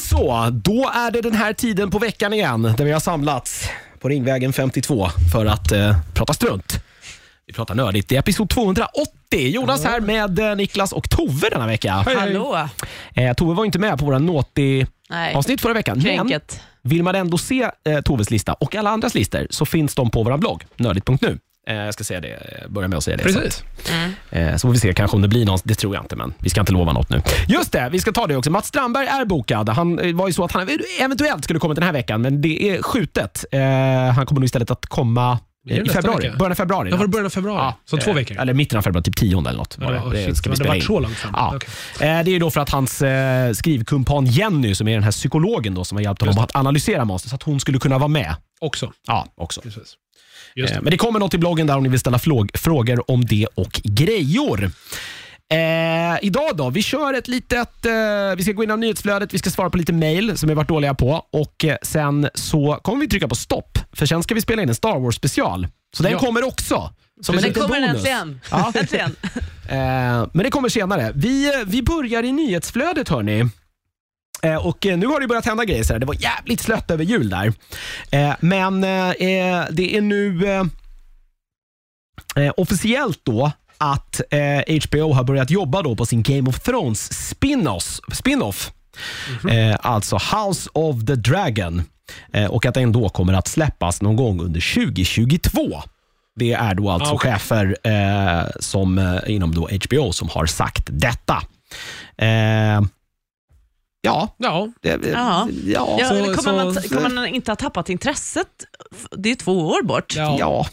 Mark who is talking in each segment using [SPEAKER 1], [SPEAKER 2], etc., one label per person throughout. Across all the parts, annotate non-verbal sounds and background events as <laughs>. [SPEAKER 1] Så, då är det den här tiden på veckan igen där vi har samlats på Ringvägen 52 för att eh, prata strunt. Vi pratar nördigt. Det är episod 280. Jonas här med eh, Niklas och Tove denna vecka.
[SPEAKER 2] Hallå!
[SPEAKER 1] Eh, Tove var ju inte med på våra nåti
[SPEAKER 2] Nej,
[SPEAKER 1] avsnitt förra veckan. Men
[SPEAKER 2] kränket.
[SPEAKER 1] vill man ändå se eh, Toves lista och alla andras listor så finns de på vår blogg, nördigt.nu. Eh, jag ska säga det, eh, börja med att säga det.
[SPEAKER 3] Precis.
[SPEAKER 1] Eh, Så får vi se kanske om det blir någon, det tror jag inte, men vi ska inte lova något nu. Just det, vi ska ta det också. Mats Strandberg är bokad. Han eh, var ju så att han eventuellt skulle kommit den här veckan, men det är skjutet. Eh, Han kommer nog istället att komma eh,
[SPEAKER 3] Blir det
[SPEAKER 1] i
[SPEAKER 3] nästa
[SPEAKER 1] februari.
[SPEAKER 3] vecka?
[SPEAKER 1] Början av februari.
[SPEAKER 3] Ja, var det
[SPEAKER 1] ja.
[SPEAKER 3] början av februari? så
[SPEAKER 1] Ja,
[SPEAKER 3] två
[SPEAKER 1] eh,
[SPEAKER 3] veckor?
[SPEAKER 1] Eller mitten av februari, typ 10 eller något. Var
[SPEAKER 3] Ja,
[SPEAKER 1] det. Det
[SPEAKER 3] shit,
[SPEAKER 1] ska vi
[SPEAKER 3] men det
[SPEAKER 1] spela
[SPEAKER 3] var
[SPEAKER 1] in.
[SPEAKER 3] så långt fram.
[SPEAKER 1] Ja.
[SPEAKER 3] Okej.
[SPEAKER 1] Eh, Det är ju då för att hans eh, skrivkumpan Jenny, som är den här psykologen då, som har hjälpt honom att analysera Master, så att hon skulle kunna vara med.
[SPEAKER 3] Också.
[SPEAKER 1] Ja, också.
[SPEAKER 3] Precis. Just
[SPEAKER 1] Eh,
[SPEAKER 3] det.
[SPEAKER 1] Men det kommer något i bloggen där om ni vill ställa flåg- frågor om det och grejor. Eh, idag då, vi kör ett litet, eh, vi ska gå igenom nyhetsflödet, vi ska svara på lite mail som vi varit dåliga på och eh, sen så kommer vi trycka på stopp för sen ska vi spela in en Star Wars special. Så den
[SPEAKER 3] Ja.
[SPEAKER 1] kommer också. Som
[SPEAKER 2] Men
[SPEAKER 1] en liten
[SPEAKER 2] den kommer den
[SPEAKER 1] bonus.
[SPEAKER 2] äntligen.
[SPEAKER 1] Ja.
[SPEAKER 3] <laughs>
[SPEAKER 2] äntligen.
[SPEAKER 1] Eh, men det kommer senare. Vi, eh, vi börjar i nyhetsflödet hörni. Eh, och eh, nu har det börjat hända grejer. Så här. Det var jävligt slött över jul där. Eh, men eh, eh, det är nu eh, eh, officiellt då att eh, HBO har börjat jobba då på sin Game of Thrones spin-off. spin-off.
[SPEAKER 3] Mhm.
[SPEAKER 1] Eh, alltså House of the Dragon. Eh, och att den då kommer att släppas någon gång under 2022. Det är då alltså
[SPEAKER 3] Ah, okej.
[SPEAKER 1] chefer eh, som, eh, inom då HBO som har sagt detta. Eh, ja,
[SPEAKER 3] Ja,
[SPEAKER 1] det, ja.
[SPEAKER 2] Ja.
[SPEAKER 1] Ja,
[SPEAKER 2] Ja,
[SPEAKER 1] så-
[SPEAKER 2] eller kommer, man,
[SPEAKER 3] så-
[SPEAKER 2] kommer man inte ha tappat intresset? Det är två år bort.
[SPEAKER 3] ja.
[SPEAKER 1] ja.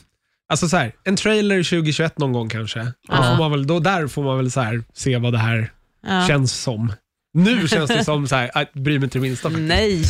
[SPEAKER 3] Alltså så här, en trailer 2021 någon gång kanske. Då
[SPEAKER 2] Ja.
[SPEAKER 3] får man väl, då där får man väl så här, se vad det här
[SPEAKER 2] Ja.
[SPEAKER 3] känns som. Nu känns det som så här, jag bryr mig inte det minsta. faktiskt. <laughs>
[SPEAKER 2] Nej.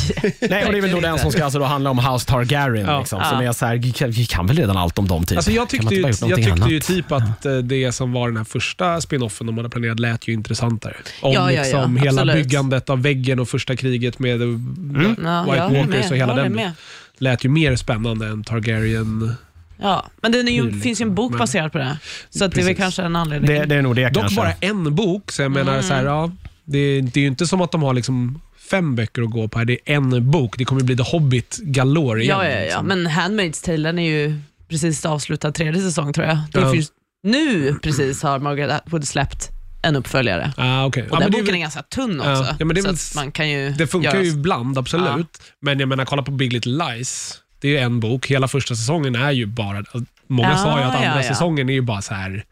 [SPEAKER 1] Nej, och det är väl då den som ska alltså då handla om House Targaryen.
[SPEAKER 3] Ja.
[SPEAKER 1] liksom,
[SPEAKER 2] Ja.
[SPEAKER 1] som är så här, vi, kan, vi kan väl redan allt om dem typ.
[SPEAKER 3] Alltså jag
[SPEAKER 1] Kan
[SPEAKER 3] tyckte,
[SPEAKER 1] man inte
[SPEAKER 3] ju,
[SPEAKER 1] bara
[SPEAKER 3] jag
[SPEAKER 1] gjort någonting
[SPEAKER 3] tyckte ju
[SPEAKER 1] annat?
[SPEAKER 3] typ att eh, det som var den här första spinoffen de hade planerat lät ju intressantare. Om
[SPEAKER 2] Ja, ja, ja,
[SPEAKER 3] liksom hela
[SPEAKER 2] absolut.
[SPEAKER 3] byggandet av väggen och första kriget med eh,
[SPEAKER 1] Mm.
[SPEAKER 3] White
[SPEAKER 2] Ja, jag håller
[SPEAKER 3] Walkers och
[SPEAKER 2] med. Jag
[SPEAKER 3] hela
[SPEAKER 2] håller
[SPEAKER 3] den
[SPEAKER 2] med.
[SPEAKER 3] lät ju mer spännande än Targaryen.
[SPEAKER 2] Ja. Men det är ju,
[SPEAKER 3] Tydligt.
[SPEAKER 2] finns ju en bok
[SPEAKER 3] Men-
[SPEAKER 2] baserad på det. Så att det är väl
[SPEAKER 3] Precis.
[SPEAKER 2] kanske en anledning.
[SPEAKER 1] det, det är nog det
[SPEAKER 3] Dock
[SPEAKER 1] kanske.
[SPEAKER 3] bara en bok, så jag menar
[SPEAKER 2] Mm.
[SPEAKER 3] så här, ja, det, det är ju inte som att de har liksom fem böcker att gå på här. Det är en bok. Det kommer bli The Hobbit galore igen.
[SPEAKER 2] ja, ja, ja.
[SPEAKER 3] liksom.
[SPEAKER 2] Men Handmaid's Tale den är ju precis avslutad tredje säsong tror jag. Det
[SPEAKER 3] Ja.
[SPEAKER 2] finns, nu precis har Margaret Atwood släppt en uppväljare.
[SPEAKER 3] Ah, okej.
[SPEAKER 2] Och
[SPEAKER 3] ja,
[SPEAKER 2] den
[SPEAKER 3] men det, är
[SPEAKER 2] boken är
[SPEAKER 3] väl-
[SPEAKER 2] ganska tunn
[SPEAKER 3] Ja,
[SPEAKER 2] också.
[SPEAKER 3] ja, men det är
[SPEAKER 2] så
[SPEAKER 3] väl-
[SPEAKER 2] att man kan ju
[SPEAKER 3] det funkar
[SPEAKER 2] göra-
[SPEAKER 3] ju ibland, absolut. Men jag menar, kolla på Big Little Lies. Det är ju en bok. Hela första säsongen är ju bara... Många sa ju att
[SPEAKER 2] Ah, ja,
[SPEAKER 3] andra
[SPEAKER 2] ja.
[SPEAKER 3] säsongen är ju bara så här...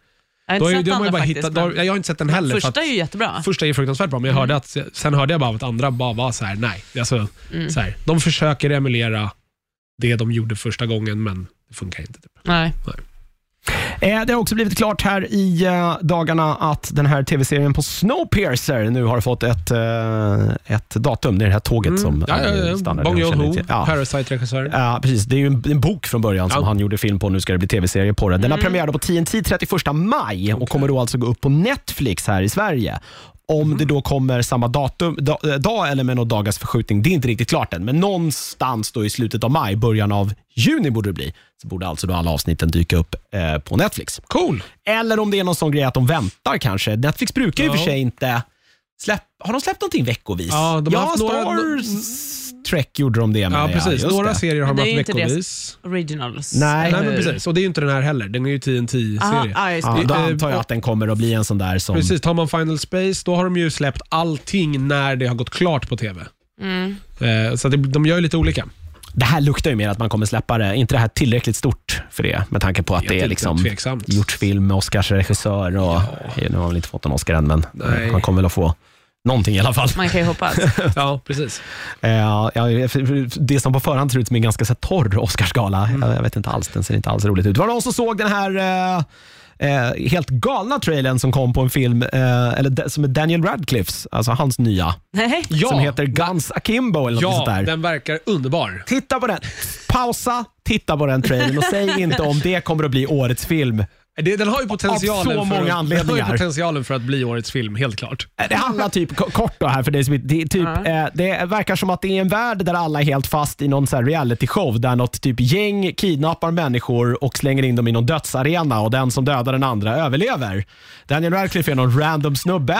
[SPEAKER 2] Jag har
[SPEAKER 3] Då
[SPEAKER 2] inte
[SPEAKER 3] har
[SPEAKER 2] sett
[SPEAKER 3] ju, då har man
[SPEAKER 2] andra
[SPEAKER 3] ju bara
[SPEAKER 2] faktiskt.
[SPEAKER 3] hittat, då,
[SPEAKER 2] men-
[SPEAKER 3] har- ja, jag har inte sett den heller. för
[SPEAKER 2] Första
[SPEAKER 3] att,
[SPEAKER 2] är ju Mm. jättebra.
[SPEAKER 3] första är ju fruktansvärt bra, men jag hörde att, sen hörde jag bara att andra bara var så här, nej. Alltså,
[SPEAKER 2] Mm.
[SPEAKER 3] så här, de försöker emulera det de gjorde första gången, men det funkar inte. Typ.
[SPEAKER 2] Nej.
[SPEAKER 1] Eh, Det har också blivit klart här i eh, dagarna att den här tv-serien på Snowpiercer nu har fått ett, eh, ett datum. Det är det här tåget som
[SPEAKER 3] Mm. ja, ja,
[SPEAKER 1] eh,
[SPEAKER 3] ja.
[SPEAKER 1] stannar.
[SPEAKER 3] Bong
[SPEAKER 1] Jag känner
[SPEAKER 3] Joon-Ho,
[SPEAKER 1] inte- ja.
[SPEAKER 3] Parasite-regissör.
[SPEAKER 1] Mm. Ja, precis. Det är ju en, en bok från början som
[SPEAKER 3] Ja. Mm.
[SPEAKER 1] han gjorde film på. Nu ska det bli tv-serie på den. Den har premiär då på TNT 31 maj och kommer då alltså gå upp på Netflix här i Sverige. Om
[SPEAKER 3] Mm.
[SPEAKER 1] det då kommer samma datum, da, eh, dag eller med någon dagars förskjutning, det är inte riktigt klart än. Men någonstans då i slutet av maj, början av juni borde det bli, så borde alltså då alla avsnitten dyka upp eh, på Netflix.
[SPEAKER 3] Cool!
[SPEAKER 1] Eller om det är någon sån grej att de väntar kanske. Netflix brukar ju i och för
[SPEAKER 3] Ja.
[SPEAKER 1] sig inte släpp, har de släppt någonting veckovis?
[SPEAKER 3] Ja, de har haft
[SPEAKER 1] Star
[SPEAKER 3] några-
[SPEAKER 1] Trek gjorde de det
[SPEAKER 3] Ja,
[SPEAKER 1] menar jag.
[SPEAKER 3] precis.
[SPEAKER 1] Just
[SPEAKER 3] Några
[SPEAKER 1] det. Eh.
[SPEAKER 3] serier har
[SPEAKER 2] Men det
[SPEAKER 3] de
[SPEAKER 2] är ju
[SPEAKER 3] haft
[SPEAKER 2] inte det-
[SPEAKER 3] veckovis.
[SPEAKER 2] Originals.
[SPEAKER 1] Nej.
[SPEAKER 3] Nej,
[SPEAKER 2] eller
[SPEAKER 3] men
[SPEAKER 2] hur?
[SPEAKER 3] precis. Och det är ju inte den här heller. Den är ju
[SPEAKER 2] Aha,
[SPEAKER 3] TNT-serie.
[SPEAKER 2] ja, just
[SPEAKER 1] Ja,
[SPEAKER 2] det.
[SPEAKER 1] då
[SPEAKER 3] Eh,
[SPEAKER 1] antar jag
[SPEAKER 3] och-
[SPEAKER 1] att den kommer att bli en sån där som...
[SPEAKER 3] Precis, tar man Final Space då har de ju släppt allting när det har gått klart på TV.
[SPEAKER 2] Mm.
[SPEAKER 3] Eh, Så att det, de gör ju lite olika.
[SPEAKER 1] Det här luktar ju mer att man kommer släppa det. inte det här tillräckligt stort för det? Med tanke på att
[SPEAKER 3] Vet
[SPEAKER 1] det är
[SPEAKER 3] inte,
[SPEAKER 1] liksom
[SPEAKER 3] tveksamt.
[SPEAKER 1] gjort film med Oscars regissör och... Nu har han väl inte fått en Oscar än, men
[SPEAKER 3] Nej.
[SPEAKER 1] han kommer väl att få någonting i alla fall.
[SPEAKER 2] Man kan
[SPEAKER 1] <laughs>
[SPEAKER 2] ju hoppas.
[SPEAKER 3] <laughs> Ja, precis.
[SPEAKER 1] Eh, ja, för- för- det som på förhand ser ut som en ganska så här torr Oscarsgala,
[SPEAKER 3] Mm.
[SPEAKER 1] jag, jag vet inte alls, den ser inte alls roligt ut. Var det någon som såg den här eh, eh, helt galna trailern som kom på en film, eh, eller da- som är Daniel Radcliffes, alltså hans nya,
[SPEAKER 2] Nej.
[SPEAKER 3] Ja,
[SPEAKER 1] som heter Guns Akimbo eller något sånt
[SPEAKER 3] ja
[SPEAKER 1] där.
[SPEAKER 3] den verkar underbar.
[SPEAKER 1] Titta på den, pausa, titta på den trailern och säg inte om det kommer att bli årets film.
[SPEAKER 3] Det, den har ju potentialen,
[SPEAKER 1] så många
[SPEAKER 3] för, att, <laughs> den har ju
[SPEAKER 1] anledningar.
[SPEAKER 3] potentialen för att bli årets film, helt klart.
[SPEAKER 1] Eh, Det handlar typ, ko- kort då här för dig som inte- det, är typ,
[SPEAKER 2] Ja.
[SPEAKER 1] eh, det verkar som att det är en värld där alla är helt fast i någon så här reality-show där något typ gäng kidnappar människor och slänger in dem i någon dödsarena och den som dödar den andra överlever. Daniel Radcliffe är någon random snubbe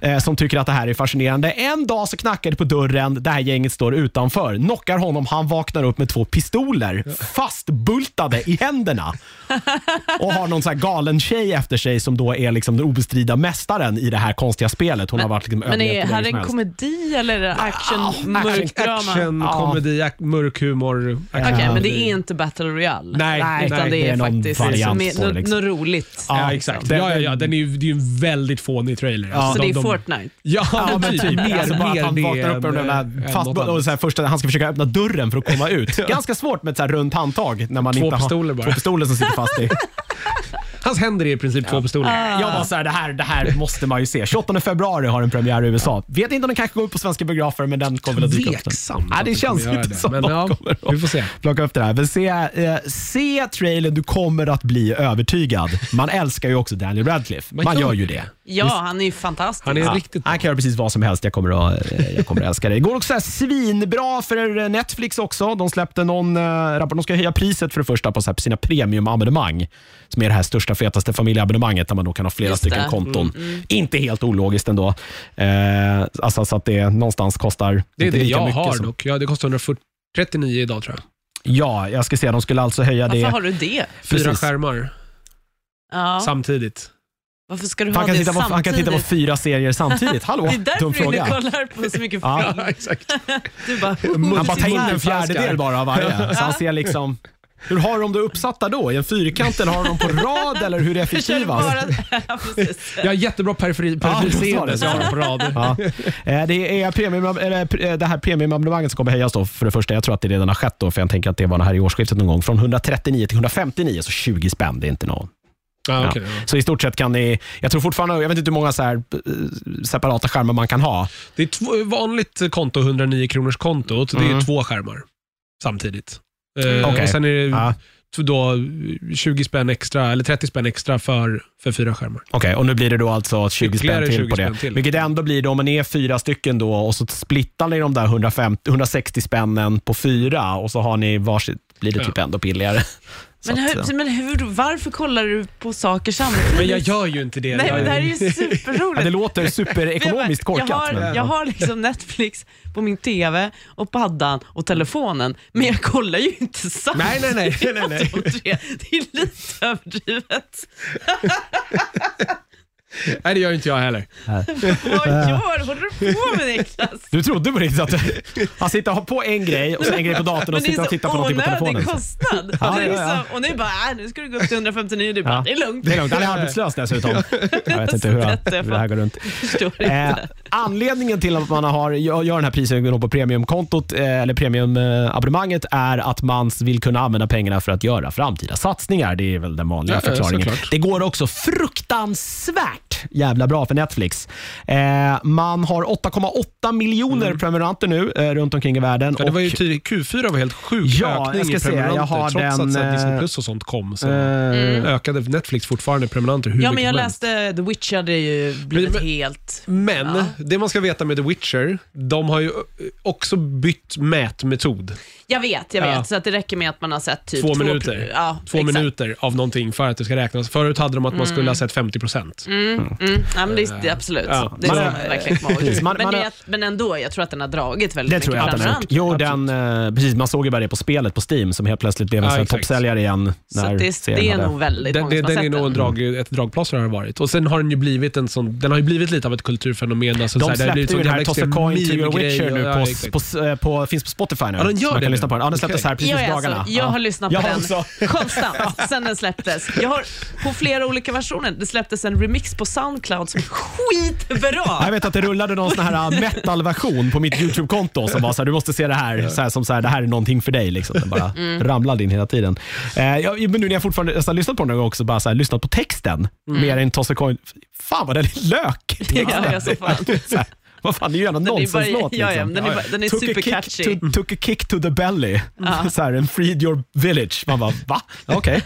[SPEAKER 1] eh, som tycker att det här är fascinerande. En dag så knackar det på dörren, det här gänget står utanför, knockar honom, han vaknar upp med två pistoler fastbultade i händerna och har någon så här galen tjej efter sig som då är liksom den obestridda mästaren i det här konstiga spelet. Hon har varit liksom
[SPEAKER 2] Men är
[SPEAKER 1] överlevt hur
[SPEAKER 2] här
[SPEAKER 1] länge
[SPEAKER 2] det
[SPEAKER 1] som
[SPEAKER 2] en
[SPEAKER 1] helst.
[SPEAKER 2] komedi eller är det action, mörk drama? Okej,
[SPEAKER 3] Action,
[SPEAKER 1] Ja.
[SPEAKER 3] komedi, ak- mörk humor. action.
[SPEAKER 2] men det är inte Battle Royale.
[SPEAKER 3] Nej, nej,
[SPEAKER 2] utan
[SPEAKER 1] nej,
[SPEAKER 2] det är,
[SPEAKER 1] det är någon
[SPEAKER 2] faktiskt
[SPEAKER 1] variant
[SPEAKER 2] med-
[SPEAKER 1] på det,
[SPEAKER 2] nå-
[SPEAKER 1] liksom.
[SPEAKER 2] något roligt.
[SPEAKER 3] Ja,
[SPEAKER 1] Ja,
[SPEAKER 3] exakt.
[SPEAKER 1] den-
[SPEAKER 3] Ja, ja, ja.
[SPEAKER 1] den-
[SPEAKER 3] Den är ju, det är ju en väldigt fånig trailer.
[SPEAKER 1] Ja.
[SPEAKER 2] Så det är
[SPEAKER 3] de- de-
[SPEAKER 2] Fortnite.
[SPEAKER 3] Ja,
[SPEAKER 1] Ja, men typ.
[SPEAKER 3] Mer,
[SPEAKER 1] alltså bara att han
[SPEAKER 3] mer
[SPEAKER 1] vaknar upp
[SPEAKER 3] än-
[SPEAKER 1] ur den
[SPEAKER 3] än
[SPEAKER 1] där fast,
[SPEAKER 3] något annat.
[SPEAKER 1] och så här, första, han ska försöka öppna dörren för att komma ut.
[SPEAKER 3] <laughs>
[SPEAKER 1] Ganska svårt med ett så här runt handtag. När man
[SPEAKER 3] Två
[SPEAKER 1] inte har,
[SPEAKER 3] pistoler bara.
[SPEAKER 1] Två pistoler som sitter fast
[SPEAKER 3] <laughs>
[SPEAKER 1] i.
[SPEAKER 3] Hans händer är i princip två pistoler.
[SPEAKER 1] Jag bara så här, det här, det här måste man ju se. 28 februari har den premiär i USA. Vet inte om den kanske går upp på svenska biografer, men den kommer väl att dyka upp.
[SPEAKER 3] Tveksamt
[SPEAKER 1] Nej,
[SPEAKER 3] att
[SPEAKER 1] det
[SPEAKER 3] de
[SPEAKER 1] känns
[SPEAKER 3] kommer göra
[SPEAKER 1] inte
[SPEAKER 3] det.
[SPEAKER 1] som
[SPEAKER 3] Men
[SPEAKER 1] de
[SPEAKER 3] ja,
[SPEAKER 1] kommer att
[SPEAKER 3] vi får se.
[SPEAKER 1] plocka upp det här. Men se, eh, se trailern, du kommer att bli övertygad. Man älskar ju också Daniel Radcliffe. Man, gör ju det.
[SPEAKER 2] Ja, han är ju fantastisk.
[SPEAKER 3] Han är
[SPEAKER 1] Ja,
[SPEAKER 3] riktigt bra.
[SPEAKER 1] han kan göra precis vad som helst. Jag kommer att, eh, jag kommer att älska det. Det går också så här svinbra för eh, Netflix också. De släppte någon eh, rapport. De ska höja priset för det första på så här, på sina premiumabonnemang, som är det här största, fetaste familjeabonnemanget där man då kan ha flera
[SPEAKER 2] Just
[SPEAKER 1] stycken
[SPEAKER 2] det.
[SPEAKER 3] Mm.
[SPEAKER 2] Mm,
[SPEAKER 1] konton. Inte helt ologiskt ändå. Eh, alltså så att det någonstans kostar
[SPEAKER 3] Det är
[SPEAKER 1] inte
[SPEAKER 3] det
[SPEAKER 1] lika
[SPEAKER 3] jag
[SPEAKER 1] mycket
[SPEAKER 3] har
[SPEAKER 1] som-
[SPEAKER 3] dock. Ja, det kostar 139 idag tror jag.
[SPEAKER 1] Ja, jag ska säga de skulle alltså höja
[SPEAKER 2] Varför
[SPEAKER 1] det.
[SPEAKER 2] har du det?
[SPEAKER 3] Fyra
[SPEAKER 1] Precis.
[SPEAKER 3] skärmar
[SPEAKER 2] Ja.
[SPEAKER 3] samtidigt.
[SPEAKER 2] Varför ska du
[SPEAKER 1] Han
[SPEAKER 2] ha
[SPEAKER 1] kan,
[SPEAKER 2] det
[SPEAKER 1] titta på, han kan
[SPEAKER 2] samtidigt?
[SPEAKER 1] titta på fyra serier
[SPEAKER 2] <laughs>
[SPEAKER 1] samtidigt. Hallå,
[SPEAKER 2] det är därför
[SPEAKER 1] dum
[SPEAKER 2] du
[SPEAKER 1] fråga.
[SPEAKER 2] kollar på så mycket
[SPEAKER 1] Ja.
[SPEAKER 2] film.
[SPEAKER 3] exakt.
[SPEAKER 2] Du bara,
[SPEAKER 1] Han bara tar in en
[SPEAKER 3] Multitasking.
[SPEAKER 1] fjärdedel bara av varje. Så han ser liksom, hur har de det uppsatta då? I en fyrkant eller har de dem på rad eller hur är det
[SPEAKER 2] Jag känner
[SPEAKER 1] effektivast?
[SPEAKER 2] bara... <laughs> Ja, precis.
[SPEAKER 3] Jag har jättebra periferi-
[SPEAKER 1] det var
[SPEAKER 3] periferiseende
[SPEAKER 1] det.
[SPEAKER 3] så jag har dem på rad.
[SPEAKER 1] Ja. Eh, Det, är premium, eller, eh, det här premiumabonnemanget som kommer höjas då för det första. Jag tror att det redan har skett då, för jag tänker att det var det här i årsskiftet någon gång. Från 139 till 159, så 20 spänn, det är inte någon
[SPEAKER 3] Ja,
[SPEAKER 1] Ja.
[SPEAKER 3] okej, ja.
[SPEAKER 1] Så i stort sett kan ni, jag tror fortfarande, jag vet inte hur många så här, eh, separata skärmar man kan ha.
[SPEAKER 3] Det är två, vanligt konto, 109 kronors kontot. Det är två skärmar samtidigt. Eh,
[SPEAKER 1] Mm. Okej.
[SPEAKER 3] och sen är det
[SPEAKER 1] Ja.
[SPEAKER 3] t- då 20 spänn extra, eller 30 spänn extra för, för fyra skärmar.
[SPEAKER 1] Okej, och nu blir det då alltså 20 spänn
[SPEAKER 3] Ytterligare
[SPEAKER 1] till
[SPEAKER 3] 20
[SPEAKER 1] på det.
[SPEAKER 3] spänn till.
[SPEAKER 1] Vilket ändå blir då, om man är fyra stycken då och så splittar ni de där 150, 160 spännen på fyra och så har ni varsitt, blir det
[SPEAKER 3] Ja.
[SPEAKER 1] typ ändå billigare. Så
[SPEAKER 2] <laughs> Men,
[SPEAKER 1] att, eh,
[SPEAKER 2] hur, men hur, varför kollar du på saker samtidigt?
[SPEAKER 3] Men jag gör ju inte det.
[SPEAKER 2] Nej,
[SPEAKER 3] Jag-
[SPEAKER 2] men det här är ju
[SPEAKER 1] ja, det
[SPEAKER 2] superroligt. <laughs>
[SPEAKER 1] låter superekonomiskt korkat.
[SPEAKER 2] jag, har,
[SPEAKER 1] men,
[SPEAKER 2] jag har liksom Netflix på min TV och paddan och telefonen, men jag kollar ju inte
[SPEAKER 3] Nej,
[SPEAKER 2] samtidigt.
[SPEAKER 3] nej, nej. nej, nej, nej.
[SPEAKER 2] på tre. Det är lite överdrivet.
[SPEAKER 3] nej det gör inte jag heller.
[SPEAKER 2] Vad gör, håller du på med Niklas?
[SPEAKER 1] Du trodde på riktigt att han sitter och har på en grej och sen en grej på datorn och
[SPEAKER 2] Men det
[SPEAKER 1] sitter och
[SPEAKER 2] är
[SPEAKER 1] tittar
[SPEAKER 2] så
[SPEAKER 1] på någonting på telefonen.
[SPEAKER 2] onödig kostnad.
[SPEAKER 1] Ja,
[SPEAKER 2] det är
[SPEAKER 1] ja,
[SPEAKER 2] liksom,
[SPEAKER 1] ja.
[SPEAKER 2] Och ni bara, äh, nu ska du gå upp till 159, du bara,
[SPEAKER 1] Ja.
[SPEAKER 2] det är lugnt.
[SPEAKER 1] Det är lugnt, han är arbetslös
[SPEAKER 2] <laughs>
[SPEAKER 1] dessutom. Jag vet inte hur, han, hur det här går runt.
[SPEAKER 2] Förstår
[SPEAKER 3] <laughs>
[SPEAKER 1] Eh,
[SPEAKER 2] inte.
[SPEAKER 1] anledningen till att man har, gör gör den här prishöjningen på premiumkontot eh, eller premiumabonnemanget är att man vill kunna använda pengarna för att göra framtida satsningar. Det är väl den vanliga
[SPEAKER 3] Ja, ja,
[SPEAKER 1] förklaringen.
[SPEAKER 3] såklart.
[SPEAKER 1] det går också fruktansvärt jävla bra för Netflix. Eh, man har 8,8 miljoner prenumeranter nu eh, runt omkring i världen.
[SPEAKER 3] Mm. Ja, det var ju
[SPEAKER 1] och-
[SPEAKER 3] tydligt, Q4 var helt sjuk
[SPEAKER 1] Ja,
[SPEAKER 3] ökning
[SPEAKER 1] jag ska
[SPEAKER 3] i
[SPEAKER 1] säga, jag
[SPEAKER 3] prenumeranter.
[SPEAKER 1] har
[SPEAKER 3] trots
[SPEAKER 1] den,
[SPEAKER 3] att så här, Disney
[SPEAKER 1] eh,
[SPEAKER 3] Plus och sånt kom så
[SPEAKER 2] Mm.
[SPEAKER 1] Eh,
[SPEAKER 3] ökade Netflix fortfarande prenumeranter hur
[SPEAKER 2] Ja, men
[SPEAKER 3] mycket
[SPEAKER 2] jag
[SPEAKER 3] som
[SPEAKER 2] läste The Witch hade ju blivit
[SPEAKER 3] Men- men-
[SPEAKER 2] helt...
[SPEAKER 3] Men det man ska veta med The Witcher, de har ju eh, också bytt mätmetod.
[SPEAKER 2] Jag vet, jag vet.
[SPEAKER 3] Ja.
[SPEAKER 2] Så att det räcker med att man har sett typ
[SPEAKER 3] Två
[SPEAKER 2] pr-
[SPEAKER 3] minuter.
[SPEAKER 2] Ja,
[SPEAKER 3] Två
[SPEAKER 2] exakt.
[SPEAKER 3] minuter av någonting för att det ska räknas. Förut hade de att man
[SPEAKER 1] Mm.
[SPEAKER 3] skulle ha sett 50 procent.
[SPEAKER 2] Mm, ja, men det, är- det är absolut.
[SPEAKER 3] Ja.
[SPEAKER 2] Det är
[SPEAKER 1] Man-
[SPEAKER 2] man, verkligen komma ihåg.
[SPEAKER 1] Precis, man-
[SPEAKER 2] men,
[SPEAKER 1] man-
[SPEAKER 2] det är att- men ändå, jag tror att den har dragit väldigt
[SPEAKER 1] Det
[SPEAKER 2] mycket.
[SPEAKER 1] tror jag att den har gjort.
[SPEAKER 2] framförallt.
[SPEAKER 1] Jo, den, eh, precis, man såg ju bara det på spelet på Steam som helt plötsligt blev en
[SPEAKER 3] Ja,
[SPEAKER 1] sån här
[SPEAKER 3] exakt.
[SPEAKER 1] toppsäljare igen.
[SPEAKER 2] Så
[SPEAKER 1] när
[SPEAKER 2] att det,
[SPEAKER 1] serien
[SPEAKER 2] det är
[SPEAKER 1] hade-
[SPEAKER 2] nog väldigt
[SPEAKER 3] Den,
[SPEAKER 2] många
[SPEAKER 3] den,
[SPEAKER 2] som har
[SPEAKER 3] den är
[SPEAKER 2] sett
[SPEAKER 3] nog en
[SPEAKER 2] den.
[SPEAKER 3] drag, ett dragplåster har det varit. Och sen har den ju blivit en sån, den har ju blivit lite av ett kulturfenomen. Alltså, så
[SPEAKER 1] De
[SPEAKER 3] här, det har
[SPEAKER 1] släppte ju
[SPEAKER 3] blivit sån
[SPEAKER 1] den här
[SPEAKER 3] jävla
[SPEAKER 1] Toss a
[SPEAKER 3] extrem
[SPEAKER 1] coin to your
[SPEAKER 3] meme-grej
[SPEAKER 1] witcher
[SPEAKER 3] och-
[SPEAKER 1] nu,
[SPEAKER 3] ja,
[SPEAKER 1] på,
[SPEAKER 3] exakt.
[SPEAKER 1] på, eh, på, finns på Spotify nu.
[SPEAKER 3] Ja, den gör
[SPEAKER 1] så man
[SPEAKER 3] det
[SPEAKER 1] kan
[SPEAKER 3] nu.
[SPEAKER 1] lyssna på den. Ja, den släpptes
[SPEAKER 3] Okej.
[SPEAKER 1] här precis
[SPEAKER 2] jag,
[SPEAKER 1] i
[SPEAKER 2] är
[SPEAKER 1] dagarna.
[SPEAKER 2] Alltså, jag
[SPEAKER 1] Ja.
[SPEAKER 2] har lyssnat
[SPEAKER 1] Jag
[SPEAKER 2] på den
[SPEAKER 1] också.
[SPEAKER 2] konstant sen den släpptes. Jag har på flera olika versioner. Det släpptes en remix på Soundcloud som är
[SPEAKER 1] Ja, Jag
[SPEAKER 2] skitbra.
[SPEAKER 1] vet att det rullade någon sån här äh, metal-version på mitt YouTube-konto som var så här, du måste se det här, så här som så här, det här är någonting för dig. Liksom. Den bara
[SPEAKER 2] Mm.
[SPEAKER 1] ramlade in hela tiden. Eh, jag, men nu när jag fortfarande nästan lyssnat på den en gång också, bara så här, lyssnat
[SPEAKER 2] Mm.
[SPEAKER 1] på texten mer än Toss a coin. Fan vad den är lök!
[SPEAKER 2] Ja, jag är så fan.
[SPEAKER 1] Så här, Vad fan, det är ju gärna
[SPEAKER 2] är bara-
[SPEAKER 1] nonsenslåt.
[SPEAKER 2] ja, ja,
[SPEAKER 1] liksom.
[SPEAKER 2] den är bara- den är
[SPEAKER 1] Took a
[SPEAKER 2] supercatchy.
[SPEAKER 1] kick to- Took a kick to the belly, <laughs> så här, and freed your village. Man bara, va? Okej.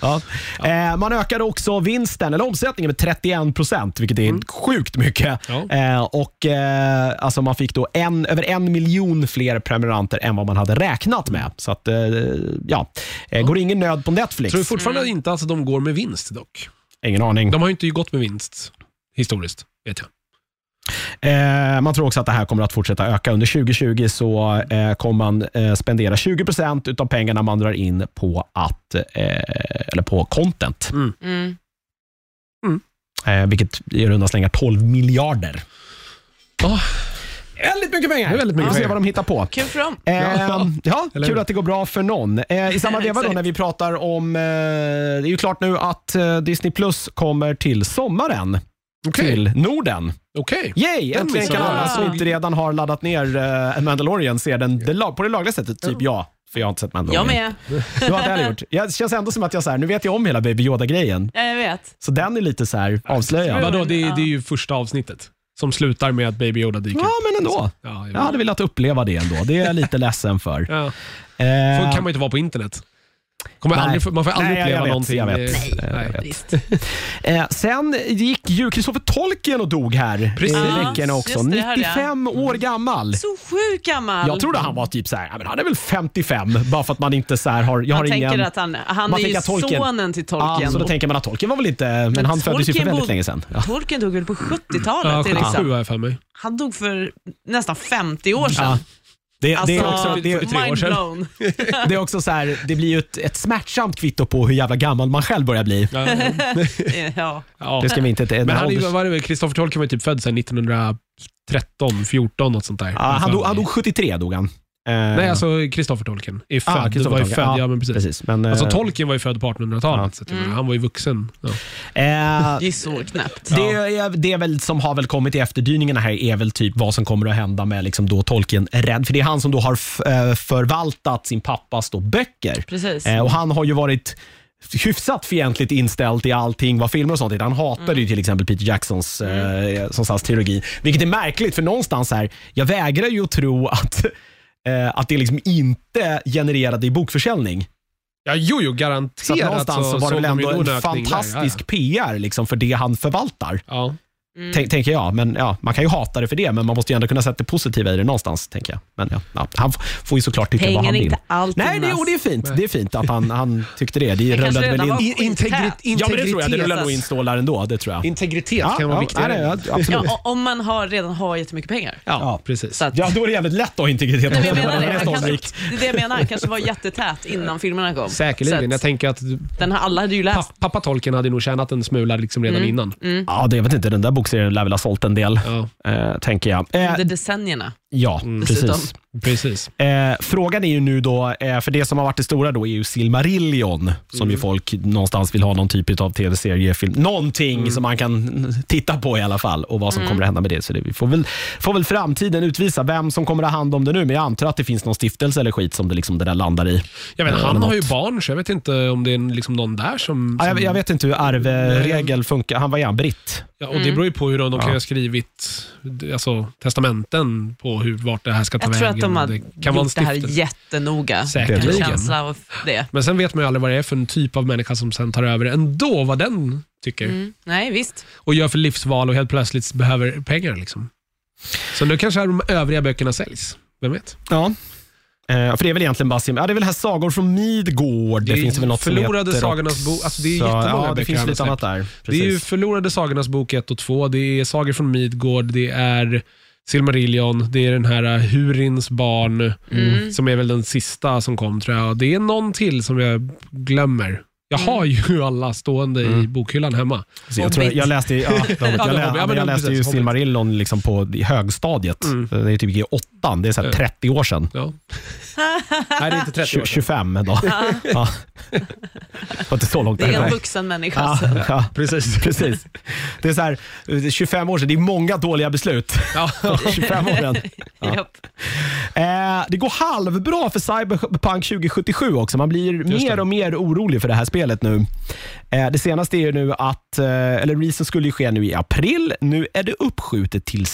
[SPEAKER 1] Ja. Eh, man ökade också vinsten, eller omsättningen, med 31 procent, vilket är sjukt mycket.
[SPEAKER 3] Ja.
[SPEAKER 1] Eh, och, eh, alltså man fick då en, över en miljon fler prenumeranter än vad man hade räknat med. Så att, eh, ja. Eh, går ingen nöd på Netflix?
[SPEAKER 3] Tror fortfarande
[SPEAKER 1] Mm.
[SPEAKER 3] inte att de går med vinst dock.
[SPEAKER 1] Ingen aning.
[SPEAKER 3] De har ju inte gått med vinst historiskt, vet jag.
[SPEAKER 1] Eh, man tror också att det här kommer att fortsätta öka. Under 2020 så eh, kommer man eh, spendera 20 procent av pengarna man drar in på, att, eh, eller på content.
[SPEAKER 2] Mm.
[SPEAKER 1] Eh, vilket i runda slängar 12 miljarder.
[SPEAKER 3] Ja.
[SPEAKER 1] Väldigt mycket pengar!
[SPEAKER 3] Det är väldigt mycket
[SPEAKER 1] Vi får se
[SPEAKER 3] pengar.
[SPEAKER 1] vad de hittar på.
[SPEAKER 2] Kul för dem.
[SPEAKER 1] Eh, ja,
[SPEAKER 3] Eller
[SPEAKER 1] kul
[SPEAKER 3] hur?
[SPEAKER 1] att det går bra för någon. Eh, I samma veva då
[SPEAKER 2] Exakt.
[SPEAKER 1] när vi pratar om, eh, det är ju klart nu att eh, Disney Plus kommer till sommaren till Norden.
[SPEAKER 3] Okej.
[SPEAKER 1] Yay! Äntligen
[SPEAKER 3] missade
[SPEAKER 1] kan
[SPEAKER 2] jag.
[SPEAKER 1] alla som inte redan har laddat ner eh, Mandalorian se den det la- på det lagliga sättet. Typ jag, för jag har inte sett
[SPEAKER 2] Jag
[SPEAKER 1] Mandalorian.
[SPEAKER 2] med.
[SPEAKER 1] Du har inte heller
[SPEAKER 2] <laughs>
[SPEAKER 1] gjort. Jag det känns ändå som att jag så här, nu vet jag om hela Baby Yoda-grejen.
[SPEAKER 2] Ja, jag vet.
[SPEAKER 1] Så den är lite så här avslöjad.
[SPEAKER 3] Vadå, det, är- det är ju första avsnittet som slutar med att Baby Yoda dyker
[SPEAKER 1] Ja,
[SPEAKER 3] upp.
[SPEAKER 1] men ändå.
[SPEAKER 3] Ja,
[SPEAKER 1] Jag hade velat uppleva det ändå. Det är jag lite ledsen
[SPEAKER 2] <laughs>
[SPEAKER 1] för.
[SPEAKER 3] ja.
[SPEAKER 1] Eh,
[SPEAKER 3] Får, kan man ju inte vara på internet. Kommer
[SPEAKER 1] Nej.
[SPEAKER 3] aldrig, få- man får aldrig
[SPEAKER 1] Nej, jag
[SPEAKER 3] uppleva
[SPEAKER 1] vet,
[SPEAKER 3] någonting.
[SPEAKER 1] jag vet.
[SPEAKER 3] Eh, nej.
[SPEAKER 2] Visst.
[SPEAKER 1] Eh, sen gick ju Christopher Tolkien och dog här eh,
[SPEAKER 3] Precis.
[SPEAKER 1] i
[SPEAKER 3] Ja,
[SPEAKER 1] veckan också.
[SPEAKER 2] just det, det hörde jag. Mm.
[SPEAKER 1] 95 år gammal.
[SPEAKER 2] Så sjukt gammal.
[SPEAKER 1] Jag trodde han var typ så här, ja, men han är väl 55, bara för att man inte så här har, jag
[SPEAKER 2] man
[SPEAKER 1] har
[SPEAKER 2] tänker
[SPEAKER 1] ingen...
[SPEAKER 2] att han, han är
[SPEAKER 1] Man
[SPEAKER 2] ju
[SPEAKER 1] tänker att Tolkien-
[SPEAKER 2] sonen till
[SPEAKER 1] Ja,
[SPEAKER 2] Tolkien.
[SPEAKER 1] så då tänker man att Tolkien var väl inte, men, han föddes ju för
[SPEAKER 2] Tolkien
[SPEAKER 1] väldigt
[SPEAKER 2] bo-
[SPEAKER 1] länge sedan. Ja.
[SPEAKER 2] Tolkien dog väl på 70-talet?
[SPEAKER 3] Ja,
[SPEAKER 2] det är liksom.
[SPEAKER 3] 77 har jag för mig.
[SPEAKER 2] Han dog för nästan 50 år sedan.
[SPEAKER 1] Ja. Det, det, är
[SPEAKER 2] Alltså,
[SPEAKER 1] också, det, är-
[SPEAKER 3] 73 år sedan.
[SPEAKER 2] mind blown.
[SPEAKER 1] det är också så här, det blir ju ett, ett smärtsamt kvitto på hur jävla gammal man själv börjar bli.
[SPEAKER 3] Ja, ja.
[SPEAKER 2] ja.
[SPEAKER 3] Ja.
[SPEAKER 1] Det ska vi inte... Det,
[SPEAKER 3] Men han är ju,
[SPEAKER 1] ålders-
[SPEAKER 3] vad är det, Christopher Tolkien var ju typ född sen 1913, 14 något sånt där. Alltså-
[SPEAKER 1] ja, han, dog, han dog 73, dog han. Eh,
[SPEAKER 3] Nej, alltså Christopher Tolkien är född.
[SPEAKER 1] ah,
[SPEAKER 3] Ah,
[SPEAKER 1] Christopher
[SPEAKER 3] var ju
[SPEAKER 1] Tolkien.
[SPEAKER 3] född, ja,
[SPEAKER 1] Ja,
[SPEAKER 3] men precis.
[SPEAKER 1] precis. Men, eh,
[SPEAKER 3] Alltså Tolkien var ju född på 1800-talet,
[SPEAKER 1] Ja.
[SPEAKER 3] så att, jag menar, han var ju vuxen. Ja.
[SPEAKER 1] eh,
[SPEAKER 2] Det är så knäppt.
[SPEAKER 1] Det, är, det är väl som har väl kommit i efterdyningarna här är väl typ vad som kommer att hända med liksom då tolken rädd. För det är han som då har f- eh, förvaltat sin pappas då böcker.
[SPEAKER 2] Precis.
[SPEAKER 1] Eh, Och han har ju varit hyfsat fientligt inställd till allting vad filmer och sånt heter. Han hatade ju till exempel Peter Jacksons eh, som sagt, teologi. Vilket är märkligt för någonstans här, jag vägrar ju att tro att eh, att det liksom inte genererade i bokförsäljning.
[SPEAKER 3] Ja, jo, jo,
[SPEAKER 1] Så att
[SPEAKER 3] garanterat alltså,
[SPEAKER 1] någonstans så var det
[SPEAKER 3] såg
[SPEAKER 1] väl
[SPEAKER 3] de ju
[SPEAKER 1] ändå
[SPEAKER 3] någon
[SPEAKER 1] en
[SPEAKER 3] ökning där,
[SPEAKER 1] fantastisk PR liksom för det han förvaltar.
[SPEAKER 3] Ja,
[SPEAKER 1] Tän- Tänker jag. Men, ja, man kan ju hata det för det, men man måste ju ändå kunna sätta det positiva i det någonstans. Tänker jag. Men, ja, ja, han f- får ju såklart tycka vad
[SPEAKER 2] Pengar
[SPEAKER 1] han
[SPEAKER 2] är
[SPEAKER 1] vill.
[SPEAKER 2] inte allt.
[SPEAKER 1] Nej, det,
[SPEAKER 2] Jonas.
[SPEAKER 1] och det är fint. Det är fint att han, han tyckte det. Det
[SPEAKER 2] kanske
[SPEAKER 1] rullade väl
[SPEAKER 2] redan
[SPEAKER 1] in.
[SPEAKER 2] var-
[SPEAKER 3] ja. I- Integrit,
[SPEAKER 2] Skität.
[SPEAKER 1] Ja, men det tror jag. Det
[SPEAKER 3] integritet,
[SPEAKER 1] rullar nog in stålar ändå. Det tror jag.
[SPEAKER 3] integritet kan vara viktigare.
[SPEAKER 1] nej, nej, ja, absolut.
[SPEAKER 2] Ja, o- om man har, redan har jättemycket pengar.
[SPEAKER 3] Ja, precis.
[SPEAKER 2] Så att,
[SPEAKER 1] Ja, då är det jävligt lätt att ha integritet.
[SPEAKER 2] Nej, men jag
[SPEAKER 1] <laughs>
[SPEAKER 2] menar
[SPEAKER 1] Det
[SPEAKER 2] det.
[SPEAKER 1] är
[SPEAKER 2] Han kanske,
[SPEAKER 1] snarlikt.
[SPEAKER 2] det är det jag menar. Han kanske var jättetät innan filmerna kom. Så
[SPEAKER 3] Säkerligen.
[SPEAKER 2] att
[SPEAKER 3] Jag tänker att
[SPEAKER 2] den har, alla hade ju
[SPEAKER 3] pa,
[SPEAKER 2] läst.
[SPEAKER 3] pappa Tolkien hade nog tjänat en smula liksom
[SPEAKER 2] Mm.
[SPEAKER 3] redan innan.
[SPEAKER 1] Ja, det, jag vet inte. Den där bokserien lär väl ha sålt en del,
[SPEAKER 3] Ja,
[SPEAKER 1] eh, tänker jag. Eh,
[SPEAKER 2] Under decennierna.
[SPEAKER 1] ja,
[SPEAKER 2] Mm. dessutom.
[SPEAKER 1] precis.
[SPEAKER 3] precis.
[SPEAKER 1] Eh, frågan är ju nu då, eh, för det som har varit det stora då är ju Silmarillion, som
[SPEAKER 2] Mm.
[SPEAKER 1] ju folk någonstans vill ha någon typ av tv-serie, film, någonting
[SPEAKER 2] Mm.
[SPEAKER 1] som man kan titta på i alla fall och vad som kommer att hända med det. Så det, vi får väl, får väl framtiden utvisa vem som kommer att ha hand om det nu, men jag antar att det finns någon stiftelse eller skit som det, liksom det där landar i.
[SPEAKER 3] Jag vet,
[SPEAKER 1] Eh,
[SPEAKER 3] han
[SPEAKER 1] eller
[SPEAKER 3] har ju
[SPEAKER 1] något.
[SPEAKER 3] barn, så jag vet inte om det är liksom någon där som...
[SPEAKER 1] Ja,
[SPEAKER 3] som
[SPEAKER 1] jag, jag vet inte hur
[SPEAKER 3] Mm.
[SPEAKER 1] arvregel funkar. Han var ju han, britt.
[SPEAKER 3] ja, och
[SPEAKER 2] Mm.
[SPEAKER 3] Det beror ju på hur de, de kan ha skrivit alltså, testamenten på hur, vart det här ska ta
[SPEAKER 2] Jag tror
[SPEAKER 3] vägen.
[SPEAKER 2] att de har
[SPEAKER 3] det kan vara en
[SPEAKER 2] gjort det här alltså.
[SPEAKER 3] stiftelse.
[SPEAKER 2] jättenoga.
[SPEAKER 3] Säkerligen.
[SPEAKER 2] Jag har en känsla av det.
[SPEAKER 3] Men sen vet man ju aldrig vad det är för en typ av människa som sen tar över ändå, vad den tycker.
[SPEAKER 2] Mm. Nej, visst.
[SPEAKER 3] och gör för livsval och helt plötsligt behöver pengar. Liksom. Så nu kanske de övriga böckerna säljs. Vem vet?
[SPEAKER 1] Ja. Eh, för det är väl egentligen bara Sim- ja, det är väl här Sagor från Midgård. Det,
[SPEAKER 3] Det är
[SPEAKER 1] finns väl något som
[SPEAKER 3] Förlorade
[SPEAKER 1] heter
[SPEAKER 3] sagornas bo-
[SPEAKER 1] också.
[SPEAKER 3] alltså, det är jättemånga
[SPEAKER 1] ja,
[SPEAKER 3] böcker
[SPEAKER 1] det finns
[SPEAKER 3] han har
[SPEAKER 1] lite annat där.
[SPEAKER 3] Det är ju
[SPEAKER 1] Precis.
[SPEAKER 3] Förlorade sagornas bok 1 och 2, det är Sagor från Midgård, det är Silmarillion, det är den här eh, Hurins barn,
[SPEAKER 2] Mm.
[SPEAKER 1] Mm.
[SPEAKER 3] som är väl den sista som kom tror jag. Och det är någon till som jag glömmer. Jag har ju alla stående i bokhyllan hemma.
[SPEAKER 1] Så jag, tror, jag läste, ja, Hobbit. jag,
[SPEAKER 3] <laughs> Ja, det var
[SPEAKER 1] lä,
[SPEAKER 3] Hobbit. Ja,
[SPEAKER 1] jag
[SPEAKER 3] men det var
[SPEAKER 1] läste ju
[SPEAKER 3] precis, Hobbit.
[SPEAKER 1] Silmarillon liksom på, i högstadiet. Det är typ i åttan, det är så här
[SPEAKER 3] Ja.
[SPEAKER 1] 30 år sedan.
[SPEAKER 3] Ja. Nej, det är inte 30
[SPEAKER 1] Tju-
[SPEAKER 3] år sedan.
[SPEAKER 1] 25 då.
[SPEAKER 2] <laughs>
[SPEAKER 1] Ja. Det var inte så långt
[SPEAKER 2] Det är en
[SPEAKER 1] därifrån.
[SPEAKER 2] vuxen människa.
[SPEAKER 1] Ja,
[SPEAKER 2] alltså.
[SPEAKER 1] ja, precis. precis. Det är så här, 25 år sedan, det är många dåliga
[SPEAKER 3] <laughs>
[SPEAKER 1] beslut.
[SPEAKER 3] Ja.
[SPEAKER 1] 25 år sedan.
[SPEAKER 2] Japp.
[SPEAKER 1] Eh, det går halvbra för Cyberpunk 2077 också. Man blir
[SPEAKER 3] Just
[SPEAKER 1] mer
[SPEAKER 3] det.
[SPEAKER 1] och mer orolig för det här Zelda-spelet nu. Eh, Det senaste är ju nu att, eh, eller releasen skulle ju ske nu i april. Nu är det uppskjutet till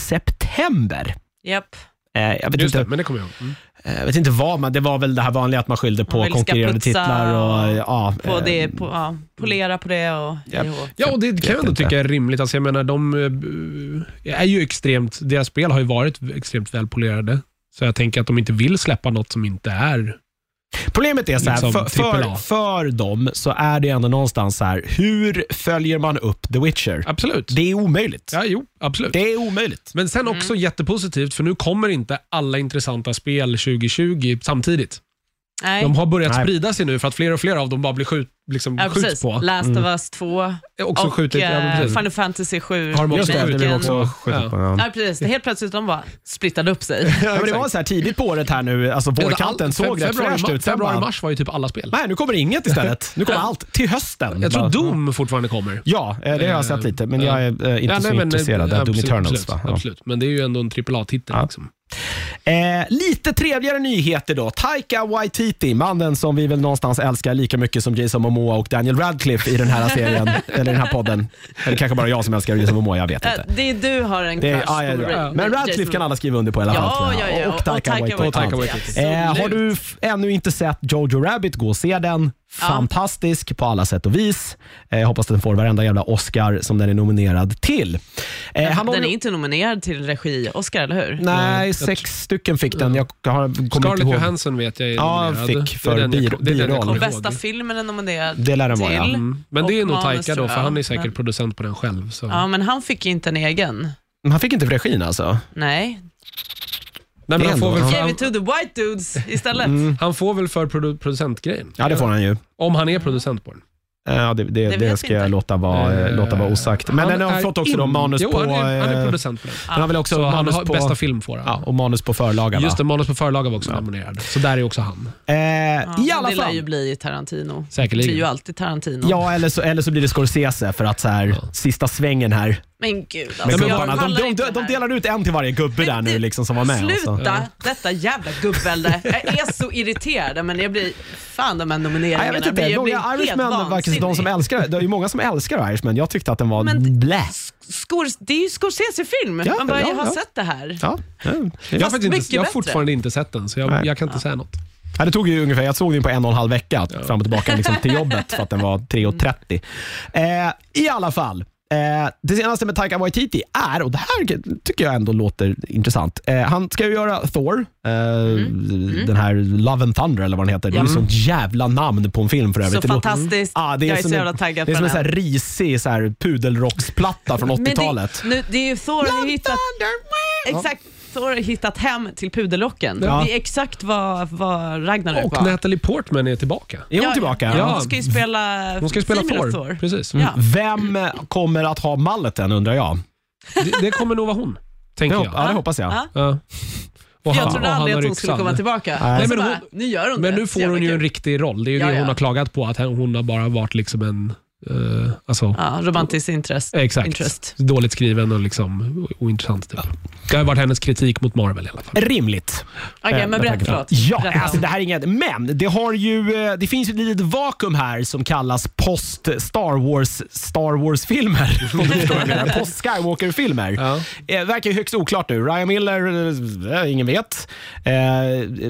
[SPEAKER 1] september.
[SPEAKER 2] Japp.
[SPEAKER 1] Eh, Jag vet,
[SPEAKER 3] Just
[SPEAKER 1] inte,
[SPEAKER 3] det, men det kommer jag ihåg. Mm.
[SPEAKER 1] eh, jag vet inte vad, men det var väl det här vanliga att man skyllde på
[SPEAKER 2] vill ska
[SPEAKER 1] konkurrerande
[SPEAKER 2] putsa
[SPEAKER 1] titlar. Och, eh, ja,
[SPEAKER 2] På
[SPEAKER 1] eh,
[SPEAKER 2] det, på, ja, polera på det och
[SPEAKER 1] Japp.
[SPEAKER 2] hej och hå.
[SPEAKER 3] Ja, och det kan jag ändå
[SPEAKER 1] inte.
[SPEAKER 3] tycka är rimligt. Alltså, jag menar, de eh, är ju extremt, deras spel har ju varit extremt välpolerade. Så jag tänker att de inte vill släppa något som inte är...
[SPEAKER 1] Problemet är så här,
[SPEAKER 3] Liksom
[SPEAKER 1] för, för,
[SPEAKER 3] AAA.
[SPEAKER 1] för dem så är det ändå någonstans så här, hur följer man upp The Witcher?
[SPEAKER 3] Absolut.
[SPEAKER 1] Det är omöjligt.
[SPEAKER 3] Ja, jo, absolut.
[SPEAKER 1] Det är omöjligt.
[SPEAKER 3] Men sen också
[SPEAKER 2] Mm.
[SPEAKER 3] jättepositivt, för nu kommer inte alla intressanta spel 2020 samtidigt.
[SPEAKER 2] Nej.
[SPEAKER 3] De har börjat
[SPEAKER 1] Nej.
[SPEAKER 3] sprida sig nu för att fler och fler av dem bara blir skjut, liksom,
[SPEAKER 2] Ja,
[SPEAKER 3] skjuts
[SPEAKER 2] precis.
[SPEAKER 3] på.
[SPEAKER 2] Last
[SPEAKER 1] Mm.
[SPEAKER 2] of us 2
[SPEAKER 3] Också
[SPEAKER 2] och
[SPEAKER 3] skjutit, ja, men
[SPEAKER 2] eh,
[SPEAKER 3] precis.
[SPEAKER 2] Final Fantasy 7.
[SPEAKER 3] Har de också
[SPEAKER 2] remaken.
[SPEAKER 3] skjutit? Det blir också- Ja.
[SPEAKER 1] Ja.
[SPEAKER 2] Ja, precis. Det helt plötsligt de bara splittade upp sig.
[SPEAKER 1] <laughs> Ja, men det var så här tidigt på året här nu, alltså vårkanten
[SPEAKER 3] Allt-
[SPEAKER 1] såg
[SPEAKER 3] feb-
[SPEAKER 1] rätt
[SPEAKER 3] februari-
[SPEAKER 1] fräscht ut. Sen
[SPEAKER 3] Februari,
[SPEAKER 1] bara,
[SPEAKER 3] mars var ju typ alla spel.
[SPEAKER 1] nej, nu kommer inget
[SPEAKER 3] <laughs>
[SPEAKER 1] istället. Nu kommer allt. Till hösten.
[SPEAKER 3] Jag
[SPEAKER 1] Bara,
[SPEAKER 3] tror Doom fortfarande kommer.
[SPEAKER 1] Ja, eh, det har jag sett lite, men jag är eh, inte
[SPEAKER 3] Ja,
[SPEAKER 1] så
[SPEAKER 3] nej, men,
[SPEAKER 1] intresserad.
[SPEAKER 3] eh,
[SPEAKER 1] av Doom
[SPEAKER 3] absolut,
[SPEAKER 1] Eternals,
[SPEAKER 3] absolut,
[SPEAKER 1] va? Ja.
[SPEAKER 3] absolut, men det är ju ändå en AAA-titel.
[SPEAKER 1] Ja.
[SPEAKER 3] Liksom.
[SPEAKER 1] Eh, lite trevligare nyheter då. Taika Waititi, mannen som vi väl någonstans älskar lika mycket som Jason Momoa och Daniel Radcliffe i den här
[SPEAKER 3] <laughs>
[SPEAKER 1] serien, eller den här podden. Eller kanske bara jag som älskar Jason Momoa, jag vet
[SPEAKER 2] Eh,
[SPEAKER 1] inte.
[SPEAKER 2] Det är du har en
[SPEAKER 1] Det
[SPEAKER 2] crush
[SPEAKER 1] är, ja, ja,
[SPEAKER 2] på
[SPEAKER 1] ja.
[SPEAKER 2] Ra-
[SPEAKER 1] Men Radcliffe
[SPEAKER 2] Jason.
[SPEAKER 1] kan alla skriva under på i alla
[SPEAKER 2] Ja,
[SPEAKER 1] fall. tror
[SPEAKER 2] ja,
[SPEAKER 1] jag.
[SPEAKER 2] ja.
[SPEAKER 1] Och Taika Waititi.
[SPEAKER 3] Och Taika Waititi.
[SPEAKER 1] Eh, har du f- ännu inte sett Jojo Rabbit, gå och se den.
[SPEAKER 2] Ja.
[SPEAKER 1] Fantastisk på alla sätt och vis. Eh, jag hoppas att den får varenda jävla Oscar som den är nominerad till. Eh, han
[SPEAKER 2] Den
[SPEAKER 1] har-
[SPEAKER 2] är inte nominerad till regi Oscar, eller hur?
[SPEAKER 1] Nej,
[SPEAKER 3] Nej,
[SPEAKER 1] sex stycken fick den. Jag har, kommer inte
[SPEAKER 3] Scarlett
[SPEAKER 1] ihåg.
[SPEAKER 3] Johansson vet jag är
[SPEAKER 1] Ja,
[SPEAKER 3] nominerad.
[SPEAKER 1] fick
[SPEAKER 3] Det är
[SPEAKER 1] för
[SPEAKER 3] den jag-
[SPEAKER 1] bi-
[SPEAKER 3] det är den jag
[SPEAKER 1] biroll.
[SPEAKER 2] Och
[SPEAKER 3] kommer ihåg.
[SPEAKER 2] bästa filmen är nominerad
[SPEAKER 1] Det lär den
[SPEAKER 2] till.
[SPEAKER 1] vara, ja.
[SPEAKER 3] Mm. Men
[SPEAKER 2] Och
[SPEAKER 3] det är nog
[SPEAKER 2] manus,
[SPEAKER 3] Taika
[SPEAKER 2] tror
[SPEAKER 3] då,
[SPEAKER 2] jag.
[SPEAKER 3] för han är säkert
[SPEAKER 2] Men-
[SPEAKER 3] producent på den själv. Så.
[SPEAKER 2] Ja, men han fick inte en egen.
[SPEAKER 1] Men Han fick inte för regin alltså?
[SPEAKER 2] Nej.
[SPEAKER 3] Nej,
[SPEAKER 1] Det
[SPEAKER 3] men
[SPEAKER 1] är
[SPEAKER 3] han, får
[SPEAKER 1] ändå-
[SPEAKER 3] väl
[SPEAKER 1] Ja.
[SPEAKER 3] för,
[SPEAKER 2] Gave
[SPEAKER 3] han,
[SPEAKER 2] it to the white dudes istället.
[SPEAKER 3] han får väl för produ- producentgrejen?
[SPEAKER 1] Mm. Ja, det får han ju.
[SPEAKER 3] Om han är producent på den.
[SPEAKER 1] Eh, Ja, det, det, det,
[SPEAKER 2] Det vet
[SPEAKER 1] ska
[SPEAKER 2] vi
[SPEAKER 1] jag
[SPEAKER 2] inte.
[SPEAKER 1] låta vara,
[SPEAKER 3] Eh,
[SPEAKER 1] låta vara osagt. Men
[SPEAKER 3] han
[SPEAKER 1] den har
[SPEAKER 3] är
[SPEAKER 1] fått också då
[SPEAKER 3] in-
[SPEAKER 1] manus
[SPEAKER 3] jo,
[SPEAKER 1] på...
[SPEAKER 3] han är, han är
[SPEAKER 1] eh,
[SPEAKER 3] producent på den.
[SPEAKER 1] den har väl också
[SPEAKER 3] Så han
[SPEAKER 1] manus,
[SPEAKER 3] har,
[SPEAKER 1] på,
[SPEAKER 3] bästa film får han.
[SPEAKER 1] ja, och manus på förlaga
[SPEAKER 3] Just
[SPEAKER 1] va?
[SPEAKER 3] det, manus på förlaga var också nominerad. Så där är också han.
[SPEAKER 1] Eh,
[SPEAKER 2] Ja,
[SPEAKER 1] I
[SPEAKER 2] men
[SPEAKER 1] alla
[SPEAKER 2] det lär ju
[SPEAKER 1] fall.
[SPEAKER 2] bli Tarantino. Det är ju
[SPEAKER 3] Säkerligen.
[SPEAKER 2] alltid Tarantino.
[SPEAKER 1] Ja, eller så, eller så blir det Scorsese för att så här, sista svängen här
[SPEAKER 2] Men gud alltså.
[SPEAKER 1] med
[SPEAKER 2] jag
[SPEAKER 1] gubbarna. De,
[SPEAKER 2] pallar
[SPEAKER 1] de,
[SPEAKER 2] inte
[SPEAKER 1] de,
[SPEAKER 2] det här.
[SPEAKER 1] delar ut en till varje gubbe där nu
[SPEAKER 2] du,
[SPEAKER 1] liksom som var med. och så.
[SPEAKER 2] Sluta detta jävla gubbvälde. Jag
[SPEAKER 1] <laughs>
[SPEAKER 2] är så irriterad. Men jag blir, fan de här
[SPEAKER 1] Ja,
[SPEAKER 2] nomineringarna.
[SPEAKER 1] jag vet inte,
[SPEAKER 2] blir- jag blir
[SPEAKER 1] många
[SPEAKER 2] helt
[SPEAKER 1] Irishman, verkar
[SPEAKER 2] vansinnig.
[SPEAKER 1] de som älskar, det är ju många som älskar Irishman. Jag tyckte att den var
[SPEAKER 2] Men-
[SPEAKER 1] blä.
[SPEAKER 2] Scor- det är ju Scorsese-film.
[SPEAKER 1] Ja,
[SPEAKER 2] Man bara,
[SPEAKER 1] ja,
[SPEAKER 2] jag har
[SPEAKER 1] ja.
[SPEAKER 2] sett det här.
[SPEAKER 1] Ja.
[SPEAKER 3] Jag har,
[SPEAKER 2] Fast
[SPEAKER 3] faktiskt
[SPEAKER 2] mycket
[SPEAKER 3] inte, jag har
[SPEAKER 2] bättre.
[SPEAKER 3] fortfarande inte sett den, så
[SPEAKER 1] Nej.
[SPEAKER 3] jag, jag kan inte säga något.
[SPEAKER 1] Ja, det tog ju ungefär, jag såg den på en och en halv vecka fram och tillbaka liksom, till jobbet för att den var 3.30. Eh, I alla fall. Eh, det senaste med Taika Waititi är, och det här tycker jag ändå låter intressant. Eh, han ska ju göra Thor, eh,
[SPEAKER 2] Mm.
[SPEAKER 1] den här Love and Thunder eller vad den heter. Det är ju sånt jävla namn på en film för övrigt.
[SPEAKER 2] Så
[SPEAKER 1] Det låter-
[SPEAKER 2] fantastiskt.
[SPEAKER 1] Ja, Mm. Ah, det är
[SPEAKER 2] jag är
[SPEAKER 1] som
[SPEAKER 2] så
[SPEAKER 1] en-
[SPEAKER 2] jävla taggad
[SPEAKER 1] Det är
[SPEAKER 2] på
[SPEAKER 1] som en
[SPEAKER 2] den
[SPEAKER 1] sån här risig så här, pudelrocksplatta från
[SPEAKER 2] Men
[SPEAKER 1] 80-talet.
[SPEAKER 2] Det, nu, det är ju Thor har hittat, exakt, Thor har hittat hem till puderlocken.
[SPEAKER 1] Ja.
[SPEAKER 2] Det är exakt vad, vad Ragnarök
[SPEAKER 3] Och
[SPEAKER 2] var.
[SPEAKER 3] Natalie Portman är tillbaka.
[SPEAKER 1] Är hon
[SPEAKER 2] Ja,
[SPEAKER 1] tillbaka?
[SPEAKER 2] Ja,
[SPEAKER 3] Ja.
[SPEAKER 2] hon ska ju spela
[SPEAKER 3] Hon ska ju spela
[SPEAKER 2] Female
[SPEAKER 3] Thor.
[SPEAKER 2] Thor.
[SPEAKER 3] Precis.
[SPEAKER 2] Ja.
[SPEAKER 1] Vem kommer att ha malleten undrar jag?
[SPEAKER 3] Det, det kommer nog vara hon, tänker
[SPEAKER 1] Ja,
[SPEAKER 3] jag.
[SPEAKER 1] ja, det hoppas jag.
[SPEAKER 2] Ja.
[SPEAKER 3] Ja. Och
[SPEAKER 2] Jag
[SPEAKER 3] han-
[SPEAKER 2] trodde
[SPEAKER 3] och han
[SPEAKER 2] aldrig
[SPEAKER 3] har
[SPEAKER 2] att hon
[SPEAKER 3] ryckt
[SPEAKER 2] skulle
[SPEAKER 3] sand.
[SPEAKER 2] komma tillbaka.
[SPEAKER 1] Nej,
[SPEAKER 2] Nej,
[SPEAKER 3] men
[SPEAKER 2] men
[SPEAKER 3] hon-
[SPEAKER 2] bara, nu gör hon
[SPEAKER 3] Men
[SPEAKER 2] det.
[SPEAKER 3] nu
[SPEAKER 2] Så
[SPEAKER 3] får
[SPEAKER 2] jävla
[SPEAKER 3] hon ju en
[SPEAKER 2] kul.
[SPEAKER 3] riktig roll. Det är ju
[SPEAKER 2] Ja,
[SPEAKER 3] det hon
[SPEAKER 2] ja.
[SPEAKER 3] har klagat på, att hon har bara varit liksom en... eh, alltså,
[SPEAKER 2] Ja, romantisk interest.
[SPEAKER 3] Exakt.
[SPEAKER 2] Interest.
[SPEAKER 3] Dåligt skriven och liksom o- ointressant. Typ. Det har varit hennes kritik mot Marvel i alla fall.
[SPEAKER 1] Rimligt.
[SPEAKER 2] Okej,
[SPEAKER 1] Eh,
[SPEAKER 2] men
[SPEAKER 1] med
[SPEAKER 2] berätta.
[SPEAKER 1] tanke på-
[SPEAKER 2] Förlåt.
[SPEAKER 1] Ja,
[SPEAKER 2] Berätta.
[SPEAKER 1] alltså, det här är inget. Men det, har ju, eh, det finns ju ett litet vakuum här som kallas post Star Wars Star Wars-filmer. Om du <laughs> förstår vad jag menar. post Skywalker-filmer.
[SPEAKER 3] Ja.
[SPEAKER 1] Eh, verkar ju högst oklart nu. Ryan Miller, eh, ingen vet. Eh,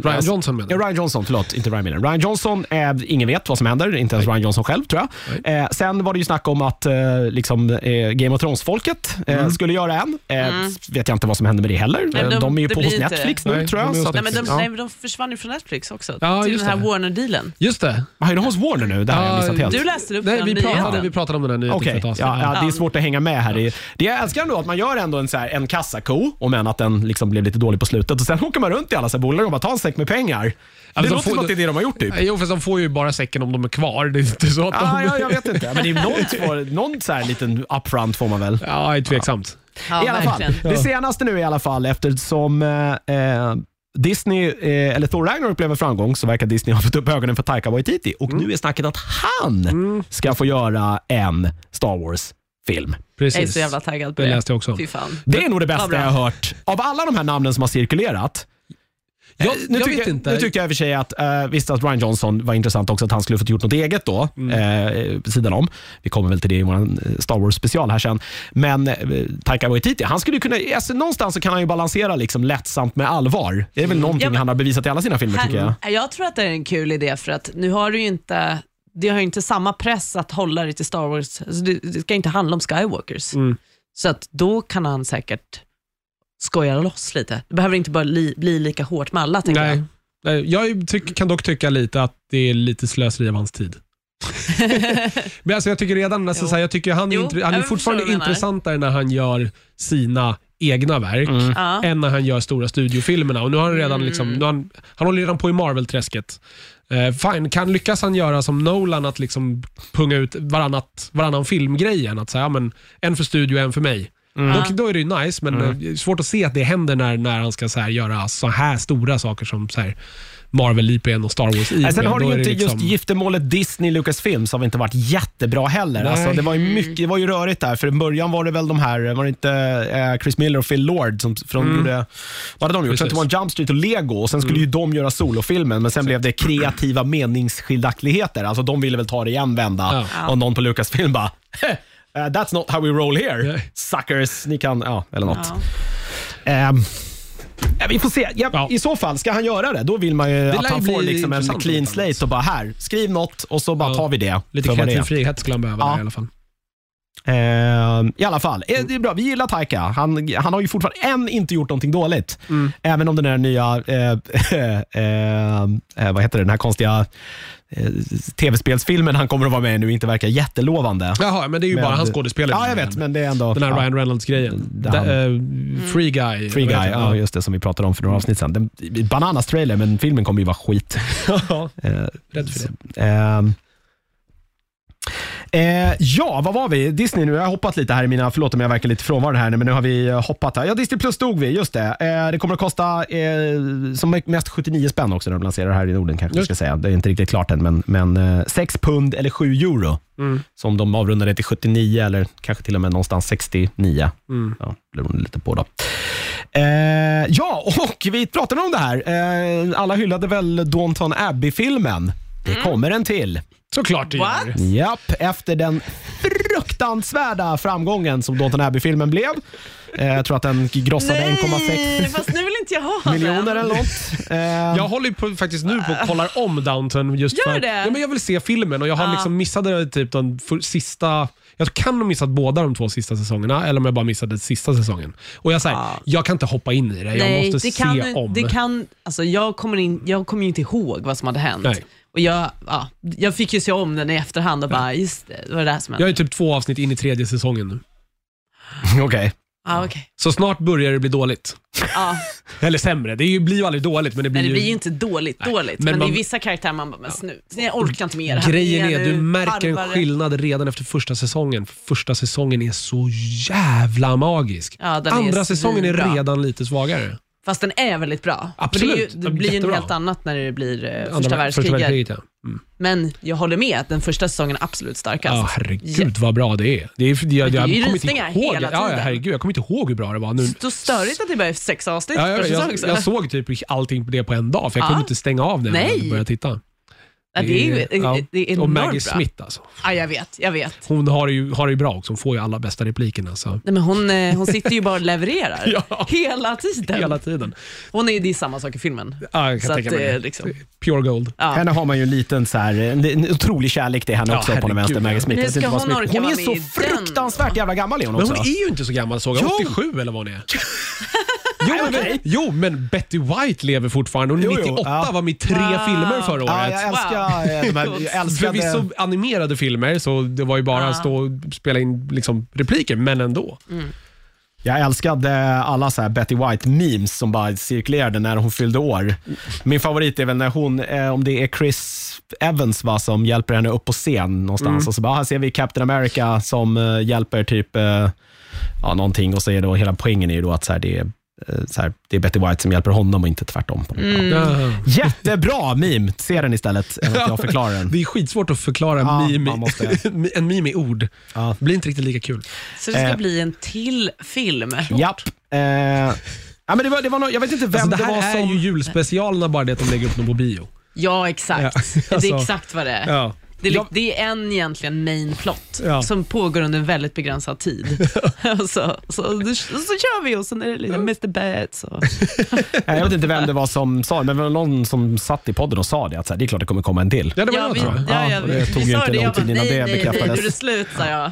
[SPEAKER 3] Ryan Johnson menar
[SPEAKER 1] Ja,
[SPEAKER 3] du?
[SPEAKER 1] Ryan Johnson, förlåt. Inte Ryan Miller. Ryan Johnson, eh, ingen vet vad som händer. Inte ens Ryan Johnson själv tror jag. Eh, sen var det ju snack om att eh, liksom, eh, Game of Thrones-folket eh,
[SPEAKER 3] Mm.
[SPEAKER 1] skulle göra en. Eh, Vet jag inte vad som händer med det heller.
[SPEAKER 2] Mm. Nej,
[SPEAKER 1] Eh, de,
[SPEAKER 2] de-
[SPEAKER 1] är ju
[SPEAKER 2] det
[SPEAKER 1] på
[SPEAKER 2] blir
[SPEAKER 1] hos
[SPEAKER 2] inte-
[SPEAKER 1] Netflix nu
[SPEAKER 3] Nej,
[SPEAKER 1] tror jag.
[SPEAKER 3] de är hos
[SPEAKER 1] så att-
[SPEAKER 2] Nej, men de,
[SPEAKER 1] ja.
[SPEAKER 2] nej, men de försvann ju från Netflix också.
[SPEAKER 3] Ja,
[SPEAKER 2] till
[SPEAKER 3] just
[SPEAKER 2] den här
[SPEAKER 3] det.
[SPEAKER 2] Warner-dealen.
[SPEAKER 3] Just det.
[SPEAKER 1] Vad är det hos Warner nu? Det här har jag
[SPEAKER 3] Ja,
[SPEAKER 1] missat helt.
[SPEAKER 2] Du läste upp
[SPEAKER 3] Nej,
[SPEAKER 2] den
[SPEAKER 3] vi, pratade,
[SPEAKER 2] nyheten.
[SPEAKER 3] vi pratade om den här nyheten
[SPEAKER 1] Okej,
[SPEAKER 3] för ett tag sedan. Alltså,
[SPEAKER 1] ja, ja, det är
[SPEAKER 2] Ja.
[SPEAKER 1] svårt att hänga med här. Det, det jag älskar ändå är att man gör ändå en, så här, en kassako, om än att den liksom blev lite dålig på slutet. Och Sen åker man runt i alla så här bolag och bara tar en säck med pengar. Det
[SPEAKER 3] men de
[SPEAKER 1] låter
[SPEAKER 3] Alltså, får-
[SPEAKER 1] som att det är det de har gjort typ.
[SPEAKER 3] Nej, Jo, fast de får ju bara säcken om de är kvar. Det är inte så att de...
[SPEAKER 1] Ah, ja, jag vet inte, men det är någon, får- någon så här liten upfront får man väl.
[SPEAKER 3] Ja, det är tveksamt.
[SPEAKER 2] Ja,
[SPEAKER 1] I alla fall,
[SPEAKER 2] verkligen.
[SPEAKER 1] det senaste nu i alla fall eftersom eh, eh, Disney, eh, eller Thor Ragnarok blev en framgång så verkar Disney ha fått upp ögonen för Taika Waititi och
[SPEAKER 2] Mm.
[SPEAKER 1] nu är snacket att han
[SPEAKER 3] Mm,
[SPEAKER 1] ska få göra en Star Wars-film.
[SPEAKER 3] Precis.
[SPEAKER 2] Jag är så jävla taggad på
[SPEAKER 3] Det
[SPEAKER 2] det.
[SPEAKER 3] läste jag också om.
[SPEAKER 2] Fy fan.
[SPEAKER 1] Det är nog det
[SPEAKER 2] Vad
[SPEAKER 1] bästa
[SPEAKER 2] bra.
[SPEAKER 1] jag har hört av alla de här namnen som har cirkulerat.
[SPEAKER 3] Jag,
[SPEAKER 1] Eh,
[SPEAKER 3] jag
[SPEAKER 1] tycker-
[SPEAKER 3] vet inte.
[SPEAKER 1] Nu tyckte jag i och för sig att, eh, visst att Ryan Johnson var intressant också, att han skulle fått gjort något eget då, eh, vid sidan om. Vi kommer väl till det i vår Star Wars-special här sen. Men eh, Taika Waititi, han skulle ju kunna, alltså, någonstans så kan han ju balansera liksom lättsamt med allvar. Det är väl någonting
[SPEAKER 2] Ja, men-
[SPEAKER 1] han har bevisat i alla sina filmer tycker jag.
[SPEAKER 2] Här, jag tror att det är en kul idé för att nu har du ju inte det har ju inte samma press att hålla dig till Star Wars. Alltså det, det ska inte handla om Skywalkers.
[SPEAKER 3] Mm.
[SPEAKER 2] Så att då kan han säkert skoja loss lite. Det behöver inte bara li, bli lika hårt med alla, tänker
[SPEAKER 3] Nej. Nej, jag tyck, kan dock tycka lite att det är lite slöseri av hans tid. Men alltså jag tycker redan, alltså,
[SPEAKER 2] Jo.
[SPEAKER 3] så här, jag tycker han, är
[SPEAKER 2] Jo,
[SPEAKER 3] intri-
[SPEAKER 2] jag
[SPEAKER 3] han är
[SPEAKER 2] förstår
[SPEAKER 3] fortfarande
[SPEAKER 2] vad du menar.
[SPEAKER 3] intressantare när han gör sina egna verk
[SPEAKER 1] Mm.
[SPEAKER 2] jag. <laughs> Ja.
[SPEAKER 3] än när han gör stora studiofilmerna. Och nu har han, redan liksom, nu har han, han håller redan på i Marvel-träsket. Eh, fine, kan, lyckas han göra som Nolan, att liksom punga ut varannat, varannan filmgrejen? Att säga, ja, men, en för studio, en för mig. Då, då är det ju nice, men eh,
[SPEAKER 1] Mm.
[SPEAKER 3] det är svårt att se att det händer när, när han ska så här, göra så här stora saker som så här, Marvel IPn och Star Wars IPn.
[SPEAKER 1] Nej, sen har du
[SPEAKER 3] Då
[SPEAKER 1] ju
[SPEAKER 3] är det
[SPEAKER 1] inte
[SPEAKER 3] liksom-
[SPEAKER 1] just giftermålet Disney Lucasfilm som inte varit jättebra heller.
[SPEAKER 3] Nej.
[SPEAKER 1] Alltså, det, var ju mycket, det var ju rörigt där, för i början var det väl de här, var det inte eh, Chris Miller och Phil Lord som för de gjorde, vad hade de gjort?
[SPEAKER 3] Mm. Precis. Mm.
[SPEAKER 1] 21 Jump Street och Lego och sen skulle ju de göra solofilmen men sen blev det kreativa meningsskiljaktigheter. Alltså de ville väl ta det i en vända
[SPEAKER 3] Ja.
[SPEAKER 1] och någon på Lucasfilm bara <laughs> "Heh, eh, That's not how we roll here,
[SPEAKER 3] Nej.
[SPEAKER 1] suckers. Ni kan, ja, eller något.
[SPEAKER 2] Ja.
[SPEAKER 1] Ehm, ja, vi får se. Ja,
[SPEAKER 3] Ja.
[SPEAKER 1] I så fall, ska han göra det, då vill man ju
[SPEAKER 3] lär
[SPEAKER 1] att han
[SPEAKER 3] ju
[SPEAKER 1] får
[SPEAKER 3] bli
[SPEAKER 1] liksom en
[SPEAKER 3] intressant
[SPEAKER 1] clean
[SPEAKER 3] i alla fall.
[SPEAKER 1] slate och bara här, skriv något och så bara
[SPEAKER 3] Ja.
[SPEAKER 1] tar vi det.
[SPEAKER 3] Lite
[SPEAKER 1] för vad det
[SPEAKER 3] kreativ
[SPEAKER 1] är.
[SPEAKER 3] frihet skulle han behöva
[SPEAKER 1] Ja.
[SPEAKER 3] där, i alla fall.
[SPEAKER 1] Ehm, I alla fall, eh, det är bra. Vi gillar Taika. Han, han har ju fortfarande än inte gjort någonting dåligt.
[SPEAKER 3] Mm.
[SPEAKER 1] Även om den här nya, eh, <laughs> eh, eh, vad heter det, den här konstiga eh, tv-spelsfilmen han kommer att vara med i nu inte verkar jättelovande.
[SPEAKER 3] Jaha, men det är ju
[SPEAKER 1] Med-
[SPEAKER 3] bara hans skådespelare.
[SPEAKER 1] Ja, jag vet, men det är ändå...
[SPEAKER 3] Den här
[SPEAKER 1] ja.
[SPEAKER 3] Ryan Reynolds-grejen.
[SPEAKER 1] Där han-
[SPEAKER 3] Da- eh, Free Guy.
[SPEAKER 1] Free
[SPEAKER 3] vad
[SPEAKER 1] Guy,
[SPEAKER 3] heter den?
[SPEAKER 1] ja, just det som vi pratade om för några avsnitt sedan. Den, bananas trailer, men filmen kommer ju vara skit.
[SPEAKER 3] <laughs> Ja,
[SPEAKER 1] Eh,
[SPEAKER 3] rädd för
[SPEAKER 1] <laughs>
[SPEAKER 3] det.
[SPEAKER 1] Ehm. Eh, ja, vad var vi? Disney nu. Jag har hoppat lite här i mina, förlåt om jag verkar lite frånvarande här nu, men nu har vi eh, hoppat här. Ja, Disney plus stod vi, just det. Eh, det kommer att kosta eh, som mest 79 spänn också när de lanserar här i Norden kanske vi ska säga. Det är inte riktigt klart än, men, men eh, 6 pund eller 7 euro.
[SPEAKER 3] Mm.
[SPEAKER 1] Som de avrundade till 79 eller kanske till och med någonstans 69.
[SPEAKER 3] Mm.
[SPEAKER 1] Ja, beroende lite på då. Eh, ja, och vi pratade om det här. Eh, alla hyllade väl Downton Abbey-filmen. Det
[SPEAKER 2] Mm.
[SPEAKER 1] kommer en till.
[SPEAKER 3] Såklart det
[SPEAKER 2] What?
[SPEAKER 3] gör.
[SPEAKER 1] Japp, efter den fruktansvärda framgången som Downton Abbey-filmen blev. Eh, jag tror att den grossade
[SPEAKER 2] Nej,
[SPEAKER 1] 1,6
[SPEAKER 2] fast nu vill inte jag ha
[SPEAKER 1] miljoner
[SPEAKER 2] den.
[SPEAKER 1] eller något. Eh,
[SPEAKER 3] Jag håller ju på, faktiskt nu på att kollar om Downton. Just
[SPEAKER 2] Ah. Gör
[SPEAKER 3] för,
[SPEAKER 2] det? Ah.
[SPEAKER 3] Ja, men jag vill se filmen och jag har
[SPEAKER 2] Ja.
[SPEAKER 3] liksom missat det, typ de för, sista... Jag kan ha missat båda de två sista säsongerna eller om jag bara missade sista säsongen. Och Jag säger,
[SPEAKER 2] Ja.
[SPEAKER 3] jag kan inte hoppa in i det. Jag
[SPEAKER 2] Ah. Nej,
[SPEAKER 3] måste
[SPEAKER 2] det kan,
[SPEAKER 3] se
[SPEAKER 2] du-
[SPEAKER 3] om.
[SPEAKER 2] Det kan, alltså jag kommer in- jag kommer ju inte ihåg vad som hade hänt.
[SPEAKER 3] Nej.
[SPEAKER 2] Och jag, ja, jag fick ju se om den i efterhand och bara, just det, det var det där som hände.
[SPEAKER 3] Jag är typ två avsnitt in i tredje säsongen nu.
[SPEAKER 1] <laughs> Okej.
[SPEAKER 2] Ja, okej.
[SPEAKER 3] Så snart börjar det bli dåligt.
[SPEAKER 2] ja.
[SPEAKER 3] Eller sämre. Det är ju- blir ju aldrig dåligt, men det blir,
[SPEAKER 2] Nej, det blir
[SPEAKER 3] ju
[SPEAKER 2] ju inte dåligt
[SPEAKER 3] Nej,
[SPEAKER 2] dåligt,
[SPEAKER 3] men
[SPEAKER 2] men,
[SPEAKER 3] man-
[SPEAKER 2] det är vissa karaktärer man bara, men snu, jag orkar inte med det här.
[SPEAKER 3] Grejen
[SPEAKER 2] Är
[SPEAKER 3] är, du märker en
[SPEAKER 2] harvare?
[SPEAKER 3] skillnad redan efter första säsongen. För Första säsongen är så jävla magisk.
[SPEAKER 2] Ja, den är
[SPEAKER 3] Andra säsongen är
[SPEAKER 2] svinbra.
[SPEAKER 3] redan lite svagare.
[SPEAKER 2] Fast den är väldigt bra.
[SPEAKER 3] Absolut,
[SPEAKER 2] För Det, är ju, det
[SPEAKER 3] den är
[SPEAKER 2] blir ju en
[SPEAKER 3] jättebra.
[SPEAKER 2] helt annat när det blir eh, första
[SPEAKER 3] Andra-
[SPEAKER 2] världskriget.
[SPEAKER 3] ja. Mm.
[SPEAKER 2] Men jag håller med att den första säsongen är absolut starkast.
[SPEAKER 3] Ja, herregud vad bra det är. Det är, jag, jag,
[SPEAKER 2] det är ju
[SPEAKER 3] kommer inte
[SPEAKER 2] rysningar
[SPEAKER 3] ihåg,
[SPEAKER 2] hela
[SPEAKER 3] ja, ja,
[SPEAKER 2] tiden.
[SPEAKER 3] herregud, jag kommer inte ihåg hur bra det var. Nu,
[SPEAKER 2] Så störigt att det bara är sex avsnitt
[SPEAKER 3] ja,
[SPEAKER 2] per
[SPEAKER 3] jag,
[SPEAKER 2] säsong.
[SPEAKER 3] jag,
[SPEAKER 2] så.
[SPEAKER 3] jag såg typ allting på det på en dag, för jag
[SPEAKER 2] Ja.
[SPEAKER 3] kunde inte stänga av det när jag
[SPEAKER 2] Nej.
[SPEAKER 3] började titta.
[SPEAKER 2] Ja, det är ju
[SPEAKER 3] ja.
[SPEAKER 2] det är enormt
[SPEAKER 3] Och Maggie
[SPEAKER 2] bra.
[SPEAKER 3] Smith alltså.
[SPEAKER 2] Ja, jag vet, jag vet.
[SPEAKER 3] Hon har det ju, har det ju bra också. Hon får ju alla bästa replikerna. Så.
[SPEAKER 2] Nej, men hon, eh, hon sitter ju bara och levererar
[SPEAKER 3] <laughs> Ja.
[SPEAKER 2] hela tiden.
[SPEAKER 3] Hela tiden.
[SPEAKER 2] Hon är ju, det är samma sak i filmen.
[SPEAKER 3] Ja, jag kan
[SPEAKER 2] Så
[SPEAKER 3] tänka
[SPEAKER 2] att,
[SPEAKER 3] mig
[SPEAKER 2] eh,
[SPEAKER 3] det.
[SPEAKER 2] liksom.
[SPEAKER 3] Pure gold.
[SPEAKER 2] Ja.
[SPEAKER 1] Henne har man ju en liten så här, en, en otrolig kärlek till henne
[SPEAKER 3] Ja,
[SPEAKER 1] också på den
[SPEAKER 3] herregud.
[SPEAKER 1] vänster, Maggie Smith.
[SPEAKER 2] Men
[SPEAKER 1] Jag vet inte
[SPEAKER 2] ska
[SPEAKER 1] vad
[SPEAKER 2] hon
[SPEAKER 1] som är-
[SPEAKER 2] orka
[SPEAKER 1] hon
[SPEAKER 2] vara
[SPEAKER 1] är
[SPEAKER 2] med
[SPEAKER 1] så
[SPEAKER 2] i den?
[SPEAKER 1] fruktansvärt jävla gammal är hon
[SPEAKER 3] Men
[SPEAKER 1] också.
[SPEAKER 3] hon är ju inte så gammal såg jag.
[SPEAKER 1] Jo!
[SPEAKER 3] 87 eller vad hon är. <laughs> Jo men,
[SPEAKER 1] Okej.
[SPEAKER 3] jo, men Betty White lever fortfarande. Hon är
[SPEAKER 1] Jo, jo,
[SPEAKER 3] 98,
[SPEAKER 1] ja.
[SPEAKER 3] var med i tre
[SPEAKER 2] Wow.
[SPEAKER 3] filmer förra
[SPEAKER 1] Ja,
[SPEAKER 3] året.
[SPEAKER 1] jag älskar eh, de här,
[SPEAKER 2] Coolt.
[SPEAKER 1] jag
[SPEAKER 2] <laughs>
[SPEAKER 1] älskade...
[SPEAKER 3] Förvisso animerade filmer, så det var ju bara
[SPEAKER 2] Ja.
[SPEAKER 3] att stå och spela in liksom, repliker, men ändå.
[SPEAKER 2] Mm.
[SPEAKER 1] Jag älskade alla så här Betty White-memes som bara cirkulerade när hon fyllde år. Min favorit är väl när hon, eh, om det är Chris Evans va, som hjälper henne upp på scen någonstans.
[SPEAKER 3] Mm.
[SPEAKER 1] Och så bara, här ser vi Captain America som eh, hjälper typ eh, ja, någonting och så är då hela poängen är ju då att så här, det, är, eh, så här, det är Betty White som hjälper honom och inte tvärtom.
[SPEAKER 3] Ja.
[SPEAKER 1] Jättebra meme! Se den istället, än
[SPEAKER 3] <laughs>
[SPEAKER 1] att jag förklarar den.
[SPEAKER 3] Det är skitsvårt att förklara
[SPEAKER 1] Ja,
[SPEAKER 3] meme,
[SPEAKER 1] man måste.
[SPEAKER 3] <laughs> en meme i ord.
[SPEAKER 1] Ja.
[SPEAKER 3] Det blir inte riktigt lika kul.
[SPEAKER 2] Så det ska
[SPEAKER 1] Eh.
[SPEAKER 2] bli en till film.
[SPEAKER 1] Japp. Eh, Ja, men det var, det var nå- jag vet inte vem
[SPEAKER 3] Alltså, det
[SPEAKER 1] det, var
[SPEAKER 3] här är
[SPEAKER 1] som...
[SPEAKER 3] ju julspecialerna, bara det att de lägger upp dem på bio.
[SPEAKER 2] Ja,
[SPEAKER 1] <laughs>
[SPEAKER 2] exakt.
[SPEAKER 3] Ja, alltså.
[SPEAKER 2] Det är exakt vad det är.
[SPEAKER 3] Ja.
[SPEAKER 2] Det, är li-
[SPEAKER 3] Jag-
[SPEAKER 2] det är en egentligen main plot
[SPEAKER 3] Ja.
[SPEAKER 2] som pågår under en väldigt
[SPEAKER 1] <laughs>
[SPEAKER 2] begränsad tid. <laughs> och så, så, så, så kör vi och sen är det lite Mr. Betts. Och...
[SPEAKER 1] Nej, Jag vet inte vem det var som sa det, men det var någon som satt i podden och sa det. Att så här, det är klart det kommer komma en till.
[SPEAKER 3] Ja, det var
[SPEAKER 2] Ja,
[SPEAKER 3] jag
[SPEAKER 2] vi,
[SPEAKER 3] tror jag.
[SPEAKER 2] ja, ja,
[SPEAKER 1] Ja,
[SPEAKER 2] vi,
[SPEAKER 1] det tog
[SPEAKER 2] vi
[SPEAKER 1] ju
[SPEAKER 2] sa
[SPEAKER 1] inte
[SPEAKER 2] det,
[SPEAKER 1] lång
[SPEAKER 2] jag bara,
[SPEAKER 1] tid innan
[SPEAKER 2] nej,
[SPEAKER 1] det
[SPEAKER 2] nej, nej, nu
[SPEAKER 1] bekräftades.
[SPEAKER 2] är det slut, sa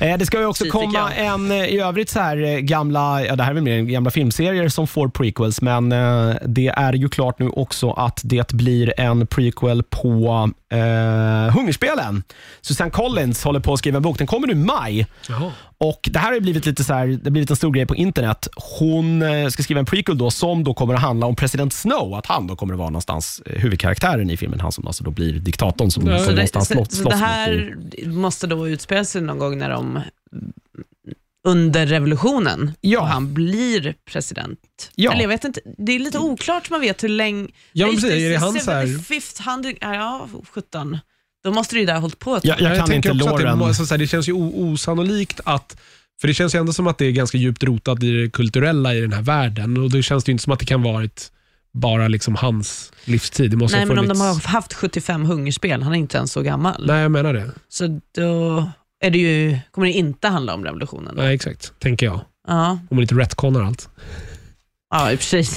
[SPEAKER 2] jag.
[SPEAKER 1] Eh, Det ska ju också
[SPEAKER 2] Kritiker.
[SPEAKER 1] komma en eh, i övrigt så här eh, gamla, ja det här är väl mer gamla filmserier som får prequels, men eh, det är ju klart nu också att det blir en prequel på eh, Hungerspelen. Susanne Collins håller på att skriva en bok. Den kommer nu i maj.
[SPEAKER 3] Jaha.
[SPEAKER 1] Och Det här har ju blivit lite så här, det har blivit en stor grej på internet. Hon eh, ska skriva en prequel då som då kommer att handla om president Snow. Att han då kommer att vara någonstans eh, huvudkaraktären i filmen. Han som alltså då blir diktatorn som,
[SPEAKER 3] Ja,
[SPEAKER 1] som
[SPEAKER 2] Så det,
[SPEAKER 1] någonstans
[SPEAKER 2] så,
[SPEAKER 1] slåss
[SPEAKER 2] så det
[SPEAKER 1] slåss mot
[SPEAKER 2] här måste då utspela sig någon gång när de under revolutionen
[SPEAKER 1] Ja.
[SPEAKER 2] och han blir president.
[SPEAKER 1] Ja.
[SPEAKER 2] Eller jag vet inte, det är lite oklart man vet hur länge...
[SPEAKER 3] Ja, men
[SPEAKER 2] Nej,
[SPEAKER 3] precis, är det han
[SPEAKER 2] seventy
[SPEAKER 3] så här-
[SPEAKER 2] Fifth, han, ja, 17. Då måste det ju där ha hållit på ett
[SPEAKER 1] Ja, jag kan
[SPEAKER 3] tänker
[SPEAKER 1] inte
[SPEAKER 3] också att det,
[SPEAKER 1] Lauren.
[SPEAKER 3] må- så så här, det känns ju o- osannolikt att för det känns ju ändå som att det är ganska djupt rotat i det kulturella i den här världen och då känns det ju inte som att det kan varit bara liksom hans livstid. Det måste
[SPEAKER 2] Nej,
[SPEAKER 3] ha
[SPEAKER 2] men om
[SPEAKER 3] funnits...
[SPEAKER 2] de har haft 75 hungerspel, han är inte ens så gammal.
[SPEAKER 3] Nej, jag menar det.
[SPEAKER 2] Så då är det ju, kommer det inte handla om revolutionen. Då.
[SPEAKER 3] Nej, exakt. Tänker jag.
[SPEAKER 2] Ja.
[SPEAKER 3] Om man inte retconar allt.
[SPEAKER 2] ja, i och för sig.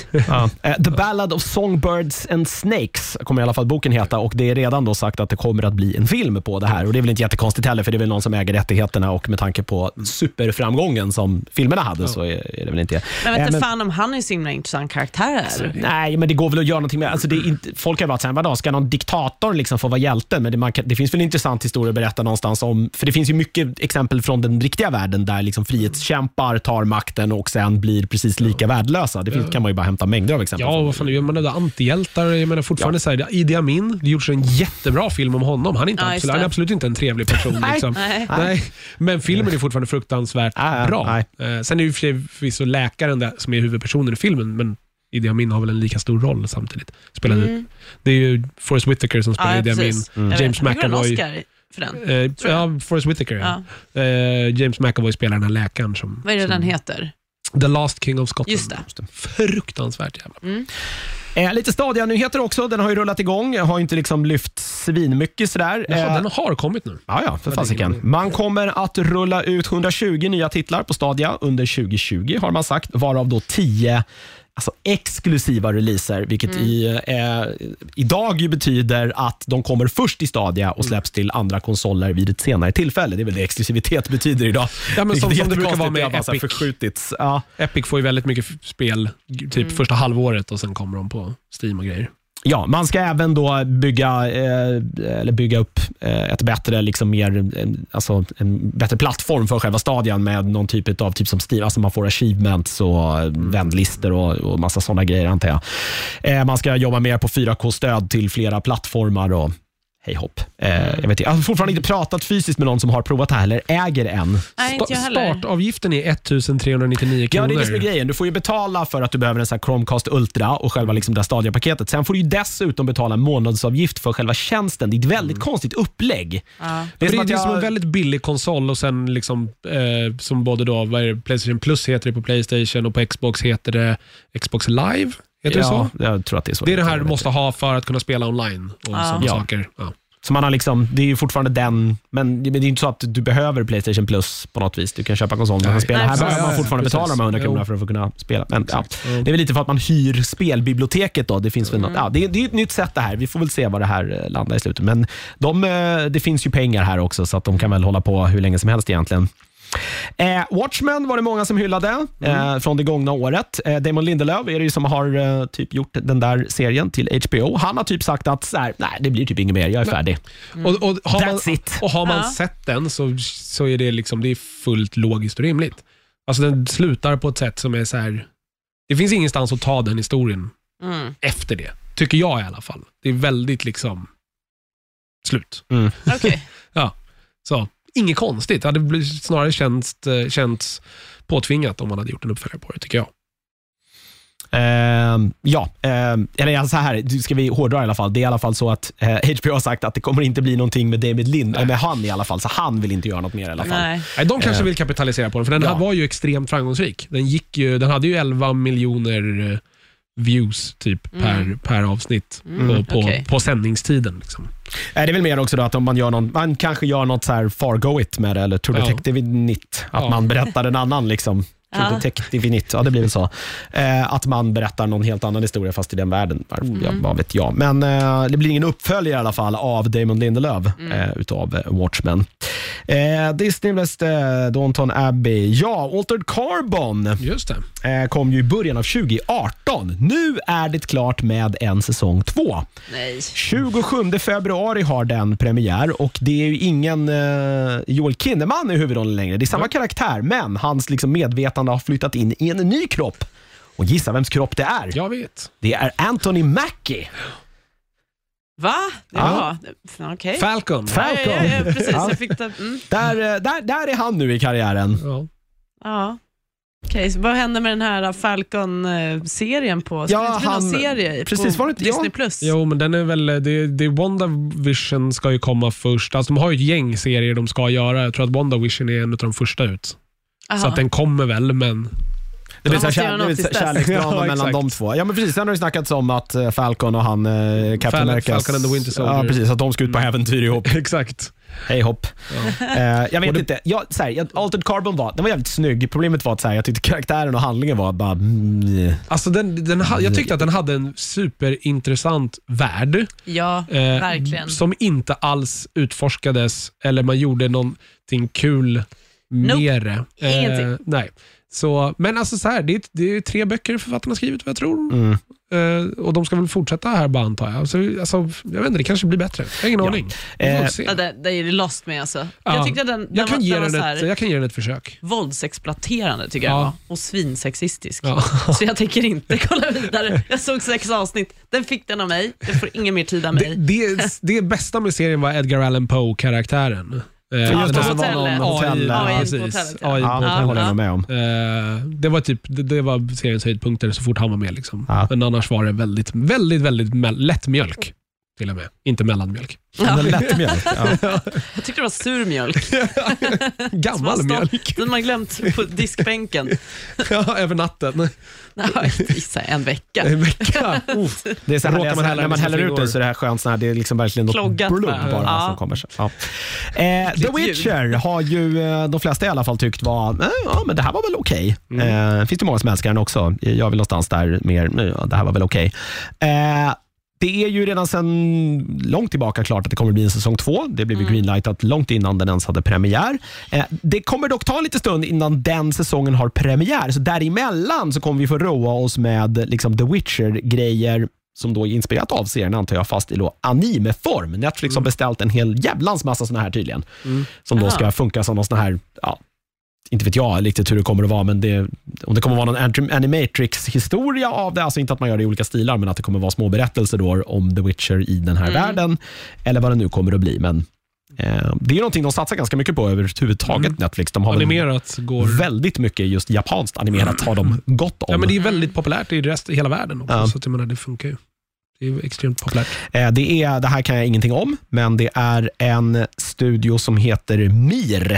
[SPEAKER 1] Eh, The Ballad of Songbirds and Snakes kommer i alla fall boken heta och det är redan då sagt att det kommer att bli en film på det här. Och Det är väl inte jättekonstigt heller för det är väl någon som äger rättigheterna och med tanke på superframgången som filmerna hade så är är det väl inte...
[SPEAKER 2] Men
[SPEAKER 1] Eh,
[SPEAKER 2] vet
[SPEAKER 1] men-
[SPEAKER 2] inte fan om han är en så himla intressant karaktär.
[SPEAKER 3] Alltså,
[SPEAKER 1] Nej, men Alltså, det går väl att göra någonting med. Alltså det är inte, folk har varit såhär, vadå, ska någon diktator liksom få vara hjälten? Men det, man kan, det finns väl en intressant historia att berätta någonstans om, för det finns ju mycket exempel från den riktiga världen där liksom frihetskämpar tar makten och sen blir precis lika värdelösa. Det finns, kan man ju bara hämta mängder av exempel
[SPEAKER 3] Ja,
[SPEAKER 1] från.
[SPEAKER 3] vad fan, man är antihjältar. Jag menar fortfarande så här, Idi Amin, det gjordes en jättebra film om honom. Han är, inte
[SPEAKER 2] Ja, just
[SPEAKER 3] absolut, han är
[SPEAKER 2] det.
[SPEAKER 3] absolut inte en
[SPEAKER 2] <laughs>
[SPEAKER 3] trevlig person.
[SPEAKER 1] Nej.
[SPEAKER 3] liksom.
[SPEAKER 2] Nej.
[SPEAKER 3] Nej. Men filmen är fortfarande fruktansvärt
[SPEAKER 1] Ja, ja,
[SPEAKER 3] bra.
[SPEAKER 1] nej.
[SPEAKER 3] Eh, Sen är ju för sig förvisso läkaren där, som är huvudpersonen i filmen, men Idi Amin har väl en lika stor roll samtidigt. Spelar mm. Det är ju Forrest Whitaker som spelar
[SPEAKER 2] Ja,
[SPEAKER 3] Idi Amin.
[SPEAKER 1] Mm.
[SPEAKER 2] precis. Jag
[SPEAKER 3] James
[SPEAKER 2] vet. Han gjorde en
[SPEAKER 3] McAvoy.
[SPEAKER 2] Oscar för den.
[SPEAKER 3] Eh,
[SPEAKER 2] jag.
[SPEAKER 3] ja, Forrest Whitaker. Ja. Eh, James McAvoy spelar den här läkaren som...
[SPEAKER 2] Vad är det den heter?
[SPEAKER 3] The Last King of Scotland.
[SPEAKER 2] Just det. Mm.
[SPEAKER 3] Fruktansvärt jävla bra.
[SPEAKER 1] Eh, lite stadiga nyheter också. Den har ju rullat igång. Jag har ju inte liksom lyft svinmycket sådär.
[SPEAKER 3] Jaha,
[SPEAKER 1] Eh,
[SPEAKER 3] Den har kommit nu.
[SPEAKER 1] Ja, ja, för
[SPEAKER 3] Ja, det är
[SPEAKER 1] fasiken.
[SPEAKER 3] ingen-
[SPEAKER 1] Man kommer att rulla ut 120 nya titlar på Stadia under 2020 har man sagt, varav då 10 alltså exklusiva releaser, vilket
[SPEAKER 3] Mm.
[SPEAKER 1] i, eh, idag ju betyder att de kommer först i Stadia och släpps till andra konsoler vid ett senare tillfälle. Det är väl det exklusivitet betyder idag.
[SPEAKER 3] Ja, men
[SPEAKER 1] Vilket
[SPEAKER 3] som-
[SPEAKER 1] är
[SPEAKER 3] som det brukar vara
[SPEAKER 1] jättekonstigt,
[SPEAKER 3] med
[SPEAKER 1] det har bara så här
[SPEAKER 3] Epic.
[SPEAKER 1] Förskjutits. Ja.
[SPEAKER 3] Epic får ju väldigt mycket f- spel g- typ
[SPEAKER 2] Mm.
[SPEAKER 3] första halvåret och sen kommer de på Steam och grejer.
[SPEAKER 1] Ja, man ska även då bygga, eh, eller bygga upp eh, ett bättre, liksom mer, eh, alltså en bättre plattform för själva stadion med någon typ av, typ som Steam, alltså man får achievements och eh, vänlister och, och massa sådana grejer antar jag. Eh, man ska jobba mer på 4K-stöd till flera plattformar och hej hopp. Eh, jag, vet, inte. jag har fortfarande inte pratat fysiskt med någon som har provat det här eller äger en.
[SPEAKER 2] Nej, inte jag
[SPEAKER 3] Sta-
[SPEAKER 2] heller.
[SPEAKER 3] Startavgiften är 1399
[SPEAKER 1] Ja,
[SPEAKER 3] kronor.
[SPEAKER 1] det är det som är grejen. Du får ju betala för att du behöver en sån här Chromecast Ultra och själva liksom det här Stadia-paketet. Sen får du ju dessutom betala en månadsavgift för själva tjänsten. Det är ett väldigt konstigt upplägg.
[SPEAKER 2] Ja.
[SPEAKER 1] Mm. Det är
[SPEAKER 3] det
[SPEAKER 1] som
[SPEAKER 3] är,
[SPEAKER 1] att
[SPEAKER 3] det är som en
[SPEAKER 1] jag...
[SPEAKER 3] väldigt billig konsol och sen liksom, eh, som både då, vad är det, Playstation Plus heter det på Playstation och på Xbox heter det Xbox Live. Heter det så?
[SPEAKER 1] Ja, jag tror att det är så.
[SPEAKER 3] Det är det här du måste ha för att kunna spela online och
[SPEAKER 2] Ja.
[SPEAKER 3] sådana
[SPEAKER 1] Ja.
[SPEAKER 3] saker. Ja.
[SPEAKER 1] Så man har liksom, det är ju fortfarande den, men det men det är ju inte så att du behöver Playstation Plus på något vis. Du kan köpa konsolen och
[SPEAKER 3] Nej.
[SPEAKER 1] spela.
[SPEAKER 2] Nej,
[SPEAKER 1] här
[SPEAKER 2] precis.
[SPEAKER 1] behöver man
[SPEAKER 3] Ja, ja,
[SPEAKER 1] fortfarande
[SPEAKER 3] precis.
[SPEAKER 1] betala de här 100
[SPEAKER 3] Jo.
[SPEAKER 1] kronorna för att få kunna spela. Men, ja.
[SPEAKER 3] Exakt. Jo.
[SPEAKER 1] Det är väl lite för att man hyr spelbiblioteket då. Det finns väl något, ja, det, är, det är ett nytt sätt det här. Vi får väl se vad det här eh, landar i slutet. Men de, eh, det finns ju pengar här också så att de kan väl hålla på hur länge som helst egentligen. Eh, Watchmen var det många som hyllade eh, från det gångna året. Eh, Damon Lindelöf är det ju som har eh, typ gjort den där serien till HBO. Han har typ sagt att så här, nej, det blir typ inget mer, jag är färdig.
[SPEAKER 2] Mm.
[SPEAKER 3] Och, och har man,
[SPEAKER 1] That's it.
[SPEAKER 3] och har man
[SPEAKER 2] Ja.
[SPEAKER 3] sett den så, så är det liksom det är fullt logiskt och rimligt. Alltså den slutar på ett sätt som är så här. Det finns ingenstans att ta den historien
[SPEAKER 2] Mm.
[SPEAKER 3] efter det. Tycker jag i alla fall. Det är väldigt liksom slut. <laughs>
[SPEAKER 2] Okej.
[SPEAKER 3] Så inget konstigt. Det hade blivit- snarare känts, eh, känts påtvingat om man hade gjort en uppföljare på det, tycker jag.
[SPEAKER 1] Ehm, ja, ehm, eller alltså så här, du- ska vi hårdra i alla fall. Det är i alla fall så att eh, <laughs> HBO har sagt att det kommer inte bli någonting med David Lind, eh, med han i alla fall, så han vill inte göra något mer i alla fall.
[SPEAKER 2] Nej.
[SPEAKER 3] Nej, de kanske vill kapitalisera på den, för den här
[SPEAKER 1] ja.
[SPEAKER 3] var ju extremt framgångsrik. Den, gick ju, den hade ju 11 miljoner eh, views typ per, per avsnitt på, på,
[SPEAKER 2] okej.
[SPEAKER 3] på sändningstiden. Liksom.
[SPEAKER 1] Eh, Det är väl mer också då att om man gör någon, man kanske gör något så här Fargo-it med det, eller True
[SPEAKER 3] Ja.
[SPEAKER 1] Detective-nitt. Att
[SPEAKER 3] Ja.
[SPEAKER 1] man berättar en annan liksom. True
[SPEAKER 2] Ja.
[SPEAKER 1] Detective-nitt, ja det blir väl så. Eh, att man berättar någon helt annan historia fast i den världen. Ja, vad vet jag. Men eh, det blir ingen uppföljare i alla fall av Damon Lindelöf eh, utav eh, Watchmen. Eh, Disney West, eh, Downton Abbey. Ja, Altered Carbon
[SPEAKER 3] Just det.
[SPEAKER 1] eh, kom ju i början av 2018. Nu är det klart med en säsong två.
[SPEAKER 2] Nej.
[SPEAKER 1] 27 februari har den premiär och det är ju ingen eh, Joel Kinnaman i huvudrollen längre. Det är samma karaktär, men hans liksom, medvetande har flyttat in i en ny kropp. Och gissa vems kropp det är?
[SPEAKER 3] Jag vet.
[SPEAKER 1] Det är Anthony Mackie.
[SPEAKER 2] Va?
[SPEAKER 1] Ja.
[SPEAKER 2] Ja. Fan, Okej.
[SPEAKER 3] Falcon.
[SPEAKER 1] Falcon.
[SPEAKER 2] Ja, ja, ja, precis.
[SPEAKER 1] Ja.
[SPEAKER 2] Jag fick det. Mm.
[SPEAKER 1] Där, eh, där, där är han nu i karriären.
[SPEAKER 3] ja.
[SPEAKER 2] Ja. Okej, så vad hände med den här äh, Falcon-serien på? Ska
[SPEAKER 1] Ja,
[SPEAKER 2] det inte bli
[SPEAKER 1] han-
[SPEAKER 2] någon serie
[SPEAKER 1] precis,
[SPEAKER 2] på
[SPEAKER 1] var det inte- ja.
[SPEAKER 2] Disney+. Plus?
[SPEAKER 3] Jo, men den är väl, det, det, WandaVision ska ju komma först. Alltså, de har ju ett gäng serier de ska göra. Jag tror att WandaVision är en av de första ut. Så att den kommer väl, men
[SPEAKER 1] Det blir så här
[SPEAKER 2] måste
[SPEAKER 1] kär,
[SPEAKER 2] göra
[SPEAKER 1] det blir
[SPEAKER 2] något
[SPEAKER 1] så här
[SPEAKER 2] tills dess.
[SPEAKER 1] kärleksdrama
[SPEAKER 3] Ja,
[SPEAKER 1] mellan
[SPEAKER 3] exakt.
[SPEAKER 1] de två. <laughs> Ja, men precis. Sen har det snackats om att eh, Falcon och han, eh, Captain
[SPEAKER 3] Fal-
[SPEAKER 1] America.
[SPEAKER 3] Falcon and the Winter Soldier.
[SPEAKER 1] Ja, precis. Att de ska ut på äventyr ihop.
[SPEAKER 3] <laughs> exakt.
[SPEAKER 1] Hej hopp. Eh, jag vet inte. Jag, så här, jag, Altered Carbon var, den var jävligt snygg. Problemet var att så här, jag tyckte karaktären och handlingen var bara... Mm,
[SPEAKER 3] Alltså den, den, ha- jag tyckte att den hade en superintressant värld.
[SPEAKER 2] Ja,
[SPEAKER 3] Eh,
[SPEAKER 2] verkligen.
[SPEAKER 3] Som inte alls utforskades eller man gjorde någonting kul
[SPEAKER 2] Nope.
[SPEAKER 3] med det.
[SPEAKER 2] Ingenting.
[SPEAKER 3] nej. Så, men alltså så här, det, är, det är tre böcker författarna skrivit vad jag tror. Eh, och de ska väl fortsätta här bara antar jag. Så, alltså, jag vet inte, det kanske blir bättre. Jag har ingen aning. Vi får
[SPEAKER 1] Eh,
[SPEAKER 3] se.
[SPEAKER 2] Ja, det, det är det lost med alltså.
[SPEAKER 3] Ja.
[SPEAKER 2] Jag tyckte den, den
[SPEAKER 3] jag,
[SPEAKER 2] var,
[SPEAKER 3] kan ge
[SPEAKER 2] den var
[SPEAKER 3] den
[SPEAKER 2] så
[SPEAKER 3] ett,
[SPEAKER 2] här
[SPEAKER 3] jag kan ge den ett försök.
[SPEAKER 2] våldsexploaterande tycker jag
[SPEAKER 3] Ja.
[SPEAKER 2] den var. Och svinsexistisk.
[SPEAKER 3] Ja.
[SPEAKER 2] <laughs> Så jag tänker inte kolla vidare. Jag såg sex avsnitt. Den fick den av mig. Jag får ingen mer tid av
[SPEAKER 3] Det,
[SPEAKER 2] mig.
[SPEAKER 1] <laughs>
[SPEAKER 3] det, det bästa med serien var Edgar Allan Poe-karaktären. Eh,
[SPEAKER 1] just
[SPEAKER 3] den
[SPEAKER 1] det,
[SPEAKER 3] här-
[SPEAKER 1] som var någon
[SPEAKER 2] hotellet.
[SPEAKER 1] hotell...
[SPEAKER 3] AI,
[SPEAKER 2] AI på
[SPEAKER 3] precis.
[SPEAKER 2] hotellet,
[SPEAKER 1] Eh,
[SPEAKER 2] ja.
[SPEAKER 3] AI på
[SPEAKER 1] Ja, det
[SPEAKER 3] hotellet.
[SPEAKER 1] håller jag nog med om.
[SPEAKER 3] Eh, det, var typ, det, det var seriens höjdpunkter så fort han var med. Liksom.
[SPEAKER 1] Ja.
[SPEAKER 3] Men annars var det väldigt, väldigt, väldigt me- lättmjölk. Till och med.
[SPEAKER 1] <laughs>
[SPEAKER 3] Inte mellanmjölk.
[SPEAKER 1] Den lätt <laughs> mjölk. Ja.
[SPEAKER 2] Jag tyckte det var sur mjölk. Som har
[SPEAKER 3] Gammal
[SPEAKER 2] stått-
[SPEAKER 3] mjölk. <laughs>
[SPEAKER 2] Den man glömt på diskbänken.
[SPEAKER 3] Ja,
[SPEAKER 1] <laughs>
[SPEAKER 3] Över natten.
[SPEAKER 2] Ja, gissa, en vecka. <laughs>
[SPEAKER 3] En vecka. Uff.
[SPEAKER 1] Det är så här,
[SPEAKER 3] Råkar man
[SPEAKER 1] man
[SPEAKER 3] hälla
[SPEAKER 1] när man
[SPEAKER 3] liksom
[SPEAKER 1] häller ut
[SPEAKER 3] flingor.
[SPEAKER 1] den så är det här skönt, så här, det är liksom verkligen något
[SPEAKER 2] Kloggat
[SPEAKER 1] blod bara,
[SPEAKER 2] bara. Ja.
[SPEAKER 1] som kommer. Så. Ja. Eh, The
[SPEAKER 2] Äckligt ljud.
[SPEAKER 1] Witcher har ju eh, de flesta i alla fall tyckt var, eh, ja men det här var väl okej. Eh, finns det många som älskar den också. Jag är väl någonstans där mer, nej, ja, det här var väl okej. Eh, det är ju redan sedan långt tillbaka klart att det kommer bli en säsong två. Det blev ju greenlightat långt innan den ens hade premiär. Eh, det kommer dock ta lite stund innan den säsongen har premiär, så däremellan så kommer vi få roa oss med liksom, The Witcher-grejer som då är inspirerat av serien antar jag, fast i då animeform. Netflix
[SPEAKER 3] Mm.
[SPEAKER 1] har beställt en hel jävlans massa såna här tydligen, som då
[SPEAKER 2] Aha.
[SPEAKER 1] ska funka som någon sån här, ja, inte vet jag riktigt hur det kommer att vara, men det, om det kommer att vara någon antim- animatrix-historia av det, alltså inte att man gör det i olika stilar, men att det kommer att vara små berättelser då om The Witcher i den här världen, eller vad det nu kommer att bli. Men eh, det är någonting de satsar ganska mycket på överhuvudtaget,
[SPEAKER 3] Mm.
[SPEAKER 1] Netflix. De har väl
[SPEAKER 3] Animerat går...
[SPEAKER 1] väldigt mycket just japanskt animerat, har de gott om.
[SPEAKER 3] Ja, men det är väldigt populärt i rest, i hela världen också.
[SPEAKER 1] Ja.
[SPEAKER 3] Så att, jag menar, det funkar ju. Det är ju extremt populärt.
[SPEAKER 1] Eh, Det, är, det här kan jag ingenting om, men det är en studio som heter Mir,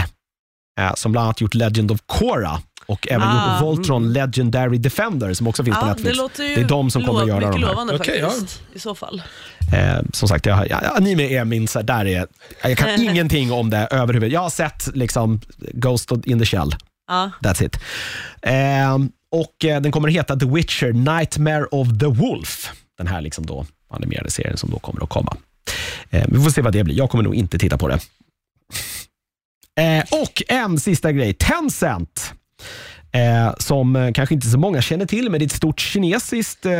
[SPEAKER 1] eh, som bland annat gjort Legend of Korra och även
[SPEAKER 2] Ah.
[SPEAKER 1] gjort Voltron Legendary Defender, som också finns på
[SPEAKER 2] Ja, det
[SPEAKER 1] Netflix.
[SPEAKER 2] låter ju
[SPEAKER 1] Det är de som kommer att göra
[SPEAKER 2] mycket
[SPEAKER 1] de här.
[SPEAKER 2] lovande
[SPEAKER 3] Okej, ja.
[SPEAKER 2] faktiskt. I så fall.
[SPEAKER 1] Eh, som sagt, jag, jag, anime är min... Så här, där är, jag
[SPEAKER 2] <laughs>
[SPEAKER 1] kan ingenting om det överhuvudtaget. Jag har sett liksom, Ghost in the Shell.
[SPEAKER 2] Ja.
[SPEAKER 1] That's it. Eh, och eh, Den kommer att heta The Witcher Nightmare of the Wolf. Den här liksom då animerade serien som då kommer att komma. Eh, vi får se vad det blir. Jag kommer nog inte titta på det. Eh, och en sista grej. Tencent. Eh, som eh, kanske inte så många känner till, men det är ett stort kinesiskt eh,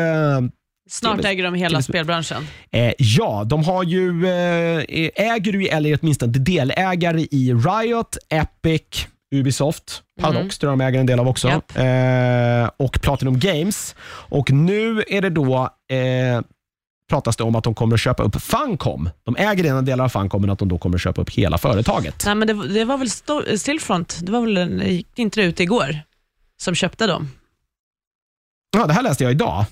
[SPEAKER 2] Snart
[SPEAKER 1] Timmes-
[SPEAKER 2] äger de hela
[SPEAKER 1] timmes-
[SPEAKER 2] spelbranschen.
[SPEAKER 1] Eh, ja, de har ju, eh, äger ju, eller är åtminstone delägare i Riot, Epic, Ubisoft, Paradox
[SPEAKER 3] Mm.
[SPEAKER 1] tror jag de äger en del av också,
[SPEAKER 2] Japp.
[SPEAKER 1] eh, och Platinum Games. Och nu är det då eh, pratas det om att de kommer att köpa upp Funcom. De äger redan delar av Funcom, men att de då kommer att köpa upp hela företaget.
[SPEAKER 2] Nej, men det, det var väl Sto- Stillfront, det var väl, gick inte det ut igår, som köpte dem?
[SPEAKER 1] Ja, det här läste jag idag.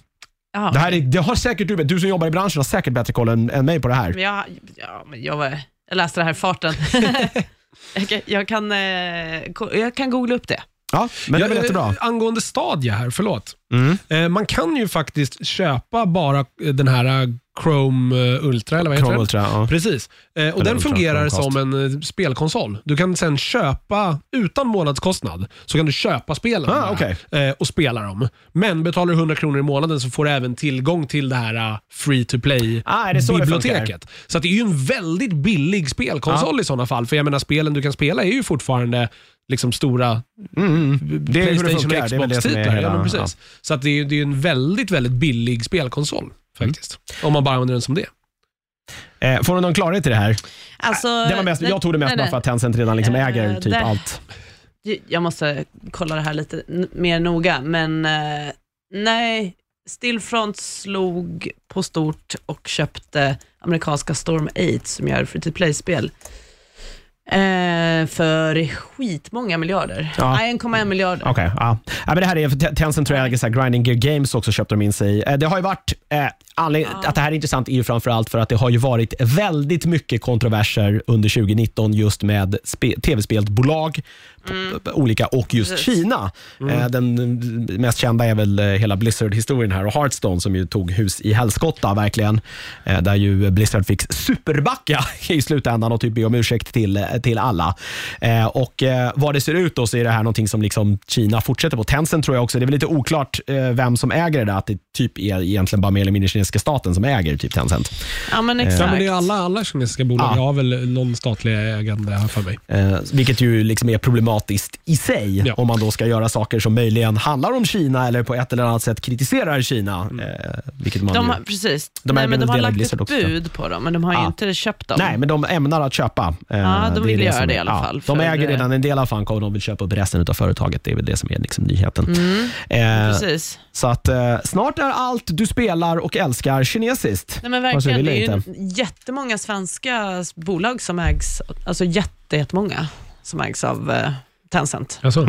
[SPEAKER 2] Ja,
[SPEAKER 1] Det, här är, det har säkert du, du som jobbar i branschen har säkert bättre koll än, än mig på det här.
[SPEAKER 2] men jag, ja, men jag, var, jag läste det här
[SPEAKER 1] <laughs>
[SPEAKER 2] i farten. Okej, jag, kan, eh, ko- jag kan googla upp det.
[SPEAKER 1] Ja, men det är
[SPEAKER 3] Ja,
[SPEAKER 1] väl jättebra.
[SPEAKER 3] eh, Angående Stadia här, förlåt.
[SPEAKER 1] Mm.
[SPEAKER 3] Eh, Man kan ju faktiskt köpa bara eh, den här eh, Chrome eh, Ultra, eller vad heter
[SPEAKER 1] Chrome
[SPEAKER 3] den?
[SPEAKER 1] Ultra, ja.
[SPEAKER 3] Precis. Eh, Och
[SPEAKER 1] Eller
[SPEAKER 3] den
[SPEAKER 1] Ultra
[SPEAKER 3] fungerar
[SPEAKER 1] Chromecast.
[SPEAKER 3] som en eh, spelkonsol. Du kan sen köpa, utan månadskostnad, så kan du köpa spelen
[SPEAKER 1] Ah,
[SPEAKER 3] bara,
[SPEAKER 1] okej.
[SPEAKER 3] eh, och spela dem. Men betalar du 100 kronor i månaden så får du även tillgång till det här eh, free to play
[SPEAKER 1] Ah, är det så det
[SPEAKER 3] biblioteket. så att det är ju en väldigt billig
[SPEAKER 1] Ah.
[SPEAKER 3] spelkonsol i sådana fall. För jag menar, spelen du kan spela är ju fortfarande liksom stora
[SPEAKER 1] Det är hur det
[SPEAKER 3] Playstation
[SPEAKER 1] funkar.
[SPEAKER 3] och
[SPEAKER 1] Det är väl det som är
[SPEAKER 3] Xbox-titlar. Ja, men
[SPEAKER 1] hela...
[SPEAKER 3] precis.
[SPEAKER 1] Ja.
[SPEAKER 3] Så att det, är, det är en väldigt, väldigt billig spelkonsol faktiskt. Om man bara använder den som det.
[SPEAKER 1] Eh, Får du någon klarhet i det här?
[SPEAKER 2] Alltså,
[SPEAKER 1] Det var mest,
[SPEAKER 2] nej,
[SPEAKER 1] jag tog det mest
[SPEAKER 2] nej,
[SPEAKER 1] bara
[SPEAKER 2] nej.
[SPEAKER 1] för att Tencent redan liksom
[SPEAKER 2] Eh,
[SPEAKER 1] äger typ
[SPEAKER 2] där-
[SPEAKER 1] allt.
[SPEAKER 2] Jag måste kolla det här lite n- mer noga, men eh, nej, Stillfront slog på stort och köpte amerikanska Storm 8 som gör free to play-spel eh, för skitmånga miljarder.
[SPEAKER 1] Ja.
[SPEAKER 2] Nej, 1,1 miljarder.
[SPEAKER 1] Okej, ja. ja. men det här är, Ten- Tencent tror jag äger så här, Grinding Gear Games också köpte de in sig i. Eh, Det har ju varit, eh, anledningen
[SPEAKER 2] Ja.
[SPEAKER 1] att det här är intressant är ju framförallt för att det har ju varit väldigt mycket kontroverser under 2019 just med spe, tv-spelsbolag, på- på Mm. olika och just
[SPEAKER 2] Precis.
[SPEAKER 1] Kina. Eh, Den eh, mest kända är väl eh, hela Blizzard-historien här och Hearthstone som ju tog hus i helskotta verkligen. Eh, Där ju Blizzard fick superbacka <laughs> i slutändan och typ be om ursäkt till, till alla. Eh, Och eh, vad det ser ut då så är det här någonting som liksom Kina fortsätter på. Tencent tror jag också, det är väl lite oklart eh, vem som äger det där, att det typ är egentligen bara mer eller mindre kinesiska staten som äger typ Tencent.
[SPEAKER 2] Ja,
[SPEAKER 1] Eh.
[SPEAKER 2] men exakt.
[SPEAKER 3] Ja, men det är alla, alla kinesiska bolag
[SPEAKER 1] Ja.
[SPEAKER 3] har väl någon statlig ägande här för mig.
[SPEAKER 1] Eh, vilket ju liksom är problematiskt i sig
[SPEAKER 3] Ja.
[SPEAKER 1] om man då ska göra saker som möjligen handlar om Kina eller på ett eller annat sätt kritiserar Kina. Eh, vilket man
[SPEAKER 2] De
[SPEAKER 1] ju,
[SPEAKER 2] har, precis.
[SPEAKER 1] De
[SPEAKER 2] Nej,
[SPEAKER 1] äger
[SPEAKER 2] men
[SPEAKER 1] en
[SPEAKER 2] de har
[SPEAKER 1] del av
[SPEAKER 2] lagt
[SPEAKER 1] Blizzard
[SPEAKER 2] ett
[SPEAKER 1] också, tror jag.
[SPEAKER 2] bud på dem, men de har ju
[SPEAKER 1] Ja.
[SPEAKER 2] inte köpt dem.
[SPEAKER 1] Nej, men de ämnar att köpa. Eh,
[SPEAKER 2] Ja, de
[SPEAKER 1] det är
[SPEAKER 2] vill göra
[SPEAKER 1] som-
[SPEAKER 2] det i alla
[SPEAKER 1] ja,
[SPEAKER 2] fall,
[SPEAKER 1] De
[SPEAKER 2] för-
[SPEAKER 1] äger redan en del av Funko och de vill köpa upp resten av företaget. Det är väl det som är liksom nyheten. Eh,
[SPEAKER 2] Mm. Precis.
[SPEAKER 1] så att eh, snart är allt du spelar och älskar kinesiskt.
[SPEAKER 2] Nej, men
[SPEAKER 1] Alltså,
[SPEAKER 2] verkligen.
[SPEAKER 1] vill jag
[SPEAKER 2] Det är ju jättemånga svenska bolag som ägs, alltså jätte, jättemånga som ägs av eh, Tencent.
[SPEAKER 3] Alltså,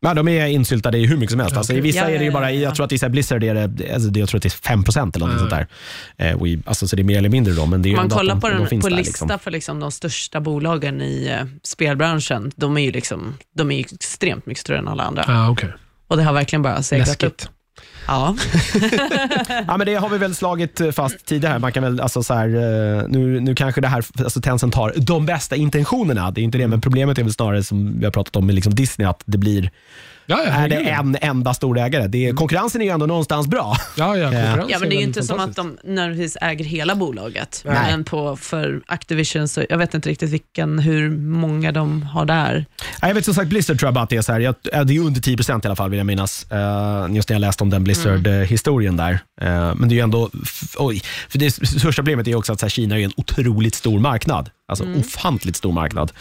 [SPEAKER 1] Ja, de är insyltade i hur mycket som helst. Alltså, I vissa
[SPEAKER 2] Ja,
[SPEAKER 1] är det ju
[SPEAKER 2] ja,
[SPEAKER 1] bara,
[SPEAKER 2] ja, ja.
[SPEAKER 1] jag tror att i så här Blizzard är det, alltså, det, jag tror att det är 5 procent eller något sånt där. Eh, och i, alltså, så det är mer eller mindre då, men det är ju
[SPEAKER 2] Mm. Om man
[SPEAKER 1] ändå att
[SPEAKER 2] kollar
[SPEAKER 1] de,
[SPEAKER 2] på,
[SPEAKER 1] de
[SPEAKER 2] den,
[SPEAKER 1] finns
[SPEAKER 2] på
[SPEAKER 1] där,
[SPEAKER 2] listan
[SPEAKER 1] liksom.
[SPEAKER 2] för liksom de största bolagen i eh, spelbranschen, de är ju liksom, de är ju extremt mycket större än alla andra.
[SPEAKER 3] ah, okay.
[SPEAKER 2] Och det har verkligen bara segrat upp.
[SPEAKER 3] Läskigt.
[SPEAKER 2] Ja.
[SPEAKER 1] Ja, men det har vi väl slagit eh, fast tidigare. Man kan väl, alltså, så här, eh, nu, nu kanske det här, alltså, Tencent har de bästa intentionerna. Det är inte det, men problemet är väl snarare som vi har pratat om med liksom Disney, att det blir,
[SPEAKER 3] Ja, ja,
[SPEAKER 1] är det
[SPEAKER 3] herregud.
[SPEAKER 1] en enda storägare? Det är,
[SPEAKER 2] Mm.
[SPEAKER 1] konkurrensen är ju ändå någonstans bra.
[SPEAKER 3] Ja, ja, konkurrens
[SPEAKER 2] ja, men det är ju
[SPEAKER 3] väldigt
[SPEAKER 2] inte som att
[SPEAKER 3] fantastiskt.
[SPEAKER 2] de nödvändigtvis äger hela bolaget.
[SPEAKER 1] Nej.
[SPEAKER 2] Men på, för Activision, så jag vet inte riktigt vilken, hur många de har där.
[SPEAKER 1] Nej, Jag vet som sagt Blizzard tror jag bara att det är så här, jag, ja, det är under 10 procent i alla fall vill jag minnas. Eh, just när jag läste om den Blizzard-historien där. Eh, men det är ju ändå, f- oj, för det s- största problemet är ju också att så här, Kina är ju en otroligt stor marknad. Alltså ofantligt stor marknad.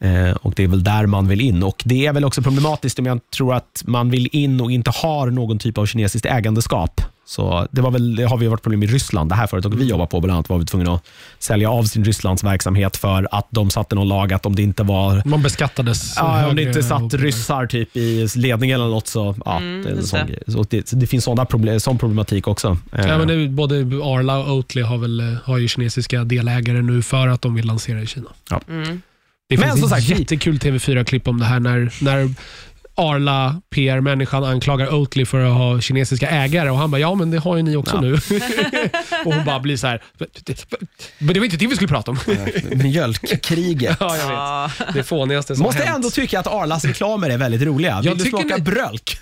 [SPEAKER 1] Eh, och det är väl där man vill in. Och det är väl också problematiskt om jag tror att man vill in och inte har någon typ av kinesiskt ägandeskap. Så det, var väl, det har vi varit problem i Ryssland. Det här företaget vi jobbar på bland annat var vi tvungna att sälja av sin Rysslands verksamhet för att de satte någon lag att om det inte var
[SPEAKER 3] Man beskattades.
[SPEAKER 1] Ja, om det inte
[SPEAKER 3] högre
[SPEAKER 1] satt
[SPEAKER 3] och-
[SPEAKER 1] ryssar typ i ledningen eller något så, ja, Mm, det, är en
[SPEAKER 2] just
[SPEAKER 1] sån,
[SPEAKER 2] det.
[SPEAKER 1] grej. så det, så det finns såna problem, sån problematik också.
[SPEAKER 3] Ja,
[SPEAKER 1] Eh,
[SPEAKER 3] <laughs> men det, är- både Arla och Oatly har, väl, eh, har ju kinesiska delägare nu för att de vill lansera i Kina.
[SPEAKER 1] Ja.
[SPEAKER 3] Det
[SPEAKER 1] Men
[SPEAKER 3] finns
[SPEAKER 1] som
[SPEAKER 3] ett
[SPEAKER 1] sagt, vi-
[SPEAKER 3] jättekul TV4-klipp om det här när, när Arla, PR-människan, anklagar Oatly för att ha kinesiska ägare och han bara, ja men det har ju ni också
[SPEAKER 1] Ja.
[SPEAKER 3] nu. <laughs> och hon bara blir så här, men det var inte det vi
[SPEAKER 1] <laughs>
[SPEAKER 3] skulle prata om.
[SPEAKER 1] Mjölkkriget.
[SPEAKER 3] ja, jag vet.
[SPEAKER 2] Ja.
[SPEAKER 3] Det fånigaste
[SPEAKER 1] <laughs>
[SPEAKER 3] som
[SPEAKER 1] Måste
[SPEAKER 3] har hänt.
[SPEAKER 1] ändå tycka att Arlas reklamer är väldigt roliga. Vill
[SPEAKER 3] Jag
[SPEAKER 1] du
[SPEAKER 3] tycker
[SPEAKER 1] smaka
[SPEAKER 3] ni-
[SPEAKER 1] brölk?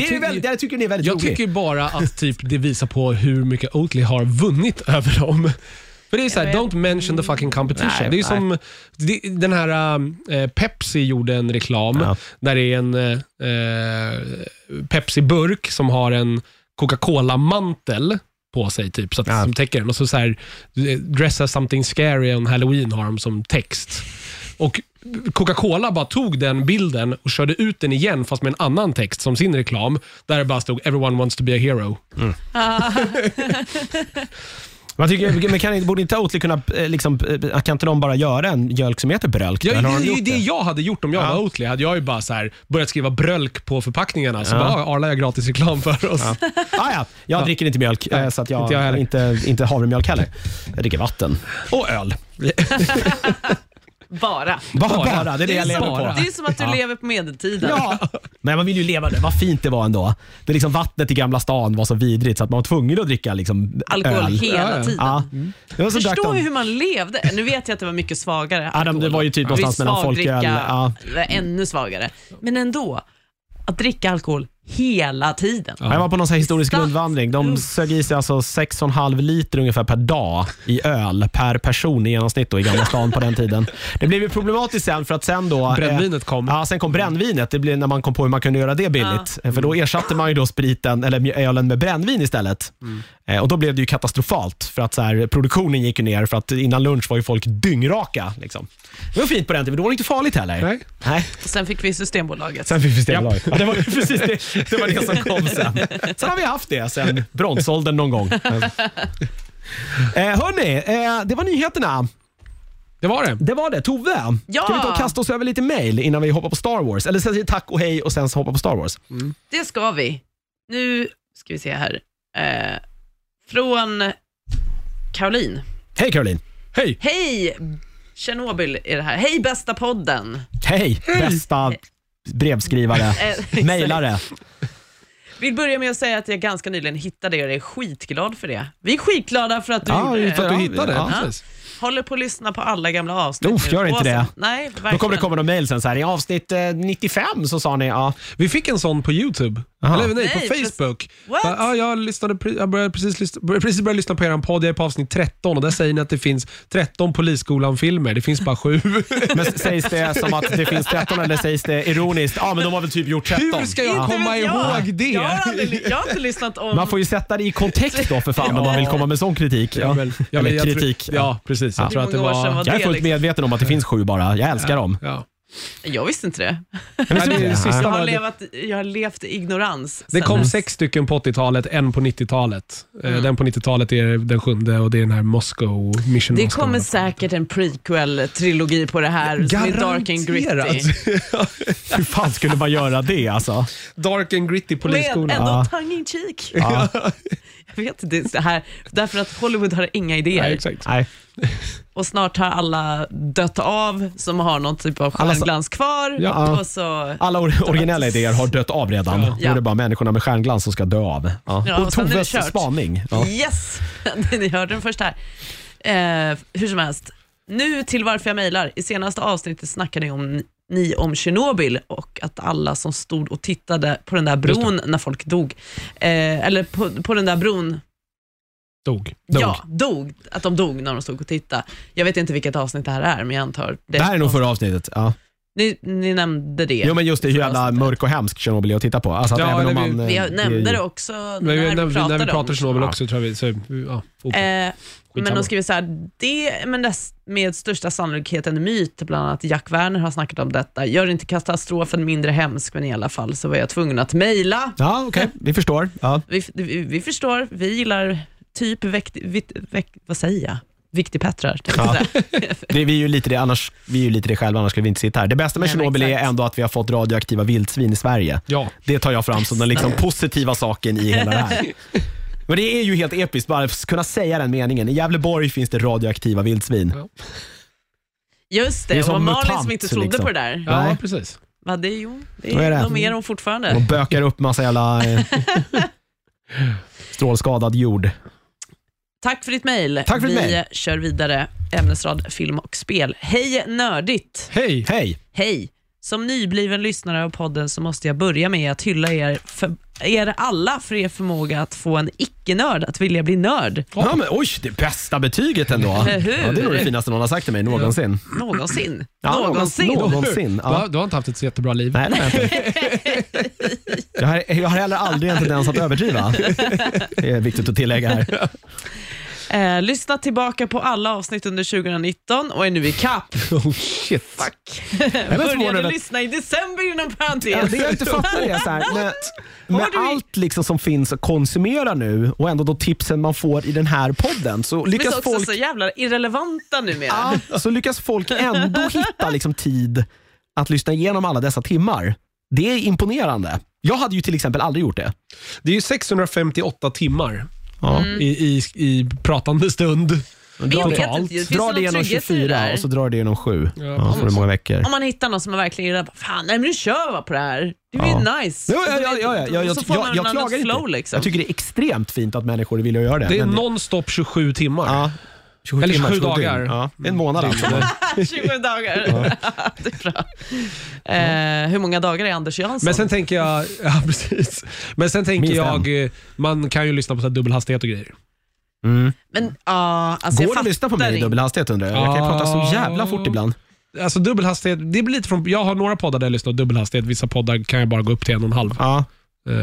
[SPEAKER 1] det, är ju
[SPEAKER 3] tycker-
[SPEAKER 1] väldigt, jag tycker ni är väldigt
[SPEAKER 3] Jag
[SPEAKER 1] rolig.
[SPEAKER 3] tycker bara att typ, det visar på hur mycket Oatly har vunnit <laughs> över dem. För det är såhär, don't mention the fucking competition.
[SPEAKER 1] Nej,
[SPEAKER 3] det är ju
[SPEAKER 1] nej.
[SPEAKER 3] som det, den här äh, Pepsi gjorde en reklam
[SPEAKER 1] Ja.
[SPEAKER 3] där det är en äh, Pepsi-burk som har en Coca-Cola-mantel på sig typ, så att,
[SPEAKER 1] Ja.
[SPEAKER 3] som täcker den. Och så, så här, dress as something scary on halloween har de som text. Och Coca-Cola bara tog den bilden och körde ut den igen fast med en annan text som sin reklam. Där det bara stod “Everyone wants to be a hero”.
[SPEAKER 1] Man tycker, men kan, borde inte Oatly kunna, eh, liksom, eh, kan inte någon bara göra en mjölk som heter Brölk?
[SPEAKER 3] Ja, det
[SPEAKER 1] Eller har
[SPEAKER 3] är
[SPEAKER 1] de
[SPEAKER 3] ju
[SPEAKER 1] gjort
[SPEAKER 3] det jag hade gjort om jag
[SPEAKER 1] Ja.
[SPEAKER 3] var Oatly. Hade jag ju bara så här börjat skriva brölk på förpackningarna så
[SPEAKER 1] Ja.
[SPEAKER 3] bara "Ah, Arla gör gratis reklam för oss.
[SPEAKER 1] Ah, ja. Jag dricker inte mjölk, eh, så att jag,
[SPEAKER 3] inte jag heller.
[SPEAKER 1] inte, inte havremjölk heller. Jag dricker vatten. Och öl.
[SPEAKER 2] <laughs> Bara.
[SPEAKER 1] Bara, bara det är det jag
[SPEAKER 2] som,
[SPEAKER 1] lever på.
[SPEAKER 2] det är som att du lever på medeltiden.
[SPEAKER 1] Ja. Men man vill ju leva det. Vad fint det var ändå. Det är liksom vattnet i Gamla stan var så vidrigt så att man var tvungen att dricka liksom
[SPEAKER 2] Alkohol
[SPEAKER 1] öl.
[SPEAKER 3] Ja,
[SPEAKER 2] hela
[SPEAKER 3] ja.
[SPEAKER 2] tiden. Alltså,
[SPEAKER 1] Ja. Det var så drack
[SPEAKER 2] Förstår
[SPEAKER 1] de.
[SPEAKER 2] ju hur man levde. Nu vet jag att det var mycket svagare.
[SPEAKER 1] Ja, de- det var ju typ någonstans
[SPEAKER 2] Vid
[SPEAKER 1] mellan folköl,
[SPEAKER 2] svagdricka,
[SPEAKER 1] ja.
[SPEAKER 2] det var Ännu svagare. Men ändå, att dricka alkohol hela tiden.
[SPEAKER 1] Ja, Jag var på någon så här historisk
[SPEAKER 2] Starkt.
[SPEAKER 1] rundvandring. De sög i sig alltså 6,5 liter ungefär per dag i öl per person i genomsnitt då, i Gamla stan på den tiden. Det blev ju problematiskt sen för att sen då... eh,
[SPEAKER 3] <laughs> Brännvinet kom.
[SPEAKER 1] Ja, sen kom brännvinet. Det blev när man kom på hur man kunde göra det billigt. För då ersatte man ju då spriten, eller mj- ölen med brännvin istället. Eh, Och då blev det ju katastrofalt för att så här, produktionen gick ju ner för att innan lunch var ju folk dyngraka. Liksom. Det var fint på den tiden, då var det inte farligt heller.
[SPEAKER 3] Nej.
[SPEAKER 1] Nej.
[SPEAKER 2] Sen fick vi Systembolaget.
[SPEAKER 1] Sen fick vi Systembolaget. Ja, det var ju precis det, det, var det som kom sen. Sen har vi haft det sen bronsåldern någon <laughs> gång. Eh, hörni, eh, det var nyheterna.
[SPEAKER 3] Det var det.
[SPEAKER 1] Det var det. Tove,
[SPEAKER 2] Ja.
[SPEAKER 1] kan vi ta och kasta oss över lite mail innan vi hoppar på Star Wars? Eller säga tack och hej och sen så hoppa på Star Wars.
[SPEAKER 2] Det ska vi. Nu ska vi se här. Eh, från Caroline.
[SPEAKER 1] Hej Caroline.
[SPEAKER 3] Hej!
[SPEAKER 2] Hej! Tjernobyl är det här. Hej bästa podden!
[SPEAKER 1] Hej, bästa
[SPEAKER 3] <laughs>
[SPEAKER 1] brevskrivare,
[SPEAKER 2] Eh,
[SPEAKER 1] mejlare.
[SPEAKER 2] Vill börja med att säga att jag ganska nyligen hittade er och är skitglad för det. Vi är skitglada för att du gjorde
[SPEAKER 3] För att
[SPEAKER 2] det.
[SPEAKER 3] du hittade.
[SPEAKER 1] Ja.
[SPEAKER 3] Precis.
[SPEAKER 2] Håller på att lyssna på alla gamla avsnitt
[SPEAKER 1] Uff,
[SPEAKER 2] nu.
[SPEAKER 1] gör inte
[SPEAKER 2] Och sen-
[SPEAKER 1] det.
[SPEAKER 2] Nej, verkligen.
[SPEAKER 1] Då kommer det komma någon mejl sen så här. I avsnitt eh, 95 så sa ni ja.
[SPEAKER 3] Vi fick en sån på YouTube.
[SPEAKER 1] Aha.
[SPEAKER 3] Eller nej,
[SPEAKER 2] Nej,
[SPEAKER 3] på
[SPEAKER 2] precis.
[SPEAKER 3] Facebook.
[SPEAKER 2] What?
[SPEAKER 3] Bara, Ja, jag, lyssnade, pre- jag började precis, lyssna, började precis började lyssna på er podd. Jag är på avsnitt 13 och där säger ni att det finns 13 Polisskolan-filmer. Det finns bara <laughs> sju.
[SPEAKER 1] Men s- sägs det som att det finns 13 eller sägs det ironiskt? Ja, men de har väl typ gjort 13.
[SPEAKER 3] Hur ska jag
[SPEAKER 2] Inte
[SPEAKER 3] komma
[SPEAKER 2] vet jag.
[SPEAKER 3] ihåg det?
[SPEAKER 2] Jag har, aldrig, jag har inte lyssnat om...
[SPEAKER 1] Man får ju sätta det i kontext då för fan om man vill komma med sån kritik.
[SPEAKER 3] Ja, men- ja, men
[SPEAKER 1] Eller
[SPEAKER 3] jag tror-
[SPEAKER 1] kritik.
[SPEAKER 3] ja, precis. Jag
[SPEAKER 1] Ja.
[SPEAKER 3] tror att det
[SPEAKER 2] Hur många år
[SPEAKER 3] var...
[SPEAKER 2] sedan var
[SPEAKER 1] Jag är
[SPEAKER 2] det
[SPEAKER 1] fullt
[SPEAKER 2] liksom?
[SPEAKER 1] medveten om att det finns sju bara. Jag älskar dem.
[SPEAKER 3] Ja.
[SPEAKER 2] Jag visste inte det.
[SPEAKER 3] Nej, det, är det sista
[SPEAKER 2] Jag har,
[SPEAKER 3] var- det-
[SPEAKER 2] levat, jag har levt i ignorans.
[SPEAKER 3] det
[SPEAKER 2] sen
[SPEAKER 3] kom
[SPEAKER 2] dess.
[SPEAKER 3] sex stycken på 80-talet, en på 90-talet. Eh,
[SPEAKER 2] Mm.
[SPEAKER 3] Den på 90-talet är den sjunde och det är den här Moscow Mission
[SPEAKER 2] Det
[SPEAKER 3] Moscow.
[SPEAKER 2] kommer säkert en prequel-trilogi på det här som är dark and gritty.
[SPEAKER 1] Hur fan skulle man göra det
[SPEAKER 3] <laughs>
[SPEAKER 1] alltså?
[SPEAKER 3] dark and gritty
[SPEAKER 2] Med
[SPEAKER 3] polisskolan.
[SPEAKER 1] Ja.
[SPEAKER 2] ändå tongue in cheek.
[SPEAKER 1] Ja.
[SPEAKER 2] Jag vet inte, det är så här, därför att Hollywood har inga idéer.
[SPEAKER 3] Nej, exakt.
[SPEAKER 1] Nej.
[SPEAKER 2] och snart har alla dött av som har någon typ av
[SPEAKER 1] Alla sa-
[SPEAKER 2] stjärnglans kvar.
[SPEAKER 1] Ja.
[SPEAKER 2] Och så,
[SPEAKER 1] Alla or originella idéer har dött av redan. Nu är det bara människorna med stjärnglans som ska dö av.
[SPEAKER 2] Ja,
[SPEAKER 1] Och
[SPEAKER 2] och sen är det
[SPEAKER 1] Toves
[SPEAKER 2] kört.
[SPEAKER 1] spaning. Ja.
[SPEAKER 2] Yes! <laughs> Ni hörde den först här. Eh, hur som helst, nu till varför jag mejlar. I senaste avsnittet snackade ni om, ni om Tjernobyl och att alla som stod och tittade på den där bron när folk dog, eh, eller på, på den där bron
[SPEAKER 3] Dog.
[SPEAKER 2] Ja, dog. Att de dog när de stod och tittade. Jag vet inte vilket avsnitt det här är, men jag antar det.
[SPEAKER 1] Det här är nog förra avsnittet. Ja.
[SPEAKER 2] Ni, ni nämnde det.
[SPEAKER 1] Jo men just det, hur
[SPEAKER 2] Förra
[SPEAKER 1] jävla
[SPEAKER 2] avsnittet.
[SPEAKER 1] mörk och hemsk Tjernobyl är att titta på. Alltså, att
[SPEAKER 3] Ja,
[SPEAKER 1] även om
[SPEAKER 3] eller
[SPEAKER 1] man,
[SPEAKER 3] vi-
[SPEAKER 1] eh,
[SPEAKER 2] Vi har-
[SPEAKER 1] det-
[SPEAKER 2] nämnde det också
[SPEAKER 3] Men
[SPEAKER 2] när, vi
[SPEAKER 3] när,
[SPEAKER 2] pratade
[SPEAKER 3] när vi pratar
[SPEAKER 2] om.
[SPEAKER 3] Tjernobyl
[SPEAKER 1] Ja.
[SPEAKER 3] också tror jag vi... Så, ja, ok.
[SPEAKER 2] Eh, men
[SPEAKER 3] Skitsamma.
[SPEAKER 2] de skriver så här, det men dess, med största sannolikhet en myt, bland annat Jack Werner har snackat om detta. Gör inte katastrofen mindre hemsk, men i alla fall så var jag tvungen att mejla.
[SPEAKER 1] Ja, okej. Vi förstår. Ja.
[SPEAKER 2] Vi, vi, vi förstår, vi gillar typ väkt, vit, väkt, vad säger jag? Viktigpettrar, tänkte jag säga.
[SPEAKER 1] Det, vi, är ju lite det, annars, vi är ju lite det själva, annars skulle vi inte sitta här. Det bästa med
[SPEAKER 2] Nej, men
[SPEAKER 1] Tjernobyl är
[SPEAKER 2] exakt.
[SPEAKER 1] ändå att vi har fått radioaktiva vildsvin i Sverige.
[SPEAKER 3] ja.
[SPEAKER 1] Det tar jag fram som den
[SPEAKER 2] <laughs>
[SPEAKER 1] liksom positiva saken i hela det här. Men det är ju helt episkt bara att kunna säga den meningen. I Gävleborg finns det radioaktiva vildsvin.
[SPEAKER 2] Just det,
[SPEAKER 1] Det är
[SPEAKER 2] det
[SPEAKER 1] som
[SPEAKER 2] var Malin
[SPEAKER 1] mutant,
[SPEAKER 2] som inte trodde
[SPEAKER 1] liksom.
[SPEAKER 2] på det där.
[SPEAKER 1] Ja.
[SPEAKER 3] ja
[SPEAKER 1] Nej.
[SPEAKER 3] precis.
[SPEAKER 2] Va, det, är- jo, det
[SPEAKER 1] Vad
[SPEAKER 2] är,
[SPEAKER 1] är det? Mm.
[SPEAKER 2] de är
[SPEAKER 1] <laughs>
[SPEAKER 2] de fortfarande.
[SPEAKER 1] De bökar upp massa jävla
[SPEAKER 2] <laughs>
[SPEAKER 1] eh, strålskadad jord.
[SPEAKER 2] Tack för ditt mejl.
[SPEAKER 1] Tack för
[SPEAKER 2] Vi
[SPEAKER 1] ditt mejl.
[SPEAKER 2] kör vidare ämnesrad film och spel. Hej nördigt!
[SPEAKER 3] Hej!
[SPEAKER 1] Hej!
[SPEAKER 2] Hej! Som nybliven lyssnare av podden så måste jag börja med att hylla er, för, er alla för er förmåga att få en icke-nörd att vilja bli nörd
[SPEAKER 1] Ja, men, oj, det bästa betyget ändå. Ja,
[SPEAKER 2] Eller <laughs> hur?
[SPEAKER 1] det är nog det finaste någon har sagt till mig någonsin.
[SPEAKER 2] någonsin.
[SPEAKER 1] Ja,
[SPEAKER 2] någonsin.
[SPEAKER 1] någon- Någonsin,
[SPEAKER 3] Du,
[SPEAKER 1] ja.
[SPEAKER 3] har, du har inte haft ett så jättebra liv.
[SPEAKER 1] Nej, det har jag inte.
[SPEAKER 2] <laughs>
[SPEAKER 1] Jag har, jag har heller aldrig en tendens att överdriva. Det är viktigt att tillägga här.
[SPEAKER 2] Eh, lyssna tillbaka på alla avsnitt under 2019 och är nu i kapp.
[SPEAKER 3] Oh shit.
[SPEAKER 2] Fuck.
[SPEAKER 1] men förvånad
[SPEAKER 2] Började
[SPEAKER 1] att-
[SPEAKER 2] lyssna i december inom
[SPEAKER 1] Ja,
[SPEAKER 2] parentes.
[SPEAKER 1] det jag inte
[SPEAKER 2] <laughs>
[SPEAKER 1] fattar är så här, med, med
[SPEAKER 2] Har du-
[SPEAKER 1] allt liksom som finns att konsumera nu och ändå de tipsen man får i den här podden så
[SPEAKER 2] Vi är
[SPEAKER 1] lyckas,
[SPEAKER 2] också
[SPEAKER 1] folk,
[SPEAKER 2] så jävla irrelevanta numera.
[SPEAKER 1] ja, så lyckas folk ändå hitta liksom tid att lyssna igenom alla dessa timmar. Det är imponerande. Jag hade ju till exempel aldrig gjort det.
[SPEAKER 3] Det är ju 658
[SPEAKER 2] Mm.
[SPEAKER 3] timmar
[SPEAKER 1] Ja.
[SPEAKER 3] i, i, i pratande stund.
[SPEAKER 2] Vi
[SPEAKER 1] Dra,
[SPEAKER 2] vet
[SPEAKER 1] det,
[SPEAKER 3] totalt.
[SPEAKER 2] inte, finns
[SPEAKER 1] dra
[SPEAKER 2] någon
[SPEAKER 1] det genom
[SPEAKER 2] trygghet i det
[SPEAKER 1] 24
[SPEAKER 2] där?
[SPEAKER 1] och så drar det genom 7.
[SPEAKER 3] Ja,
[SPEAKER 1] Ja,
[SPEAKER 3] precis.
[SPEAKER 1] för hur många veckor.
[SPEAKER 2] Om man hittar någon som man verkligen gillar, bara, fan, nej, men nu kör vi på det här. Det är
[SPEAKER 1] Ja.
[SPEAKER 2] ju nice.
[SPEAKER 1] Ja, ja,
[SPEAKER 2] Och då-
[SPEAKER 1] ja, ja, ja, ja,
[SPEAKER 2] och
[SPEAKER 1] jag-
[SPEAKER 2] så får
[SPEAKER 1] jag-
[SPEAKER 2] man
[SPEAKER 1] jag
[SPEAKER 2] en
[SPEAKER 1] klagar
[SPEAKER 2] annan
[SPEAKER 1] inte.
[SPEAKER 2] flow liksom.
[SPEAKER 1] Jag tycker det är extremt fint att människor vill göra det.
[SPEAKER 3] Det är
[SPEAKER 1] men
[SPEAKER 3] nonstop 27 timmar. Mm.
[SPEAKER 1] ja, 27
[SPEAKER 3] Eller
[SPEAKER 1] timmar,
[SPEAKER 3] 27
[SPEAKER 1] dygn.
[SPEAKER 3] dagar.
[SPEAKER 1] Ja, en månad alltså.
[SPEAKER 2] <laughs> 20 dagar. <laughs> det är bra. Eh, hur många dagar är Anders Jansson?
[SPEAKER 3] Men sen tänker jag, <laughs> ja precis. Men sen tänker
[SPEAKER 1] Minst
[SPEAKER 3] jag, eh, man kan ju lyssna på så här dubbelhastighet och grejer.
[SPEAKER 1] Mm.
[SPEAKER 2] Men, ja, alltså
[SPEAKER 1] Går
[SPEAKER 2] jag
[SPEAKER 1] det att lyssna på mig i
[SPEAKER 2] fattar
[SPEAKER 1] dubbel hastighet undrar jag? Jag kan ju prata så jävla
[SPEAKER 3] Ah.
[SPEAKER 1] fort ibland.
[SPEAKER 3] Alltså dubbelhastighet, det blir lite från, jag har några poddar där jag lyssnar på dubbelhastighet, vissa poddar kan jag bara gå upp till en och en halv.
[SPEAKER 1] Ja.
[SPEAKER 3] Eh,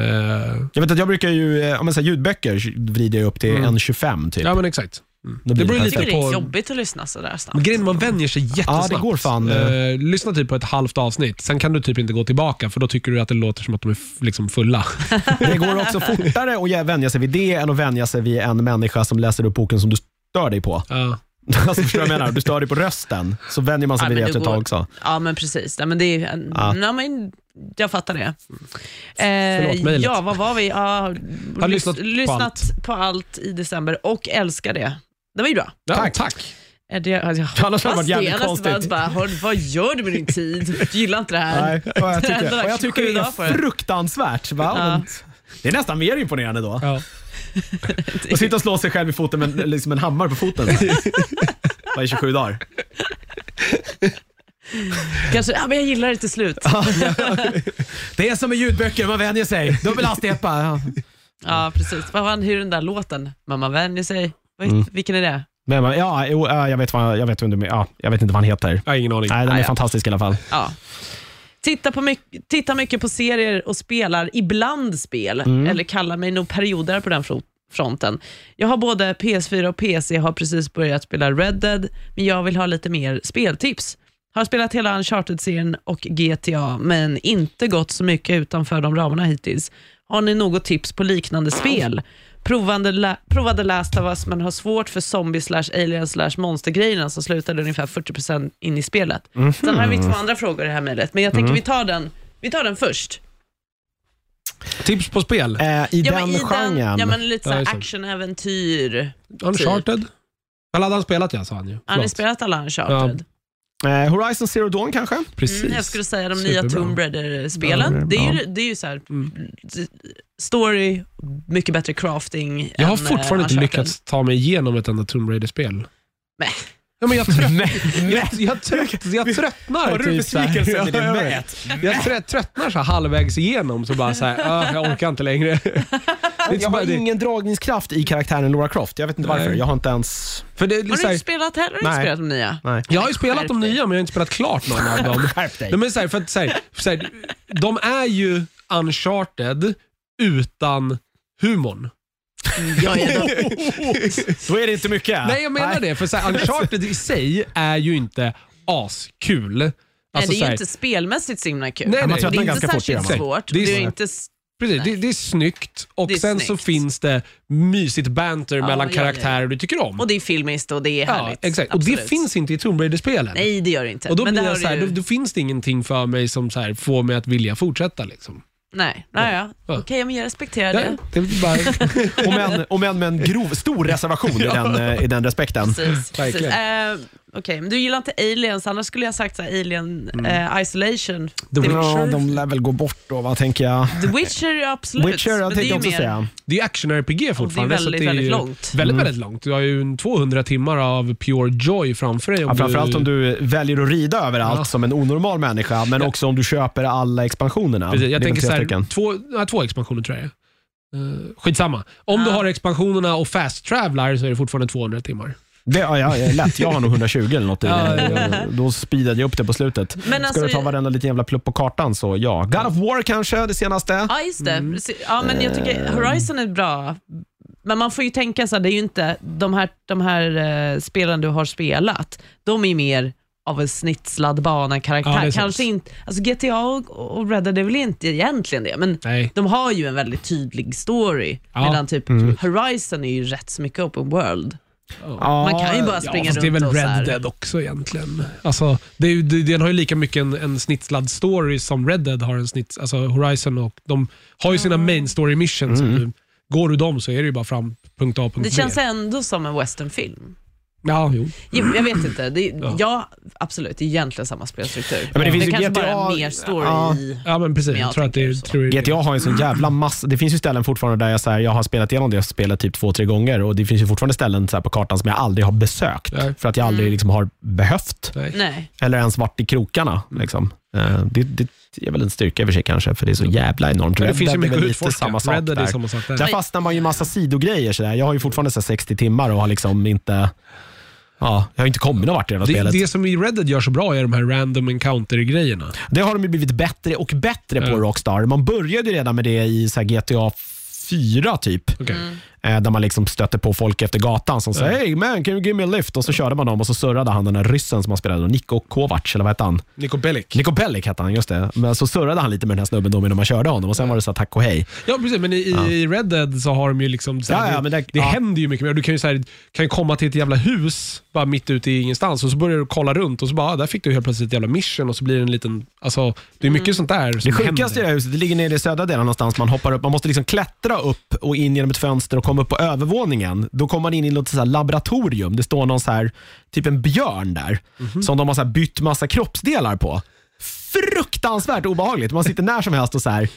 [SPEAKER 1] Jag vet att jag brukar ju, eh, om man säger ljudböcker vrider jag upp till
[SPEAKER 3] Mm.
[SPEAKER 1] 1.25 typ.
[SPEAKER 3] ja men exakt. Mm.
[SPEAKER 1] Då blir
[SPEAKER 3] Det
[SPEAKER 1] det
[SPEAKER 3] beror ju
[SPEAKER 2] Jag
[SPEAKER 3] lite
[SPEAKER 2] tycker det är liksom-
[SPEAKER 3] på...
[SPEAKER 2] jobbigt att lyssna sådär snabbt.
[SPEAKER 3] Men grejen man vänjer sig jättesnabbt.
[SPEAKER 1] Ja, det går fan, eh.
[SPEAKER 3] Eh, lyssna typ på ett halvt avsnitt, sen kan du typ inte gå tillbaka för då tycker du att det låter som att de är f- liksom fulla.
[SPEAKER 1] Det går också fortare att jä- vänja sig vid det än att vänja sig vid en människa som läser upp boken som du stör dig på. <laughs>
[SPEAKER 3] Ja.
[SPEAKER 1] Alltså, förstår du vad jag menar? Du stör dig på rösten, så vänjer man sig
[SPEAKER 2] Ja,
[SPEAKER 1] vid
[SPEAKER 2] men
[SPEAKER 1] det
[SPEAKER 2] det
[SPEAKER 1] efter ett tag
[SPEAKER 2] går.
[SPEAKER 1] också.
[SPEAKER 2] Ja, men precis. Ja, men det är,
[SPEAKER 1] Ja.
[SPEAKER 2] nej, men jag fattar det. Eh,
[SPEAKER 3] Förlåt, mejlet.
[SPEAKER 2] ja, vad var vi? Ja, lys-
[SPEAKER 3] lyssnat på
[SPEAKER 2] lyssnat på allt i december och älskar det. Det var ju bra.
[SPEAKER 3] Ja,
[SPEAKER 1] Tack.
[SPEAKER 3] tack.
[SPEAKER 2] Eh, Det, alltså, jag
[SPEAKER 1] annars hade det varit jävligt
[SPEAKER 2] Annars bara-
[SPEAKER 1] konstigt.
[SPEAKER 2] Bara, "Hör, vad gör du med din tid? Du gillar inte det här.
[SPEAKER 1] Nej, och jag
[SPEAKER 2] Det
[SPEAKER 1] tycker,
[SPEAKER 2] var
[SPEAKER 1] och jag tycker det
[SPEAKER 2] dagar för
[SPEAKER 1] är
[SPEAKER 2] det.
[SPEAKER 1] fruktansvärt. Va?
[SPEAKER 2] Ja.
[SPEAKER 1] Men Det är nästan mer imponerande då.
[SPEAKER 3] Ja.
[SPEAKER 1] Att sitta och slå sig själv i foten med en- liksom en hammare på
[SPEAKER 2] <laughs>
[SPEAKER 1] foten. så här. Bara i 27 dagar. <laughs>
[SPEAKER 2] Kanske, ja, men jag gillar det till slut.
[SPEAKER 1] Det är som med ljudböcker, man vänjer sig. Dubbel hastighet bara. Ja.
[SPEAKER 2] Ja, precis. Vad var hur den där låten? Mamma vänjer sig. Vad- Vilken är det?
[SPEAKER 1] Men, men, ja, jo, ja, jag, vet vad, jag, vet vem du, men- ja, jag vet inte vad han heter.
[SPEAKER 3] Jag har ingen aning.
[SPEAKER 1] Nej, den
[SPEAKER 2] Ah,
[SPEAKER 1] är
[SPEAKER 2] ja.
[SPEAKER 1] fantastisk i alla fall.
[SPEAKER 2] Ja. Titta, på mycket, titta mycket på serier och spelar ibland spel, eller kallar mig nog perioder på den fro- fronten. Jag har både PS4 och PC, har precis börjat spela Red Dead, men jag vill ha lite mer speltips. Har spelat hela Uncharted-serien och GTA, men inte gått så mycket utanför de ramarna hittills. Har ni något tips på liknande spel? Provande la- provade Last of Us, men har svårt för zombie slash alien slash monstergrejerna som slutade ungefär 40% in i spelet.
[SPEAKER 1] Mm.
[SPEAKER 2] Sen har vi två
[SPEAKER 3] Mm.
[SPEAKER 2] andra frågor i det här mejlet, men jag tänker vi tar den, vi tar den först.
[SPEAKER 3] Tips på spel?
[SPEAKER 1] Eh, I
[SPEAKER 2] Ja,
[SPEAKER 1] den
[SPEAKER 2] men i
[SPEAKER 1] genren.
[SPEAKER 2] ja, men lite
[SPEAKER 3] Ja,
[SPEAKER 2] såhär
[SPEAKER 3] just det.
[SPEAKER 2] actionäventyr.
[SPEAKER 3] Uncharted? Eller hade han spelat ja, sa han ju.
[SPEAKER 2] Har typ. ni
[SPEAKER 3] Förlåt.
[SPEAKER 2] spelat alla Uncharted?
[SPEAKER 1] eh, Horizon Zero Dawn kanske?
[SPEAKER 3] Precis.
[SPEAKER 2] Mm, jag skulle säga de nya
[SPEAKER 3] Superbra.
[SPEAKER 2] Tomb Raider-spelen.
[SPEAKER 1] Ja,
[SPEAKER 2] det är ju,
[SPEAKER 1] ja.
[SPEAKER 2] det är ju såhär,
[SPEAKER 3] Mm.
[SPEAKER 2] story, mycket bättre crafting
[SPEAKER 3] Jag har
[SPEAKER 2] än, eh,
[SPEAKER 3] fortfarande inte
[SPEAKER 2] Uncharted.
[SPEAKER 3] lyckats ta mig igenom ett enda Tomb Raider-spel.
[SPEAKER 2] Mäh.
[SPEAKER 3] Ja, men jag,
[SPEAKER 1] <laughs>
[SPEAKER 3] trött,
[SPEAKER 1] Nej. Typ
[SPEAKER 3] jag, Alltså, jag, trött, jag tröttnar. Typ
[SPEAKER 1] Har du besvikelse
[SPEAKER 3] så här.
[SPEAKER 1] med din
[SPEAKER 3] Ja, jag
[SPEAKER 1] mät?
[SPEAKER 3] vet. Jag trö- tröttnar så här halvvägs igenom, så bara så här, "Ah, jag orkar inte längre. Det är inte
[SPEAKER 1] Jag
[SPEAKER 3] bara
[SPEAKER 1] har
[SPEAKER 3] det-
[SPEAKER 1] ingen dragningskraft i karaktären Laura Croft. Jag vet inte varför.
[SPEAKER 3] Nej.
[SPEAKER 1] Jag har inte ens...
[SPEAKER 3] För det, är
[SPEAKER 2] Har du
[SPEAKER 3] så här, Alltså
[SPEAKER 2] inte spelat heller? Har du
[SPEAKER 1] Nej.
[SPEAKER 2] inte spelat de nya?
[SPEAKER 1] Nej.
[SPEAKER 3] jag har ju spelat de
[SPEAKER 2] Skärp dig.
[SPEAKER 3] nya, men jag har inte spelat klart någon av
[SPEAKER 2] <laughs>
[SPEAKER 3] dem.
[SPEAKER 1] Skärp dig.
[SPEAKER 3] Nej, men så här, för att, så här, så här, de är ju uncharted utan humorn.
[SPEAKER 2] Jag är nog-
[SPEAKER 1] <laughs> Då är det inte
[SPEAKER 2] Ah,
[SPEAKER 1] mycket.
[SPEAKER 3] Nej, jag menar det. För så här, Uncharted i sig är ju inte askul.
[SPEAKER 2] Nej,
[SPEAKER 3] Alltså,
[SPEAKER 2] det är
[SPEAKER 3] så
[SPEAKER 2] ju
[SPEAKER 3] här-
[SPEAKER 2] inte spelmässigt så himla kul.
[SPEAKER 3] Nej,
[SPEAKER 1] Man
[SPEAKER 3] nej,
[SPEAKER 1] tröttnar
[SPEAKER 2] det är inte
[SPEAKER 1] ganska fort
[SPEAKER 2] särskilt
[SPEAKER 1] gör man.
[SPEAKER 2] svårt.
[SPEAKER 3] Det är
[SPEAKER 2] Det är
[SPEAKER 3] så-
[SPEAKER 2] inte,
[SPEAKER 3] Precis, det, det är snyggt och
[SPEAKER 2] Det är
[SPEAKER 3] sen så
[SPEAKER 2] snyggt.
[SPEAKER 3] finns det mysigt banter mellan
[SPEAKER 2] ja,
[SPEAKER 3] karaktärer du tycker om.
[SPEAKER 2] och det är filmiskt och det är
[SPEAKER 3] ja,
[SPEAKER 2] härligt.
[SPEAKER 3] exakt. Och det
[SPEAKER 2] Absolut.
[SPEAKER 3] finns inte i Tomb Raider-spelen.
[SPEAKER 2] Nej, det gör det inte.
[SPEAKER 3] Och då,
[SPEAKER 2] Men
[SPEAKER 3] blir
[SPEAKER 2] det
[SPEAKER 3] jag
[SPEAKER 2] har
[SPEAKER 3] så här,
[SPEAKER 2] du
[SPEAKER 3] då, då finns det ingenting för mig som så här, får mig att vilja fortsätta. Liksom.
[SPEAKER 2] Nej, nej ja. okej, men jag respekterar
[SPEAKER 3] Ja,
[SPEAKER 2] det.
[SPEAKER 3] det är bara,
[SPEAKER 1] Om än, om än med en grov, stor
[SPEAKER 2] <laughs>
[SPEAKER 1] reservation i, den, eh, i den respekten.
[SPEAKER 2] Precis. precis.
[SPEAKER 3] Verkligen.
[SPEAKER 2] Eh, okej, men du gillar inte aliens, annars skulle jag sagt så här, alien eh, isolation.
[SPEAKER 3] The
[SPEAKER 1] Ja,
[SPEAKER 2] Det-
[SPEAKER 3] Witcher,
[SPEAKER 1] de lär väl gå bort då, vad tänker jag?
[SPEAKER 2] The Witcher, ja, absolut.
[SPEAKER 1] Witcher, jag
[SPEAKER 2] men det är
[SPEAKER 1] tänkte
[SPEAKER 2] ju
[SPEAKER 1] också
[SPEAKER 2] mer-
[SPEAKER 1] säga.
[SPEAKER 3] det är action-RPG fortfarande.
[SPEAKER 2] väldigt,
[SPEAKER 3] så att
[SPEAKER 2] väldigt
[SPEAKER 3] ju
[SPEAKER 2] långt.
[SPEAKER 3] Väldigt,
[SPEAKER 1] Mm.
[SPEAKER 3] väldigt långt. Du har ju en 200 timmar av pure joy framför dig. Om
[SPEAKER 1] Ja, framförallt om du väljer att rida överallt
[SPEAKER 3] Ja.
[SPEAKER 1] som en onormal människa, men
[SPEAKER 3] Ja.
[SPEAKER 1] också om du köper alla expansionerna.
[SPEAKER 3] Precis, jag
[SPEAKER 1] Det är väl
[SPEAKER 3] tänker
[SPEAKER 1] tre
[SPEAKER 3] så
[SPEAKER 1] stycken.
[SPEAKER 3] här, två, ja, två expansioner tror jag det är. Eh, Skitsamma. Om du
[SPEAKER 2] Ja.
[SPEAKER 3] har expansionerna och fast-travlar så är det fortfarande 200 timmar.
[SPEAKER 1] Det, ja, ja, ja, lätt. Jag har nog 120 eller något. I,
[SPEAKER 3] Ja, ja,
[SPEAKER 1] Då speedade jag upp det på slutet.
[SPEAKER 2] Men
[SPEAKER 1] Ska du
[SPEAKER 2] alltså-
[SPEAKER 1] ta varenda liten jävla plupp på kartan så ja. God of War kanske, det senaste.
[SPEAKER 2] Ja, just det. Precis. Ja, men jag tycker Horizon är ett bra, Men man får ju tänka så här, det är ju inte de här, de här eh, spelen du har spelat, de är ju mer av en snitslad
[SPEAKER 3] Ja,
[SPEAKER 2] bana-karaktär.
[SPEAKER 3] det är sant.
[SPEAKER 2] Kanske inte, alltså GTA och, och Red Dead är väl inte egentligen det, men
[SPEAKER 3] Nej.
[SPEAKER 2] de har ju en väldigt tydlig story.
[SPEAKER 3] Ja. Mm.
[SPEAKER 2] Medan typ Horizon är ju rätt så mycket open world. Man kan ju bara springa
[SPEAKER 3] ja, fast det är
[SPEAKER 2] runt
[SPEAKER 3] väl
[SPEAKER 2] och så
[SPEAKER 3] Red
[SPEAKER 2] här.
[SPEAKER 3] Dead också egentligen. Alltså, det är, ju- det, den har ju lika mycket en, en snitslad story som Red Dead har en snitt, alltså Horizon och de har ju sina main story missions.
[SPEAKER 1] Mm.
[SPEAKER 3] som Du, går du dem så är det ju bara fram punkt A, punkt
[SPEAKER 2] Det känns
[SPEAKER 3] B.
[SPEAKER 2] ändå som en westernfilm.
[SPEAKER 3] Ja, jo.
[SPEAKER 2] Jo, Jag vet inte, det, ja.
[SPEAKER 3] Ja.
[SPEAKER 2] absolut, det är egentligen samma spelstruktur.
[SPEAKER 1] men det finns ju
[SPEAKER 2] kanske bara
[SPEAKER 1] GTA
[SPEAKER 2] är mer story
[SPEAKER 1] ja.
[SPEAKER 2] i...
[SPEAKER 3] ja, men precis.
[SPEAKER 2] Men jag
[SPEAKER 3] jag tror att det
[SPEAKER 2] tänker
[SPEAKER 3] är...
[SPEAKER 2] så.
[SPEAKER 3] Tror jag det är-
[SPEAKER 1] GTA har ju en sån jävla massa, det finns ju ställen fortfarande där jag, så här, jag har spelat igenom det spelet typ två, tre gånger och det finns ju fortfarande ställen så här, på kartan som jag aldrig har besökt
[SPEAKER 3] Nej.
[SPEAKER 1] för att jag
[SPEAKER 2] Mm.
[SPEAKER 1] aldrig liksom, har behövt
[SPEAKER 3] Nej.
[SPEAKER 2] Nej.
[SPEAKER 1] eller ens varit i krokarna.
[SPEAKER 3] Mm.
[SPEAKER 1] Liksom. Eh, Det, det är väl en styrka i och för sig kanske för det är så jävla enormt.
[SPEAKER 3] Men det
[SPEAKER 1] Red
[SPEAKER 3] finns ju
[SPEAKER 1] Dead är
[SPEAKER 3] mycket
[SPEAKER 1] väl
[SPEAKER 3] att
[SPEAKER 1] lite
[SPEAKER 3] utforska.
[SPEAKER 1] samma sak
[SPEAKER 3] Red Dead är
[SPEAKER 1] där.
[SPEAKER 3] samma sak där.
[SPEAKER 1] Där fastnar man ju i massa sidogrejer. Så där. Jag har ju fortfarande så här 60 timmar och har liksom inte Ja, jag har inte kommit någon vart i det här
[SPEAKER 3] Det,
[SPEAKER 1] spelet.
[SPEAKER 3] det som i Red Dead gör så bra är de här random encounter-grejerna.
[SPEAKER 1] Det har de ju blivit bättre och bättre
[SPEAKER 3] Mm.
[SPEAKER 1] på Rockstar. Man började ju redan med det i så här GTA 4 typ.
[SPEAKER 3] Okej.
[SPEAKER 2] Mm.
[SPEAKER 3] Mm.
[SPEAKER 1] Eh, Där man liksom stötte på folk efter gatan som sa “Hey man, can you give me a lift?” och så körde man dem och så surrade han den där ryssen som han spelade, då, Niko Kovac, eller vad hette han?
[SPEAKER 3] Nico Bellic.
[SPEAKER 1] Niko Bellic hette han, just det. Men så surrade han lite med den här snubben då medan man körde honom och sen var det så här, tack och hej.
[SPEAKER 3] Ja, precis. Men i, i- i Red Dead så har de ju liksom... Så här,
[SPEAKER 1] Ja, ja,
[SPEAKER 3] det-
[SPEAKER 1] men det-
[SPEAKER 3] det
[SPEAKER 1] ja.
[SPEAKER 3] händer ju mycket mer. Du kan ju så här, kan ju komma till ett jävla hus bara mitt ute i ingenstans och så börjar du kolla runt och så bara, ah, där fick du helt plötsligt ett jävla mission och så blir det en liten... Alltså, det är mycket sånt där som
[SPEAKER 1] Mm. Det sjukaste i det
[SPEAKER 3] händer.
[SPEAKER 1] här huset det ligger nere i södra delen någonstans. Man hoppar upp, man måste liksom klättra upp och in genom ett fönster och komma upp på övervåningen. Då kommer man in i något så här laboratorium. Det står någon så här, typ en björn där
[SPEAKER 3] Mhm.
[SPEAKER 1] som de har så här bytt massa kroppsdelar på. Fruktansvärt obehagligt. Man sitter när som helst och så här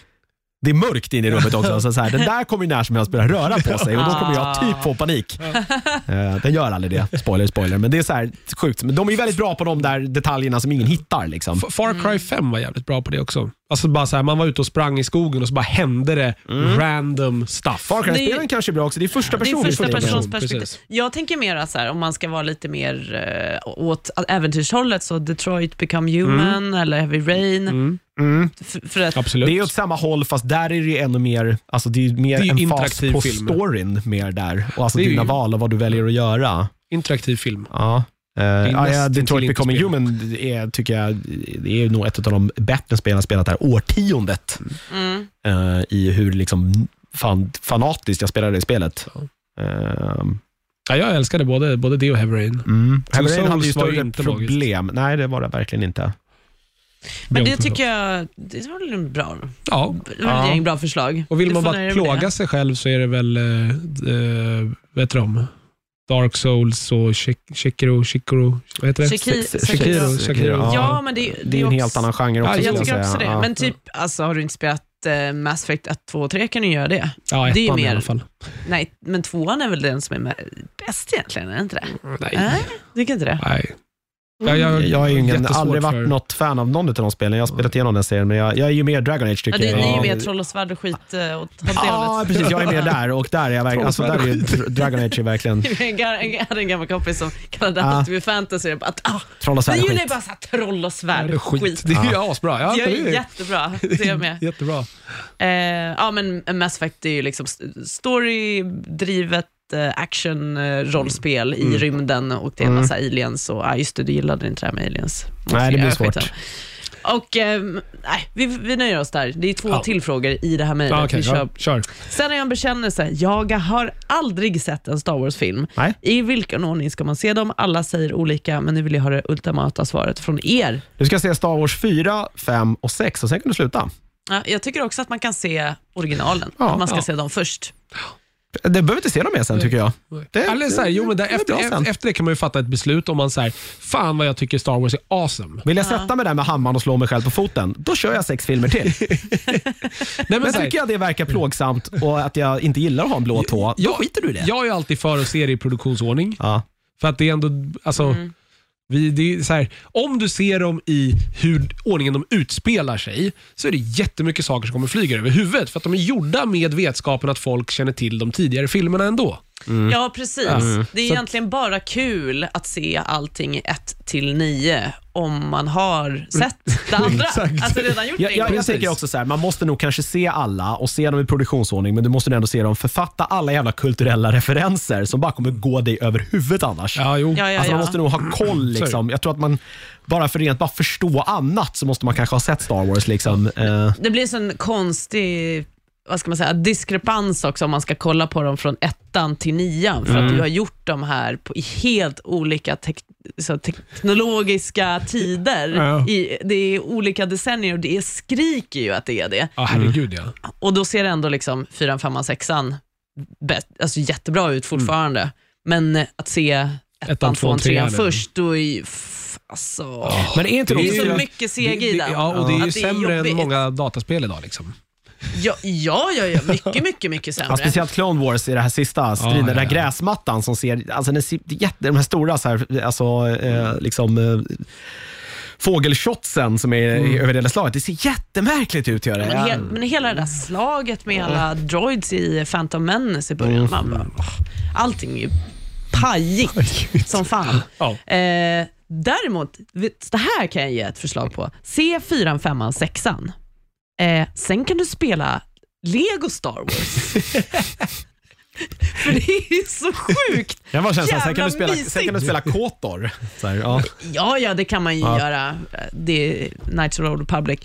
[SPEAKER 1] det är mörkt inne i rummet också. Så så här, den där kommer ju när som helst börja röra på sig och då kommer jag typ få panik. Eh, Den gör aldrig det. Spoiler, spoiler. Men det är så här sjukt. Men de är ju väldigt bra på de där detaljerna som ingen hittar. Liksom.
[SPEAKER 3] F- Far Cry
[SPEAKER 2] Mm.
[SPEAKER 3] 5 var jävligt bra på det också. Alltså bara så här, man var ute och sprang i skogen och så bara hände det random stuff.
[SPEAKER 1] Mm. Far
[SPEAKER 2] Det är ju-
[SPEAKER 1] Cry-spelen kanske är bra också. Det är första
[SPEAKER 2] Det är
[SPEAKER 1] person.
[SPEAKER 2] första
[SPEAKER 1] vi får in.
[SPEAKER 2] persons
[SPEAKER 3] person,
[SPEAKER 2] perspektiv.
[SPEAKER 3] precis.
[SPEAKER 2] Jag tänker mer så här, om man ska vara lite mer eh, åt äventyrshållet, så Detroit Become
[SPEAKER 3] Mm.
[SPEAKER 2] Human eller Heavy Rain. F- för att,
[SPEAKER 3] Absolut.
[SPEAKER 1] Mm. Det är åt samma håll fast där är det ju ännu mer, alltså det är ju mer
[SPEAKER 3] Det är ju
[SPEAKER 1] en fas
[SPEAKER 3] interaktiv
[SPEAKER 1] på
[SPEAKER 3] film.
[SPEAKER 1] storyn mer där. Och alltså
[SPEAKER 3] Det är
[SPEAKER 1] dina
[SPEAKER 3] ju-
[SPEAKER 1] val och vad du väljer att göra.
[SPEAKER 3] Interaktiv film.
[SPEAKER 1] Ja. Uh, ja,
[SPEAKER 3] nästintill
[SPEAKER 1] Detroit
[SPEAKER 3] inte
[SPEAKER 1] Becoming
[SPEAKER 3] spel.
[SPEAKER 1] Human är, tycker jag, det är nog ett av de bättre spelen jag spelat det här årtiondet.
[SPEAKER 2] mm,
[SPEAKER 1] eh, I hur liksom fan, fanatiskt jag spelade det spelet.
[SPEAKER 3] Ja.
[SPEAKER 1] Ehm,
[SPEAKER 3] Ja, jag älskade både, både det och Heavy Rain.
[SPEAKER 1] Mm. Heavy Rain
[SPEAKER 3] Souls
[SPEAKER 1] hade ju
[SPEAKER 3] var ju
[SPEAKER 1] större
[SPEAKER 3] inte magiskt.
[SPEAKER 1] problem. Nej, det var det verkligen inte.
[SPEAKER 2] men det
[SPEAKER 3] Beyond
[SPEAKER 2] tycker jag, det var väl en bra,
[SPEAKER 3] Ja.
[SPEAKER 2] det var ett
[SPEAKER 1] Ja.
[SPEAKER 2] gäng bra förslag.
[SPEAKER 3] Och
[SPEAKER 2] Du
[SPEAKER 3] vill man
[SPEAKER 2] får nöja
[SPEAKER 3] bara
[SPEAKER 2] dig med
[SPEAKER 3] plåga sig själv så är det väl, eh, eh, vad heter de? Dark Souls och Shik- Shikiro, Shikiro, vad heter
[SPEAKER 2] det.
[SPEAKER 3] det?
[SPEAKER 2] Shiki-
[SPEAKER 3] Shikiro,
[SPEAKER 1] Sekiro.
[SPEAKER 2] Shikiro.
[SPEAKER 3] Shikiro.
[SPEAKER 1] Ja.
[SPEAKER 2] Ja, men det, det,
[SPEAKER 1] Det är ju en
[SPEAKER 2] också-
[SPEAKER 1] helt annan genre också.
[SPEAKER 3] Ja,
[SPEAKER 2] Jag
[SPEAKER 1] skulle
[SPEAKER 2] tycker
[SPEAKER 1] säga.
[SPEAKER 2] också det.
[SPEAKER 1] Ja.
[SPEAKER 2] Men typ, alltså, har du inte spelat eh, Mass Effect 1, 2 och 3 kan du göra det.
[SPEAKER 3] Ja,
[SPEAKER 2] Det är ju
[SPEAKER 3] ettan i
[SPEAKER 2] mer-
[SPEAKER 3] alla fall.
[SPEAKER 2] Nej, men tvåan är väl den som är med- bäst egentligen, är det inte det?
[SPEAKER 3] Nej.
[SPEAKER 2] Nej, tycker inte det?
[SPEAKER 3] Nej. Ja, jag,
[SPEAKER 1] Jag har ju ingen,
[SPEAKER 3] jättesvårt
[SPEAKER 1] aldrig varit
[SPEAKER 3] för-
[SPEAKER 1] något fan av någon av de spelen. Jag har spelat igenom den serien, men jag, jag är ju mer Dragon Age
[SPEAKER 2] Ja,
[SPEAKER 1] tycker
[SPEAKER 2] det,
[SPEAKER 1] jag.
[SPEAKER 2] Ni är ju
[SPEAKER 1] Ja.
[SPEAKER 2] mer troll och svärd och skit eh, åt åt det
[SPEAKER 1] Ja,
[SPEAKER 2] hållet.
[SPEAKER 1] precis. Jag är mer där och där är jag verkligen... Alltså, där är ju,
[SPEAKER 3] Trollspö.
[SPEAKER 1] Dragon Age är verkligen
[SPEAKER 2] <laughs> Jag gar- jag hade en gammal kompis som kallade
[SPEAKER 1] Ja.
[SPEAKER 2] allt för fantasy. Jag bara, att, ah,
[SPEAKER 1] troll och
[SPEAKER 2] det är ju
[SPEAKER 1] särskilt.
[SPEAKER 2] det bara så här, troll och
[SPEAKER 3] Ja, det är
[SPEAKER 2] svärd.
[SPEAKER 3] skit. Det är ju asbra. Ja,
[SPEAKER 2] Det
[SPEAKER 3] det
[SPEAKER 2] är
[SPEAKER 3] är
[SPEAKER 2] jättebra, det är jag med.
[SPEAKER 3] Jättebra.
[SPEAKER 2] Eh, ja, men Mass Effect är ju liksom st- storydrivet eh, action eh, rollspel i rymden och det är en massa aliens och, ah, just det, du gillade inte det här med aliens. Måste
[SPEAKER 1] Nej, det blir
[SPEAKER 2] göra
[SPEAKER 1] svårt.
[SPEAKER 2] skiten. Och, ehm, nej, vi, vi nöjer oss där. Det är två
[SPEAKER 3] Ja.
[SPEAKER 2] till frågor i det här mejlet.
[SPEAKER 3] Ja, okej,
[SPEAKER 2] vi
[SPEAKER 3] ja,
[SPEAKER 2] kör.
[SPEAKER 3] kör.
[SPEAKER 2] Sen har jag en bekännelse. Jag har aldrig sett en Star Wars-film.
[SPEAKER 1] Nej.
[SPEAKER 2] I vilken ordning ska man se dem? Alla säger olika, men nu vill jag ha det ultimata svaret från er.
[SPEAKER 1] Du ska se Star Wars 4, 5 och 6 och sen kan du sluta.
[SPEAKER 2] Ja, jag tycker också att man kan se originalen.
[SPEAKER 1] Ja,
[SPEAKER 2] att man ska
[SPEAKER 3] ja.
[SPEAKER 2] se dem först.
[SPEAKER 1] Det behöver inte se dem mer sen tycker jag. Det-
[SPEAKER 3] Eller så här, jo, men där,
[SPEAKER 1] det är bra
[SPEAKER 3] efter,
[SPEAKER 1] sen.
[SPEAKER 3] efter det kan man ju fatta ett beslut om man säger fan vad jag tycker Star Wars är awesome.
[SPEAKER 1] Vill jag sätta mig där med hammaren och slå mig själv på foten, då kör jag sex filmer till.
[SPEAKER 2] <laughs>
[SPEAKER 3] Nej,
[SPEAKER 1] Men
[SPEAKER 3] så här-
[SPEAKER 1] tycker jag det verkar plågsamt och att jag inte gillar att ha en blå tå, då
[SPEAKER 3] Jag-
[SPEAKER 1] skiter du i det.
[SPEAKER 3] Jag är ju alltid för att se det i produktionsordning.
[SPEAKER 1] Ja.
[SPEAKER 3] För att det är ändå, alltså,
[SPEAKER 2] Mm.
[SPEAKER 3] vi, det är så här, om du ser dem i hur ordningen de utspelar sig, så är det jättemycket saker som kommer flyga över huvudet. För att de är gjorda med vetskapen att folk känner till de tidigare filmerna ändå.
[SPEAKER 1] Mm.
[SPEAKER 2] Ja, precis.
[SPEAKER 1] Mm.
[SPEAKER 2] Det är
[SPEAKER 1] Så-
[SPEAKER 2] egentligen bara kul att se allting i 1 till 9 om man har
[SPEAKER 1] <laughs>
[SPEAKER 2] sett det andra.
[SPEAKER 3] Exakt.
[SPEAKER 2] alltså redan gjort
[SPEAKER 1] Jag,
[SPEAKER 2] det.
[SPEAKER 1] jag, jag
[SPEAKER 2] innan.
[SPEAKER 1] tänker också så här, man måste nog kanske se alla och se dem i produktionsordning, men du måste ändå se dem författa alla jävla kulturella referenser som bara kommer gå dig över huvudet annars.
[SPEAKER 3] Ja, jo.
[SPEAKER 2] Ja, ja,
[SPEAKER 1] Alltså
[SPEAKER 2] ja.
[SPEAKER 1] man måste nog ha koll. Liksom. Jag tror att man, bara för rent bara förstå annat, så måste man kanske ha sett Star Wars. Liksom. Eh,
[SPEAKER 2] Det blir en sån konstig vad ska man säga, diskrepans också om man ska kolla på dem från ettan till nian för
[SPEAKER 1] Mm.
[SPEAKER 2] att du har gjort de här på, i helt olika tek, så teknologiska tider.
[SPEAKER 3] Ja.
[SPEAKER 2] I, det är olika decennier och det skriker ju att det är det.
[SPEAKER 3] Ja, herregud ja.
[SPEAKER 2] Och då ser det ändå liksom 4, 5, 6 alltså jättebra ut fortfarande. Men eh, att se ettan,
[SPEAKER 3] Mm.
[SPEAKER 2] tvåan,
[SPEAKER 3] Ettan, tvåan,
[SPEAKER 2] trean
[SPEAKER 3] trean, eller?
[SPEAKER 2] först, då är ju... F- alltså,
[SPEAKER 1] Men är inte
[SPEAKER 2] det
[SPEAKER 1] de
[SPEAKER 2] är så
[SPEAKER 1] fyra...
[SPEAKER 2] mycket CG i den.
[SPEAKER 3] Det- det- Ja, och det är ju
[SPEAKER 2] Att
[SPEAKER 3] sämre
[SPEAKER 2] jobbigt.
[SPEAKER 3] än många dataspel idag. Liksom.
[SPEAKER 2] Ja, ja, ja, ja. mycket, mycket, mycket
[SPEAKER 1] Ja,
[SPEAKER 2] sämre.
[SPEAKER 1] speciellt Clone Wars i det här sista striden,
[SPEAKER 3] ja,
[SPEAKER 1] den där
[SPEAKER 3] ja.
[SPEAKER 1] gräsmattan som ser, alltså den ser det är jätte, de här stora så här, alltså, eh, liksom, eh, fågelshotsen som är i- över hela slaget, det ser jättemärkligt ut. Gör det.
[SPEAKER 2] Men, he men hela det där slaget med alla droids i Phantom Menace i början,
[SPEAKER 3] Mm.
[SPEAKER 2] man bara, åh, allting är ju
[SPEAKER 3] <laughs>
[SPEAKER 2] pajigt som fan.
[SPEAKER 3] Ja.
[SPEAKER 2] Eh, däremot, vet- det här kan jag ge ett förslag på. Se fyran, femman, sexan. Eh, sen kan du spela Lego Star Wars. För det är ju så sjukt.
[SPEAKER 1] Jag bara känner så här, sen
[SPEAKER 2] Jävla
[SPEAKER 1] kan du spela,
[SPEAKER 2] mysigt.
[SPEAKER 1] sen kan du spela
[SPEAKER 2] <laughs>
[SPEAKER 1] Kotor. Så här, ja.
[SPEAKER 2] Ja, ja, det kan man ju
[SPEAKER 1] Ja.
[SPEAKER 2] göra. Det är Knights of the Old Republic.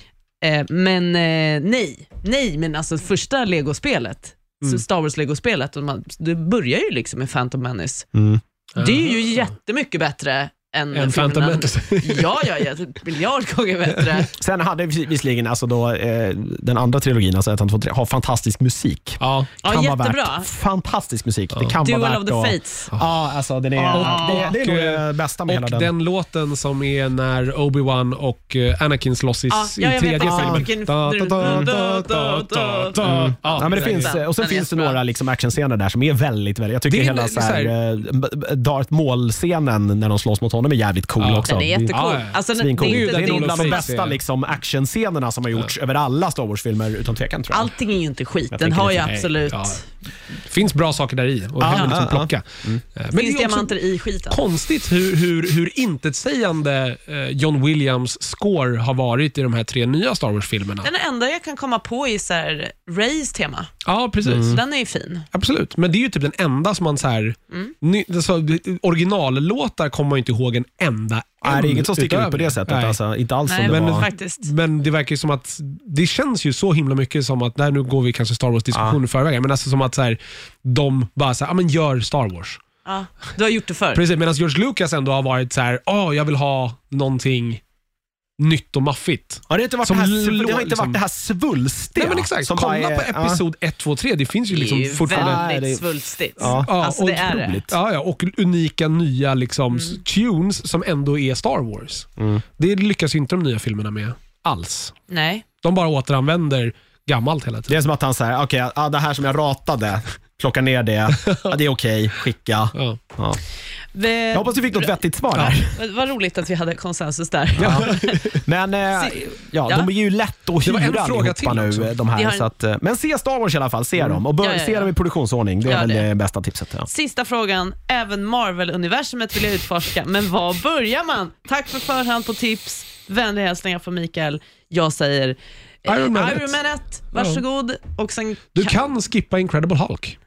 [SPEAKER 2] Eh, men eh, nej, nej, men alltså första Lego-spelet, så Star Wars-Lego-spelet, och man- det börjar ju liksom med Phantom Menace.
[SPEAKER 1] Mm.
[SPEAKER 2] Det är ju jättemycket bättre än
[SPEAKER 3] En Phantom
[SPEAKER 2] filmen.
[SPEAKER 1] <laughs>
[SPEAKER 3] Menace.
[SPEAKER 2] Ja, ja, ja, typ miljard gånger bättre.
[SPEAKER 1] Sen hade vi visserligen alltså då, eh, den andra trilogin, alltså 1, 2, 3, har fantastisk musik.
[SPEAKER 3] Ja.
[SPEAKER 2] Ja,
[SPEAKER 1] Kan vara
[SPEAKER 2] jättebra.
[SPEAKER 1] värt- Fantastisk musik. Det kan vara
[SPEAKER 2] Duel
[SPEAKER 1] värt
[SPEAKER 2] of the
[SPEAKER 1] att-
[SPEAKER 2] Fates.
[SPEAKER 1] Ja, alltså den är,
[SPEAKER 2] Ah.
[SPEAKER 1] det, det är nog
[SPEAKER 3] Och-
[SPEAKER 1] det bästa med
[SPEAKER 3] Och
[SPEAKER 1] hela
[SPEAKER 3] den.
[SPEAKER 1] den.
[SPEAKER 3] låten som är när Obi-Wan och eh, Anakin slåss i,
[SPEAKER 2] Ja,
[SPEAKER 3] i
[SPEAKER 2] ja, jag vet
[SPEAKER 3] tredje
[SPEAKER 2] exakt vilken-
[SPEAKER 3] filmen. Da, da, da, da, da, da, da.
[SPEAKER 1] Mm.
[SPEAKER 3] Ja,
[SPEAKER 1] ja, men det
[SPEAKER 3] där är
[SPEAKER 1] finns, och sen
[SPEAKER 2] Den är
[SPEAKER 1] finns det
[SPEAKER 2] jättebra.
[SPEAKER 1] några liksom actionscener där som är väldigt, väldigt jag tycker
[SPEAKER 3] Det är
[SPEAKER 1] hela
[SPEAKER 3] lite
[SPEAKER 1] så här,
[SPEAKER 3] så
[SPEAKER 1] eh, b- b- Darth Maul-scenen när de slåss mot honom är jävligt cool
[SPEAKER 3] Ja.
[SPEAKER 1] också. Mm.
[SPEAKER 2] Den är jättecool.
[SPEAKER 3] Ja, ja.
[SPEAKER 2] Alltså, den,
[SPEAKER 1] Svincool.
[SPEAKER 2] det är
[SPEAKER 1] Det
[SPEAKER 2] inte,
[SPEAKER 1] är, nog
[SPEAKER 2] det är
[SPEAKER 1] bland de
[SPEAKER 2] inte,
[SPEAKER 3] precis.
[SPEAKER 1] bästa liksom, actionscenerna som har gjorts över alla Star Wars-filmer utan tvekan tror jag.
[SPEAKER 2] allting är ju inte skit.
[SPEAKER 1] Jag
[SPEAKER 2] Den
[SPEAKER 1] tänker
[SPEAKER 2] har ju
[SPEAKER 1] lite,
[SPEAKER 3] nej,
[SPEAKER 2] absolut...
[SPEAKER 3] ja. finns bra saker där i och det kan man liksom
[SPEAKER 1] ah, ah.
[SPEAKER 3] plocka. Eh, Men
[SPEAKER 2] finns
[SPEAKER 3] det är också
[SPEAKER 2] diamanter i skiten.
[SPEAKER 3] konstigt hur, hur, hur intetsägande eh, John Williams score har varit i de här tre nya Star Wars-filmerna.
[SPEAKER 2] Den enda jag kan komma på är så här, Rays tema.
[SPEAKER 3] Ja, precis.
[SPEAKER 1] Mm.
[SPEAKER 2] Så den är ju fin.
[SPEAKER 3] Absolut, men det är ju typ den enda som man så här,
[SPEAKER 2] Mm.
[SPEAKER 3] ny, alltså, Originallåtar kommer man ju inte ihåg en enda
[SPEAKER 1] Nej, det är
[SPEAKER 3] en
[SPEAKER 1] inget som sticker ut
[SPEAKER 3] utöver
[SPEAKER 1] på det sättet.
[SPEAKER 3] Nej.
[SPEAKER 1] Alltså, inte alls
[SPEAKER 2] Nej,
[SPEAKER 1] som det
[SPEAKER 2] men
[SPEAKER 1] var.
[SPEAKER 2] faktiskt.
[SPEAKER 3] Men det verkar ju som att det känns ju så himla mycket som att, nej, nu går vi kanske Star
[SPEAKER 1] Ah.
[SPEAKER 3] Wars-diskussion i förväg, men alltså som att så här, de bara så här, ja men gör Star Wars.
[SPEAKER 2] Ja, du har gjort det förr.
[SPEAKER 3] Precis, medan George Lucas ändå har varit så här, ja jag vill ha någonting nytt och maffigt.
[SPEAKER 1] Har det, inte varit det,
[SPEAKER 3] Som
[SPEAKER 1] här,
[SPEAKER 3] lå-
[SPEAKER 1] det har inte
[SPEAKER 3] liksom-
[SPEAKER 1] varit det här svulstiga?
[SPEAKER 3] nej men exakt,
[SPEAKER 1] som bara
[SPEAKER 3] kolla
[SPEAKER 1] är-
[SPEAKER 3] på episod 1, 2, 3, det finns ju liksom
[SPEAKER 2] det är ju
[SPEAKER 3] fortfarande...
[SPEAKER 1] Nej, det är-
[SPEAKER 2] väldigt svulstigt.
[SPEAKER 1] Ja.
[SPEAKER 2] alltså, det är det. Mm.
[SPEAKER 3] otroligt. Ja, ja, och unika nya liksom, s- tunes som ändå är Star Wars.
[SPEAKER 1] Mm.
[SPEAKER 3] Det lyckas ju inte de nya filmerna med alls.
[SPEAKER 2] Nej.
[SPEAKER 3] De bara återanvänder gammalt hela
[SPEAKER 1] Ja. Det
[SPEAKER 3] tiden.
[SPEAKER 1] är som att han säger, okej, ah, det här som jag ratade, plocka ner
[SPEAKER 3] <laughs>
[SPEAKER 1] det, ah, det är okej, skicka.
[SPEAKER 3] Ja.
[SPEAKER 1] Ja.
[SPEAKER 2] Vi,
[SPEAKER 1] Jag hoppas du fick något vettigt svar här.
[SPEAKER 2] Vad- Vad roligt att vi hade konsensus där.
[SPEAKER 1] Men eh, ja, de är ju lätt att
[SPEAKER 3] Det var en
[SPEAKER 1] hyra
[SPEAKER 3] fråga
[SPEAKER 1] allihopa
[SPEAKER 3] till
[SPEAKER 1] nu.
[SPEAKER 3] också. Mm.
[SPEAKER 1] De
[SPEAKER 2] Vi
[SPEAKER 1] här,
[SPEAKER 2] har en-
[SPEAKER 1] så att, eh, men se Star Wars i alla fall, se dem. Och bör,
[SPEAKER 2] Ja, ja,
[SPEAKER 1] Se
[SPEAKER 2] ja.
[SPEAKER 1] dem i produktionsordning, det är
[SPEAKER 2] Ja,
[SPEAKER 1] väl
[SPEAKER 2] det.
[SPEAKER 1] det bästa tipset. Ja.
[SPEAKER 2] Sista frågan. Även Marvel-universumet vill jag utforska, men var börjar man? Tack för förhand på tips. Vänliga hälsningar från Mikael. Jag säger eh,
[SPEAKER 3] Iron Man
[SPEAKER 2] Iron
[SPEAKER 3] ett.
[SPEAKER 2] Man 1. Varsågod. Och sen
[SPEAKER 3] Du kan skippa Incredible Hulk.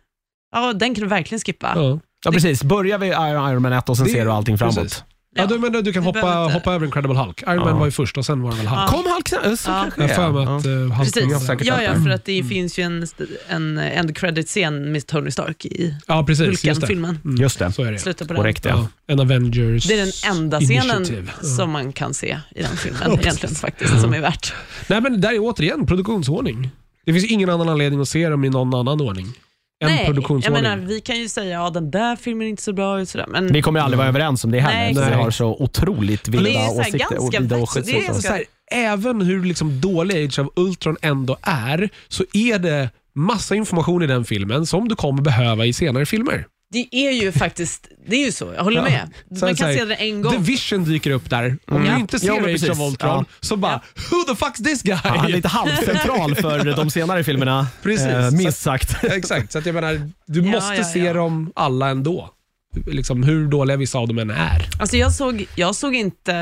[SPEAKER 2] Ja, den kan du verkligen skippa.
[SPEAKER 3] Ja.
[SPEAKER 1] ja, precis. Börja vid Iron Iron Man 1 och sen
[SPEAKER 3] Det-
[SPEAKER 1] ser du allting framåt.
[SPEAKER 3] precis.
[SPEAKER 2] Ja.
[SPEAKER 3] Ja, du, men du kan
[SPEAKER 2] behöver
[SPEAKER 3] hoppa,
[SPEAKER 2] inte.
[SPEAKER 3] hoppa över Incredible Hulk. Iron Man var ju först och sen var det väl Hulk.
[SPEAKER 2] Ja.
[SPEAKER 1] Kom Hulk, sen- eh, så
[SPEAKER 2] Ja.
[SPEAKER 1] kanske
[SPEAKER 3] Jag har för mig
[SPEAKER 1] Ja.
[SPEAKER 3] att eh, Hulk var
[SPEAKER 2] Precis.
[SPEAKER 3] säkert
[SPEAKER 2] Ja, ja,
[SPEAKER 3] där.
[SPEAKER 2] för att det finns ju en, en eh, end credit-scen med Tony Stark i
[SPEAKER 3] ja, precis. Just det. Mm.
[SPEAKER 2] Hulken-filmen.
[SPEAKER 1] Just det,
[SPEAKER 3] Så är det.
[SPEAKER 2] Slutet på den.
[SPEAKER 1] korrekt. Ja.
[SPEAKER 3] Ja. En Avengers
[SPEAKER 2] Det är den enda scenen
[SPEAKER 3] initiativ. Ja.
[SPEAKER 2] som man kan se i den filmen egentligen faktiskt, som är värt.
[SPEAKER 3] Nej, men där är återigen produktionsordning. Det finns ingen annan anledning att se dem i någon annan ordning. En
[SPEAKER 2] Nej, jag
[SPEAKER 3] produktionsordning.
[SPEAKER 2] menar, vi kan ju säga att ja, den där filmen är inte så bra ut sådär, men
[SPEAKER 1] Vi kommer aldrig vara överens om det heller,
[SPEAKER 2] Mm. Nej,
[SPEAKER 1] för vi
[SPEAKER 3] exakt.
[SPEAKER 1] har så otroligt
[SPEAKER 2] Men det är ju
[SPEAKER 1] vilda
[SPEAKER 2] så här
[SPEAKER 1] åsikter och
[SPEAKER 2] ganska
[SPEAKER 1] vida
[SPEAKER 2] vackert, så det är
[SPEAKER 1] åsikter.
[SPEAKER 2] ganska-
[SPEAKER 3] så här, även hur liksom dålig Age of Ultron ändå är, så är det massa information i den filmen som du kommer behöva i senare filmer.
[SPEAKER 2] Det är ju faktiskt, det är ju så, jag håller
[SPEAKER 3] Ja.
[SPEAKER 2] med.
[SPEAKER 3] Så
[SPEAKER 2] Man
[SPEAKER 3] här, så
[SPEAKER 2] kan
[SPEAKER 3] här,
[SPEAKER 2] se det en gång. Mm.
[SPEAKER 3] The Vision dyker upp där. Om
[SPEAKER 2] Ja.
[SPEAKER 3] du inte
[SPEAKER 1] Ja, men
[SPEAKER 3] ser Age
[SPEAKER 1] precis.
[SPEAKER 3] of Ultron
[SPEAKER 1] Ja.
[SPEAKER 3] så bara “Who the fuck's this guy?”
[SPEAKER 1] Han är lite halvcentral för de senare filmerna,
[SPEAKER 2] <laughs>
[SPEAKER 3] Precis.
[SPEAKER 1] eh, minst sagt.
[SPEAKER 3] <laughs> Exakt, så att jag menar, du
[SPEAKER 2] Ja,
[SPEAKER 3] måste
[SPEAKER 2] ja,
[SPEAKER 3] se
[SPEAKER 2] ja.
[SPEAKER 3] dem alla ändå. Liksom, hur dåliga vissa av dem än är.
[SPEAKER 2] Alltså jag såg, jag såg inte,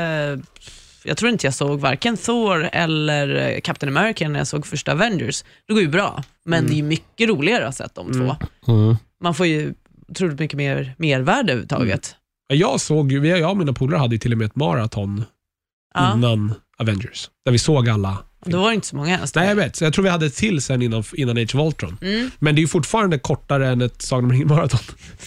[SPEAKER 2] jag tror inte jag såg varken Thor eller eh, Captain America när jag såg första Avengers. Det går ju bra, men
[SPEAKER 1] Mm.
[SPEAKER 2] det är ju mycket roligare att ha sett de två. Man får ju otroligt mycket mer mervärde överhuvudtaget.
[SPEAKER 3] Jag såg ju, jag och mina polare hade ju till och med ett maraton
[SPEAKER 1] Mm.
[SPEAKER 2] Ja,
[SPEAKER 3] innan Avengers, där vi såg alla.
[SPEAKER 2] Då var det inte så många ens.
[SPEAKER 3] Nej, jag vet. Så jag tror vi hade ett till sen innan, innan Age of Ultron.
[SPEAKER 2] Mm.
[SPEAKER 3] Men det är ju fortfarande kortare än ett Sagan om ringen-maraton.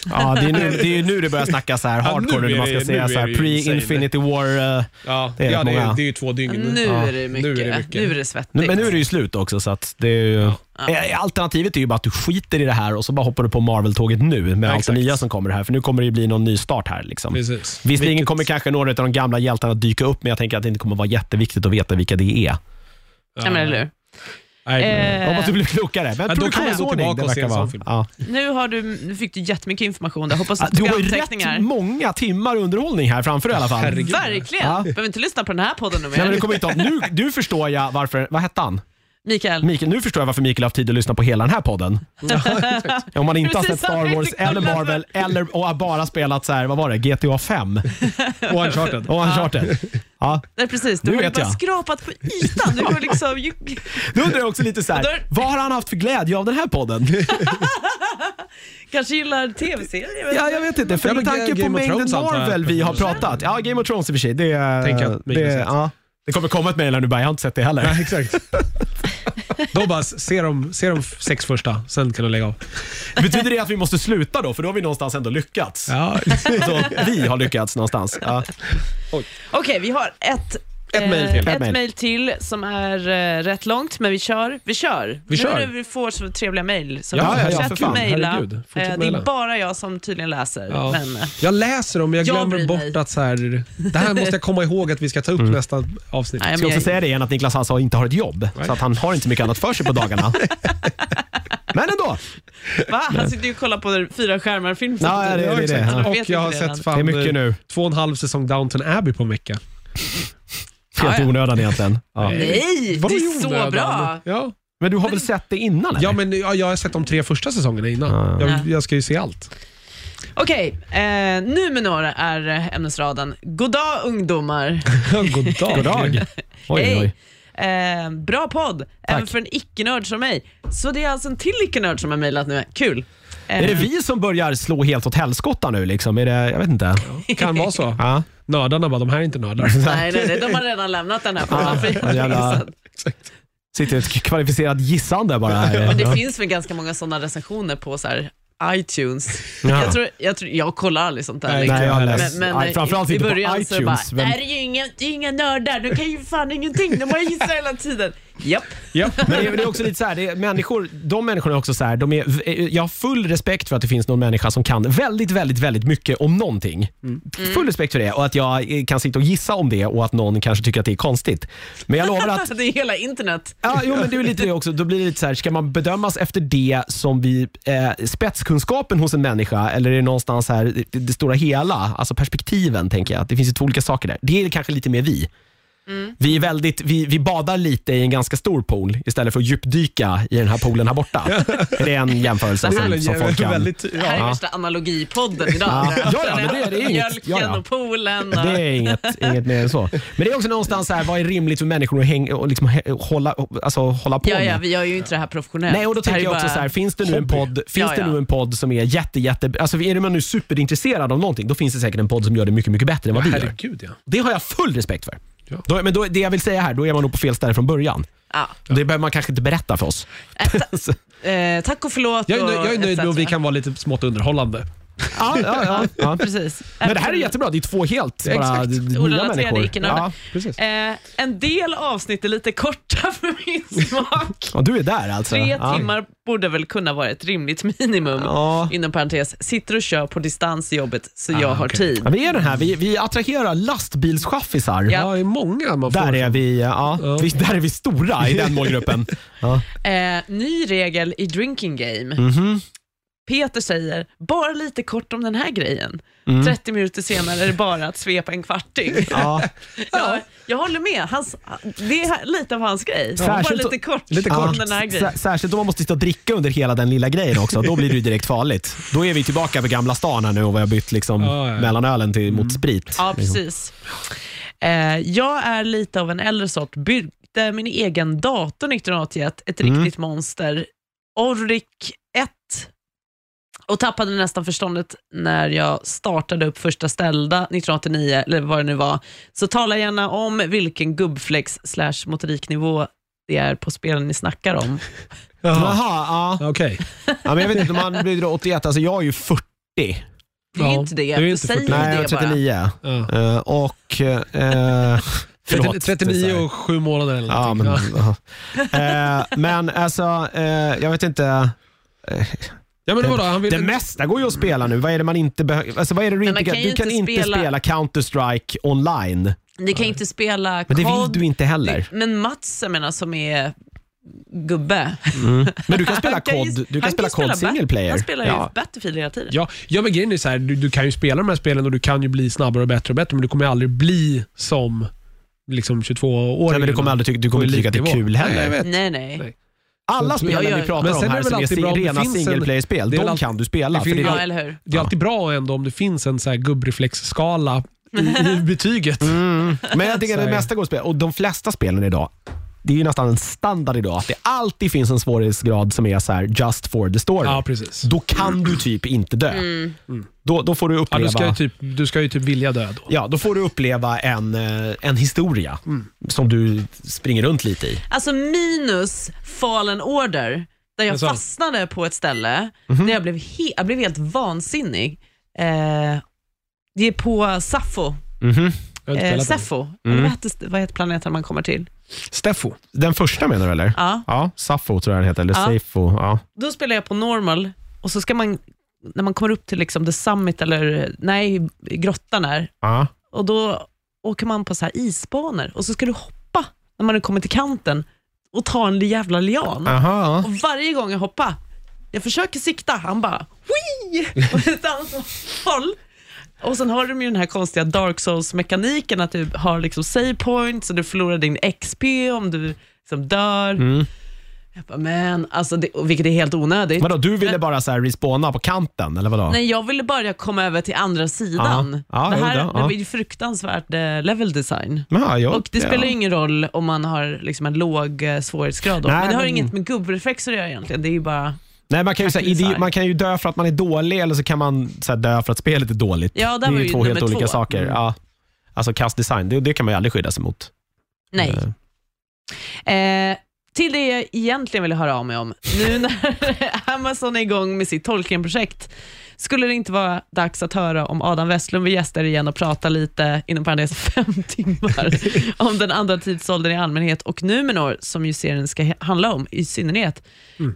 [SPEAKER 1] Ja, det, är nu, det är nu det börjar snackas så här
[SPEAKER 3] Ja,
[SPEAKER 1] hardcore,
[SPEAKER 3] nu är
[SPEAKER 1] när man ska
[SPEAKER 3] det-
[SPEAKER 1] säga
[SPEAKER 3] nu
[SPEAKER 1] så
[SPEAKER 3] är
[SPEAKER 1] här
[SPEAKER 3] det ju insane.
[SPEAKER 1] pre-infinity war. eh,
[SPEAKER 3] Ja,
[SPEAKER 1] Det är rätt många.
[SPEAKER 3] ju två dygn.
[SPEAKER 2] nu,
[SPEAKER 1] Mm. Ja,
[SPEAKER 2] är det mycket, nu är det mycket. Nu är det svettigt.
[SPEAKER 1] nu, men nu är det ju slut också, så att det är ju,
[SPEAKER 2] Ja.
[SPEAKER 1] Eh, Alternativet är ju bara att du skiter i det här och så bara hoppar du på Marvel-tåget nu med allt det
[SPEAKER 3] exakt.
[SPEAKER 1] nya som kommer här, för nu kommer det ju bli någon ny start här. Liksom.
[SPEAKER 3] Precis.
[SPEAKER 1] Visserligen kommer kanske några av de gamla hjältarna att dyka upp, men jag tänker att det inte kommer vara jätteviktigt att veta vilka det är.
[SPEAKER 2] Ja, men eller hur? Eh.
[SPEAKER 3] Nej, men-
[SPEAKER 1] Jag hoppas du blir klokare. Men
[SPEAKER 3] då
[SPEAKER 1] produktionsordning,
[SPEAKER 3] kan jag gå tillbaka
[SPEAKER 1] det
[SPEAKER 3] och se
[SPEAKER 1] verkar
[SPEAKER 3] en sån
[SPEAKER 1] vara-
[SPEAKER 3] film.
[SPEAKER 1] Ja.
[SPEAKER 2] Nu, har du, nu fick du jättemycket information där. Hoppas
[SPEAKER 1] Ja,
[SPEAKER 2] att
[SPEAKER 1] Du
[SPEAKER 2] du
[SPEAKER 1] har
[SPEAKER 2] tog
[SPEAKER 1] ju
[SPEAKER 2] anteckningar.
[SPEAKER 1] rätt många timmar underhållning här framför i alla fall.
[SPEAKER 3] Herregud.
[SPEAKER 2] Verkligen.
[SPEAKER 1] Ja.
[SPEAKER 2] Behöver inte lyssna på den här podden nu
[SPEAKER 1] Nej, men det
[SPEAKER 2] mer.
[SPEAKER 1] kommer inte av. Nu, nu förstår jag varför, vad hette han?
[SPEAKER 2] Mikael.
[SPEAKER 1] Mikael, nu förstår jag varför Mikael har haft tid att lyssna på hela den här podden. <laughs> Om man inte har sett
[SPEAKER 2] Precis, han
[SPEAKER 1] Star
[SPEAKER 2] fick
[SPEAKER 1] Wars
[SPEAKER 2] det
[SPEAKER 1] eller
[SPEAKER 2] kolla.
[SPEAKER 1] Marvel eller, och har bara spelat så här, vad var det, GTA 5
[SPEAKER 2] <laughs>
[SPEAKER 3] Och Uncharted.
[SPEAKER 1] och Uncharted. Ja.
[SPEAKER 2] Nej, precis.
[SPEAKER 1] Nu
[SPEAKER 2] Du har ju
[SPEAKER 1] vet
[SPEAKER 2] bara
[SPEAKER 1] jag.
[SPEAKER 2] skrapat på ytan. Du har liksom... ju-
[SPEAKER 1] Då undrar jag också lite så
[SPEAKER 2] Och då
[SPEAKER 1] här,
[SPEAKER 2] är-
[SPEAKER 1] vad har han haft för glädje av den här podden?
[SPEAKER 2] Kanske gillar tv-serier? vet
[SPEAKER 1] Ja,
[SPEAKER 2] inte.
[SPEAKER 1] jag vet inte. För
[SPEAKER 3] Ja,
[SPEAKER 1] med
[SPEAKER 3] men
[SPEAKER 1] tanke
[SPEAKER 3] Game
[SPEAKER 1] på
[SPEAKER 3] of
[SPEAKER 1] mängden
[SPEAKER 3] Thrones antar jag.
[SPEAKER 1] Marvel vi har pratat. Ja, Game of Thrones i och för sig. Det, är-
[SPEAKER 3] Tänk att
[SPEAKER 1] det,
[SPEAKER 3] Mikael
[SPEAKER 1] är-
[SPEAKER 3] sett.
[SPEAKER 1] ja. det kommer komma ett mejl här nu bara, jag har inte sett det heller.
[SPEAKER 3] Exakt. Då bara, se de, se de sex första, sen kan du lägga av.
[SPEAKER 1] Betyder det att vi måste sluta då? För då har vi någonstans ändå lyckats.
[SPEAKER 3] Ja.
[SPEAKER 1] Alltså, vi har lyckats någonstans. Ja.
[SPEAKER 2] Okej, vi har ett... eh,
[SPEAKER 3] Ett mejl till.
[SPEAKER 1] Ett mejl.
[SPEAKER 2] Ett mejl till som är eh, rätt långt, men vi kör. Vi kör.
[SPEAKER 3] Vi kör.
[SPEAKER 2] Nu när vi får så trevliga mejl. så
[SPEAKER 1] Ja, ja, ja, för
[SPEAKER 2] fortsätt
[SPEAKER 1] fan.
[SPEAKER 2] mejla.
[SPEAKER 3] Herregud, fortsätt
[SPEAKER 2] Eh, det
[SPEAKER 3] mejla.
[SPEAKER 2] är bara jag som tydligen läser.
[SPEAKER 3] Ja.
[SPEAKER 2] Men, eh,
[SPEAKER 3] Jag läser dem, men jag
[SPEAKER 2] Jag
[SPEAKER 3] glömmer
[SPEAKER 2] bryr
[SPEAKER 3] bort
[SPEAKER 2] mig. Mm.
[SPEAKER 3] att så här, det här måste jag komma ihåg att vi ska ta upp nästa avsnitt.
[SPEAKER 1] Jag
[SPEAKER 2] nej, men
[SPEAKER 1] ska också
[SPEAKER 2] jag,
[SPEAKER 1] säga det igen att Niklas Hansson inte har ett jobb,
[SPEAKER 3] Nej.
[SPEAKER 1] så att han har inte så mycket annat för sig på <laughs> dagarna. Men ändå.
[SPEAKER 2] va? Han sitter ju och kollar på fyra skärmar-film.
[SPEAKER 1] Ja, det är det, det är det.
[SPEAKER 2] Han
[SPEAKER 3] Och
[SPEAKER 2] vet
[SPEAKER 3] jag
[SPEAKER 2] inte
[SPEAKER 3] har
[SPEAKER 2] redan.
[SPEAKER 3] sett fan,
[SPEAKER 1] Det är mycket nu.
[SPEAKER 3] två och en halv säsong Downton Abbey på en vecka.
[SPEAKER 1] Helt
[SPEAKER 2] Ja, ja.
[SPEAKER 1] onödan egentligen. Ja.
[SPEAKER 2] Nej, det
[SPEAKER 3] Vadå i
[SPEAKER 2] är så
[SPEAKER 3] onödan?
[SPEAKER 2] bra.
[SPEAKER 3] Ja.
[SPEAKER 1] Men du har väl sett det innan? Eller?
[SPEAKER 3] Ja, men, ja, jag har sett de tre första
[SPEAKER 1] Ah,
[SPEAKER 3] säsongerna
[SPEAKER 1] Ja.
[SPEAKER 3] innan.
[SPEAKER 2] Ja.
[SPEAKER 3] Jag, jag ska ju se allt. <laughs>
[SPEAKER 2] Okej, eh, nu med några är eh, ämnesraden. God dag
[SPEAKER 1] <laughs>
[SPEAKER 2] ungdomar.
[SPEAKER 3] God dag.
[SPEAKER 1] God dag. Oj, oj.
[SPEAKER 2] Hej. Eh, bra podd, även för en icke-nörd som mig. Så det är alltså en till icke-nörd som har mejlat nu. Kul. Eh,
[SPEAKER 1] Är det vi som börjar slå helt åt helskotta nu? Liksom? Är det, jag vet inte.
[SPEAKER 3] Kan vara så.
[SPEAKER 1] Ja.
[SPEAKER 3] Nördarna bara, de här är
[SPEAKER 1] <laughs>
[SPEAKER 3] inte nördar.
[SPEAKER 2] Nej, nej, nej, de har redan lämnat den här podden.
[SPEAKER 1] Ja, Alltså, jävla-
[SPEAKER 2] <laughs> Så att-
[SPEAKER 1] Sitter ett kvalificerat gissande bara här.
[SPEAKER 2] Men det
[SPEAKER 1] Ja.
[SPEAKER 2] finns väl ganska många sådana recensioner på så här iTunes.
[SPEAKER 1] Ja.
[SPEAKER 2] Jag, tror, jag, tror, jag kollar aldrig sånt där.
[SPEAKER 3] Nej,
[SPEAKER 2] liksom.
[SPEAKER 1] Nej, jag har läst.
[SPEAKER 2] Men, men
[SPEAKER 1] Nej, framförallt
[SPEAKER 2] i, i
[SPEAKER 1] inte på
[SPEAKER 2] början så bara,
[SPEAKER 1] iTunes.
[SPEAKER 2] det här
[SPEAKER 1] Men,
[SPEAKER 2] är ju inga, det är ju inga nördar, de kan ju fan ingenting, de bara gissar hela tiden. Japp.
[SPEAKER 3] ja.
[SPEAKER 1] men det, är- det är också lite så här, det är, människor, de människorna är också så här, de är, jag har full respekt för att det finns någon människa som kan väldigt, väldigt, väldigt mycket om någonting.
[SPEAKER 2] Mm.
[SPEAKER 1] Full respekt för det och att jag eh, kan sitta och gissa om det och att någon kanske tycker att det är konstigt. Men jag lovar att
[SPEAKER 2] Alltså, <laughs> det är hela internet.
[SPEAKER 1] Ja, jo, men det är ju lite det också. Då blir det lite så här, ska man bedömas efter det som vi, eh, spetskunskapen hos en människa eller är det någonstans här, det, det stora hela, alltså perspektiven tänker jag. Det finns ju två olika saker där. Det är kanske lite mer vi.
[SPEAKER 3] Mm.
[SPEAKER 1] Vi, är väldigt, vi, vi badar lite i en ganska stor pool istället för att djupdyka i den här poolen här
[SPEAKER 3] <laughs>
[SPEAKER 1] borta. är det en jämförelse
[SPEAKER 3] Det är väl
[SPEAKER 1] som,
[SPEAKER 3] en
[SPEAKER 1] som folk
[SPEAKER 3] jävla-
[SPEAKER 1] kan...
[SPEAKER 3] väldigt...
[SPEAKER 2] Det här är
[SPEAKER 3] Ja.
[SPEAKER 2] värsta
[SPEAKER 1] <laughs>
[SPEAKER 2] analogipodden idag.
[SPEAKER 1] Ja, ja, ja, men det är- det är inget-
[SPEAKER 2] Mjölken
[SPEAKER 1] ja, ja.
[SPEAKER 2] och poolen. Och,
[SPEAKER 1] Det är inget, inget mer än så. Men det är också någonstans så här, vad är rimligt för människor att häng, och liksom, hä- hålla, alltså, hålla på
[SPEAKER 2] ja,
[SPEAKER 1] med?
[SPEAKER 2] ja, vi gör ju inte det här professionellt.
[SPEAKER 1] Nej, och då
[SPEAKER 2] Det här
[SPEAKER 1] tänker
[SPEAKER 2] är
[SPEAKER 1] jag också
[SPEAKER 2] bara-
[SPEAKER 1] så här, finns det nu en
[SPEAKER 3] hobby.
[SPEAKER 1] podd, finns
[SPEAKER 2] Ja,
[SPEAKER 1] det
[SPEAKER 2] ja.
[SPEAKER 1] nu en podd som är jätte, jätte, alltså är man nu superintresserad av någonting, då finns det säkert en podd som gör det mycket, mycket bättre än vad vi gör.
[SPEAKER 3] Herregud ja.
[SPEAKER 1] Det har jag full respekt för.
[SPEAKER 3] Ja.
[SPEAKER 1] Då, men då, det jag vill säga här, då är man nog på fel ställe från början.
[SPEAKER 2] Ja.
[SPEAKER 1] Det behöver man kanske inte berätta för oss.
[SPEAKER 2] Äh,
[SPEAKER 1] <laughs>
[SPEAKER 2] Eh, tack och förlåt.
[SPEAKER 3] Jag är, nöjd,
[SPEAKER 2] och
[SPEAKER 3] jag är nöjd med att vi
[SPEAKER 2] etc.
[SPEAKER 3] kan vara lite smått underhållande.
[SPEAKER 1] Ja, ja, ja, <laughs> ja.
[SPEAKER 2] Precis.
[SPEAKER 1] Men det här är jättebra, det är två helt bara
[SPEAKER 3] Exakt.
[SPEAKER 1] d- d- nya
[SPEAKER 2] Orelaterade
[SPEAKER 1] människor.
[SPEAKER 2] icke-nördar.
[SPEAKER 1] Ja,
[SPEAKER 3] Precis.
[SPEAKER 2] Eh, en del avsnitt är lite korta <laughs> för min smak.
[SPEAKER 1] Ja, du är där alltså.
[SPEAKER 2] Tre
[SPEAKER 1] ja.
[SPEAKER 2] timmar borde väl kunna vara ett rimligt minimum.
[SPEAKER 1] Ja.
[SPEAKER 2] Inom parentes, sitter och kör på distans i jobbet så
[SPEAKER 1] Ah,
[SPEAKER 2] jag har
[SPEAKER 3] okej.
[SPEAKER 1] Ja,
[SPEAKER 2] tid.
[SPEAKER 1] vi är den här, vi, vi attraherar lastbilschaffisar.
[SPEAKER 2] Ja.
[SPEAKER 3] Ja, det är många man får.
[SPEAKER 1] Där är vi, ja,
[SPEAKER 3] Ja.
[SPEAKER 1] vi, där är vi
[SPEAKER 2] <laughs>
[SPEAKER 1] stora i den målgruppen. Ja. Mhm.
[SPEAKER 2] Eh, ny regel i drinking game. Peter säger, bara lite kort om den här grejen. 30 minuter senare är det bara att svepa en kvarting.
[SPEAKER 1] Ja.
[SPEAKER 2] Ja, jag håller med. Hans, det är lite av hans grej. bara
[SPEAKER 1] Särskilt-
[SPEAKER 2] lite kort
[SPEAKER 3] lite
[SPEAKER 2] om
[SPEAKER 3] kort.
[SPEAKER 2] den här grejen.
[SPEAKER 1] Sä- Särskilt om man måste sitta och dricka under hela den lilla grejen också. Då blir det ju direkt farligt. Då är vi tillbaka på Gamla stan här nu och vi har bytt liksom
[SPEAKER 3] Ja, ja. Mm.
[SPEAKER 1] mellanölen till, mot sprit.
[SPEAKER 2] Ja,
[SPEAKER 1] liksom.
[SPEAKER 2] precis. Eh, jag är lite av en äldre sort. Byggde min egen dator 1981, ett
[SPEAKER 1] Mm.
[SPEAKER 2] riktigt monster. Oric 1. Och tappade nästan förståndet när jag startade upp första ställda 1989, eller vad det nu var. Så tala gärna om vilken gubbflex slash motoriknivå det är på spelen ni snackar om.
[SPEAKER 3] Jaha.
[SPEAKER 1] Jaha, ja.
[SPEAKER 3] Okej.
[SPEAKER 1] ja men jag vet inte, man blir då 81, alltså jag är ju 40.
[SPEAKER 2] Det är
[SPEAKER 3] Ja,
[SPEAKER 2] inte det.
[SPEAKER 3] det är inte
[SPEAKER 2] Säg
[SPEAKER 3] 40.
[SPEAKER 2] det
[SPEAKER 1] Nej, jag är
[SPEAKER 2] bara.
[SPEAKER 1] 39.
[SPEAKER 3] Ja.
[SPEAKER 1] Eh, och...
[SPEAKER 3] <laughs>
[SPEAKER 1] eh, förlåt.
[SPEAKER 3] 39 och 7 månader eller
[SPEAKER 1] Ja, men,
[SPEAKER 3] någonting.
[SPEAKER 1] ja. <laughs> Eh, men alltså, eh, jag vet inte.
[SPEAKER 3] ja, men vadå, han vill...
[SPEAKER 1] Det mesta går ju att spela nu. Vad är det man inte behöver? Alltså, vad är det du
[SPEAKER 2] Men man
[SPEAKER 1] inte kan?
[SPEAKER 2] kan ju
[SPEAKER 1] Du kan
[SPEAKER 2] inte
[SPEAKER 1] inte
[SPEAKER 2] spela-
[SPEAKER 1] spela, Counter-Strike online.
[SPEAKER 2] Ni kan ju inte spela
[SPEAKER 1] Men det vill
[SPEAKER 2] COD.
[SPEAKER 1] du inte heller.
[SPEAKER 2] Men Mats, jag menar, som är gubbe.
[SPEAKER 1] Mm. Men du kan spela
[SPEAKER 2] Han kan ju-
[SPEAKER 1] COD, du
[SPEAKER 2] han
[SPEAKER 1] kan spela COD
[SPEAKER 2] Bat-
[SPEAKER 1] single player.
[SPEAKER 2] Han spelar ju
[SPEAKER 1] ja.
[SPEAKER 2] Battlefield hela tiden.
[SPEAKER 3] Ja, ja, men grejen är så här, du, du kan ju spela de här spelen och du kan ju bli snabbare och bättre och bättre, men du kommer aldrig bli som liksom 22-åringen.
[SPEAKER 1] Nej, men du kommer aldrig tycka, du kommer inte tycka att det är kul
[SPEAKER 3] Nej, jag
[SPEAKER 1] heller.
[SPEAKER 3] vet.
[SPEAKER 2] Nej, nej.
[SPEAKER 1] Alla
[SPEAKER 3] Så-
[SPEAKER 1] spelen
[SPEAKER 2] Ja, ja,
[SPEAKER 1] vi
[SPEAKER 2] ja.
[SPEAKER 1] pratar
[SPEAKER 3] Men
[SPEAKER 1] om
[SPEAKER 3] sen är
[SPEAKER 1] här
[SPEAKER 3] det väl
[SPEAKER 1] som är
[SPEAKER 3] alltid
[SPEAKER 1] sin-
[SPEAKER 3] bra om det
[SPEAKER 1] rena
[SPEAKER 3] finns en-
[SPEAKER 1] single player-spel,
[SPEAKER 3] det är väl
[SPEAKER 1] de
[SPEAKER 3] alltid-
[SPEAKER 1] kan du spela.
[SPEAKER 3] det
[SPEAKER 1] för det
[SPEAKER 3] finns-
[SPEAKER 1] är-
[SPEAKER 2] Ja, eller hur?
[SPEAKER 3] Det är alltid bra ändå om det finns en så här gubbreflexskala i, i betyget.
[SPEAKER 1] Mm. Men jag tycker att det
[SPEAKER 3] Sorry.
[SPEAKER 1] mesta går att spela. Och de flesta spelen idag, det är ju nästan en standard idag att det alltid finns en svårighetsgrad som är så här just for the story.
[SPEAKER 3] Ja, precis.
[SPEAKER 1] Då kan du typ inte dö.
[SPEAKER 2] Mm.
[SPEAKER 1] Då, då får du
[SPEAKER 3] Ja,
[SPEAKER 1] uppleva...
[SPEAKER 3] du, ska ju typ, du ska ju typ vilja dö då.
[SPEAKER 1] Ja, då får du uppleva en, eh, en historia
[SPEAKER 3] Mm.
[SPEAKER 1] som du springer runt lite i.
[SPEAKER 2] Alltså minus Fallen Order, där jag
[SPEAKER 3] Jaså?
[SPEAKER 2] fastnade på ett ställe, där jag blev, he- jag blev helt vansinnig. Eh, det är på Saffo.
[SPEAKER 3] Jag har inte
[SPEAKER 2] Eh,
[SPEAKER 3] spelat den.
[SPEAKER 2] Saffo. Eller vad, heter, vad heter planeten man kommer till?
[SPEAKER 3] Steffo.
[SPEAKER 1] Den första menar du eller?
[SPEAKER 2] Ja.
[SPEAKER 1] Ja, Saffo tror jag den heter, eller
[SPEAKER 2] Ja.
[SPEAKER 1] Seifo. Ja.
[SPEAKER 2] Då spelar jag på normal och så ska man, när man kommer upp till liksom the summit, eller nej, grottan där,
[SPEAKER 1] Ja.
[SPEAKER 2] och då åker man på så här isbanor och så ska du hoppa när man har kommit till kanten och ta en jävla lian.
[SPEAKER 1] Aha.
[SPEAKER 2] Och varje gång jag hoppar, jag försöker sikta, han bara Wii! åt ett annat håll. Och sen har de ju den här konstiga dark souls-mekaniken att du har liksom save points och du förlorar din XP om du liksom dör.
[SPEAKER 1] Mm.
[SPEAKER 2] Jag bara, men alltså, det, och vilket är helt onödigt.
[SPEAKER 1] Vadå, du ville
[SPEAKER 2] Men-
[SPEAKER 1] bara så här respawna på kanten, eller vadå?
[SPEAKER 2] Nej, jag ville bara komma över till andra sidan.
[SPEAKER 1] Ja, ja,
[SPEAKER 2] det
[SPEAKER 1] jo
[SPEAKER 2] här
[SPEAKER 1] då, ja.
[SPEAKER 2] det var ju fruktansvärt eh, level design.
[SPEAKER 1] Ja, jag,
[SPEAKER 2] Och det spelar
[SPEAKER 1] ja.
[SPEAKER 2] ju ingen roll om man har liksom en låg eh, svårighetsgrad. Då.
[SPEAKER 1] Nej,
[SPEAKER 2] men det har
[SPEAKER 1] men-
[SPEAKER 2] inget med gubbreflexer att göra egentligen. Det är ju bara...
[SPEAKER 1] Nej, man kan, ju, så här,
[SPEAKER 2] Tackling
[SPEAKER 1] idi-
[SPEAKER 2] design.
[SPEAKER 1] man kan ju dö för att man är dålig eller så kan man så här, dö för att spelet är dåligt.
[SPEAKER 2] Ja, där
[SPEAKER 1] det är
[SPEAKER 2] var
[SPEAKER 1] ju
[SPEAKER 2] ju
[SPEAKER 1] två helt
[SPEAKER 2] nummer
[SPEAKER 1] olika
[SPEAKER 2] två. Mm.
[SPEAKER 1] saker. Ja. Alltså kastdesign, det, det kan man ju aldrig skydda sig mot.
[SPEAKER 2] Nej.
[SPEAKER 1] Eh,
[SPEAKER 2] Eh, till det jag egentligen ville höra av mig om. Nu <laughs> när Amazon är igång med sitt Tolkien-projekt, skulle det inte vara dags att höra om Adam Westlund vi gäster igen och prata lite, inom parentes fem timmar,
[SPEAKER 1] <laughs>
[SPEAKER 2] <laughs> om den andra tidsåldern i allmänhet och Numenor, som ju serien ska he- handla om i synnerhet.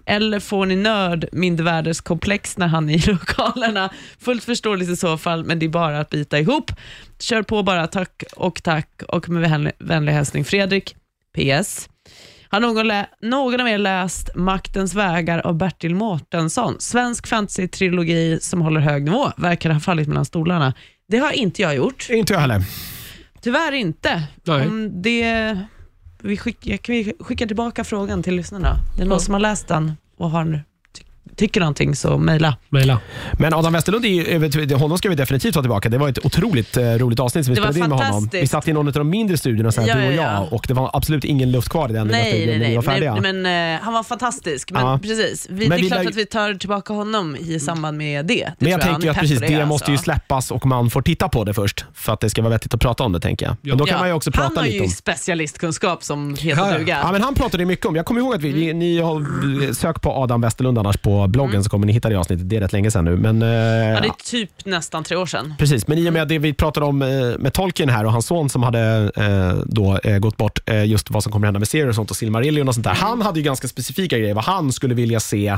[SPEAKER 2] Eller får ni nörd mindervärdeskomplex när han är i <laughs> lokalerna? Fullt förståeligt i så fall, men det är bara att bita ihop. Kör på bara, tack och tack och med vänlig, vänlig hälsning Fredrik. PS. Har någon, lä- någon av er läst Maktens vägar av Bertil Mårtensson? Svensk fantasy-trilogi som håller hög nivå. Verkar ha fallit mellan stolarna. Det har inte jag gjort.
[SPEAKER 1] Eh, Inte jag heller.
[SPEAKER 2] Tyvärr inte.
[SPEAKER 3] Nej.
[SPEAKER 2] Om det, vi skickar, kan vi skicka tillbaka frågan till lyssnarna? Det är någon som har läst den och har, ty, tycker någonting, så mejla.
[SPEAKER 3] Mejla.
[SPEAKER 1] Men Adam Westerlund, är ju, eh, honom ska vi definitivt ta tillbaka. Det var ett otroligt eh, roligt avsnitt som vi
[SPEAKER 2] Det var
[SPEAKER 1] spelade in med honom.
[SPEAKER 2] fantastiskt.
[SPEAKER 1] Vi satt i någon av de mindre studiorna, så här,
[SPEAKER 2] Ja,
[SPEAKER 1] du och
[SPEAKER 2] ja,
[SPEAKER 1] jag,
[SPEAKER 2] ja.
[SPEAKER 1] och det var absolut ingen luft kvar i den lilla
[SPEAKER 2] Nej,
[SPEAKER 1] studion
[SPEAKER 2] nej,
[SPEAKER 1] när vi
[SPEAKER 2] nej.
[SPEAKER 1] var färdiga.
[SPEAKER 2] nej men, eh, han var fantastisk. Men
[SPEAKER 1] Ja.
[SPEAKER 2] precis, vi,
[SPEAKER 1] Men
[SPEAKER 2] det är
[SPEAKER 1] vi
[SPEAKER 2] klart
[SPEAKER 1] lär ju-
[SPEAKER 2] att vi tar tillbaka honom i samband med det. det
[SPEAKER 1] Men jag
[SPEAKER 2] tror
[SPEAKER 1] tänker ju
[SPEAKER 2] Han
[SPEAKER 1] att
[SPEAKER 2] är
[SPEAKER 1] precis,
[SPEAKER 2] pepp
[SPEAKER 1] det,
[SPEAKER 2] på
[SPEAKER 1] måste ju
[SPEAKER 2] alltså.
[SPEAKER 1] släppas och man får titta på det först för att det ska vara vettigt att prata om det tänker jag. Men då kan
[SPEAKER 2] Ja,
[SPEAKER 1] man ju också prata
[SPEAKER 2] han
[SPEAKER 1] lite
[SPEAKER 2] har
[SPEAKER 1] om.
[SPEAKER 2] ju specialistkunskap som heter
[SPEAKER 3] Ja, ja.
[SPEAKER 2] duga.
[SPEAKER 1] Ja, men han pratade ju mycket om, jag kommer ihåg att vi,
[SPEAKER 2] Mm.
[SPEAKER 1] ni, ni har, sök på Adam Westerlund annars på bloggen så kommer ni hitta det avsnittet. Det är rätt länge sedan nu. Men, eh,
[SPEAKER 2] Ja, det är typ nästan tre år sedan.
[SPEAKER 1] Precis, men i och med det vi pratade om eh, med Tolkien här och hans son som hade eh, då eh, gått bort, eh,
[SPEAKER 2] Mm.
[SPEAKER 1] just vad som kommer hända med serier och sånt och Silmarillion och sånt där. Han hade ju ganska specifika grejer vad han skulle vilja se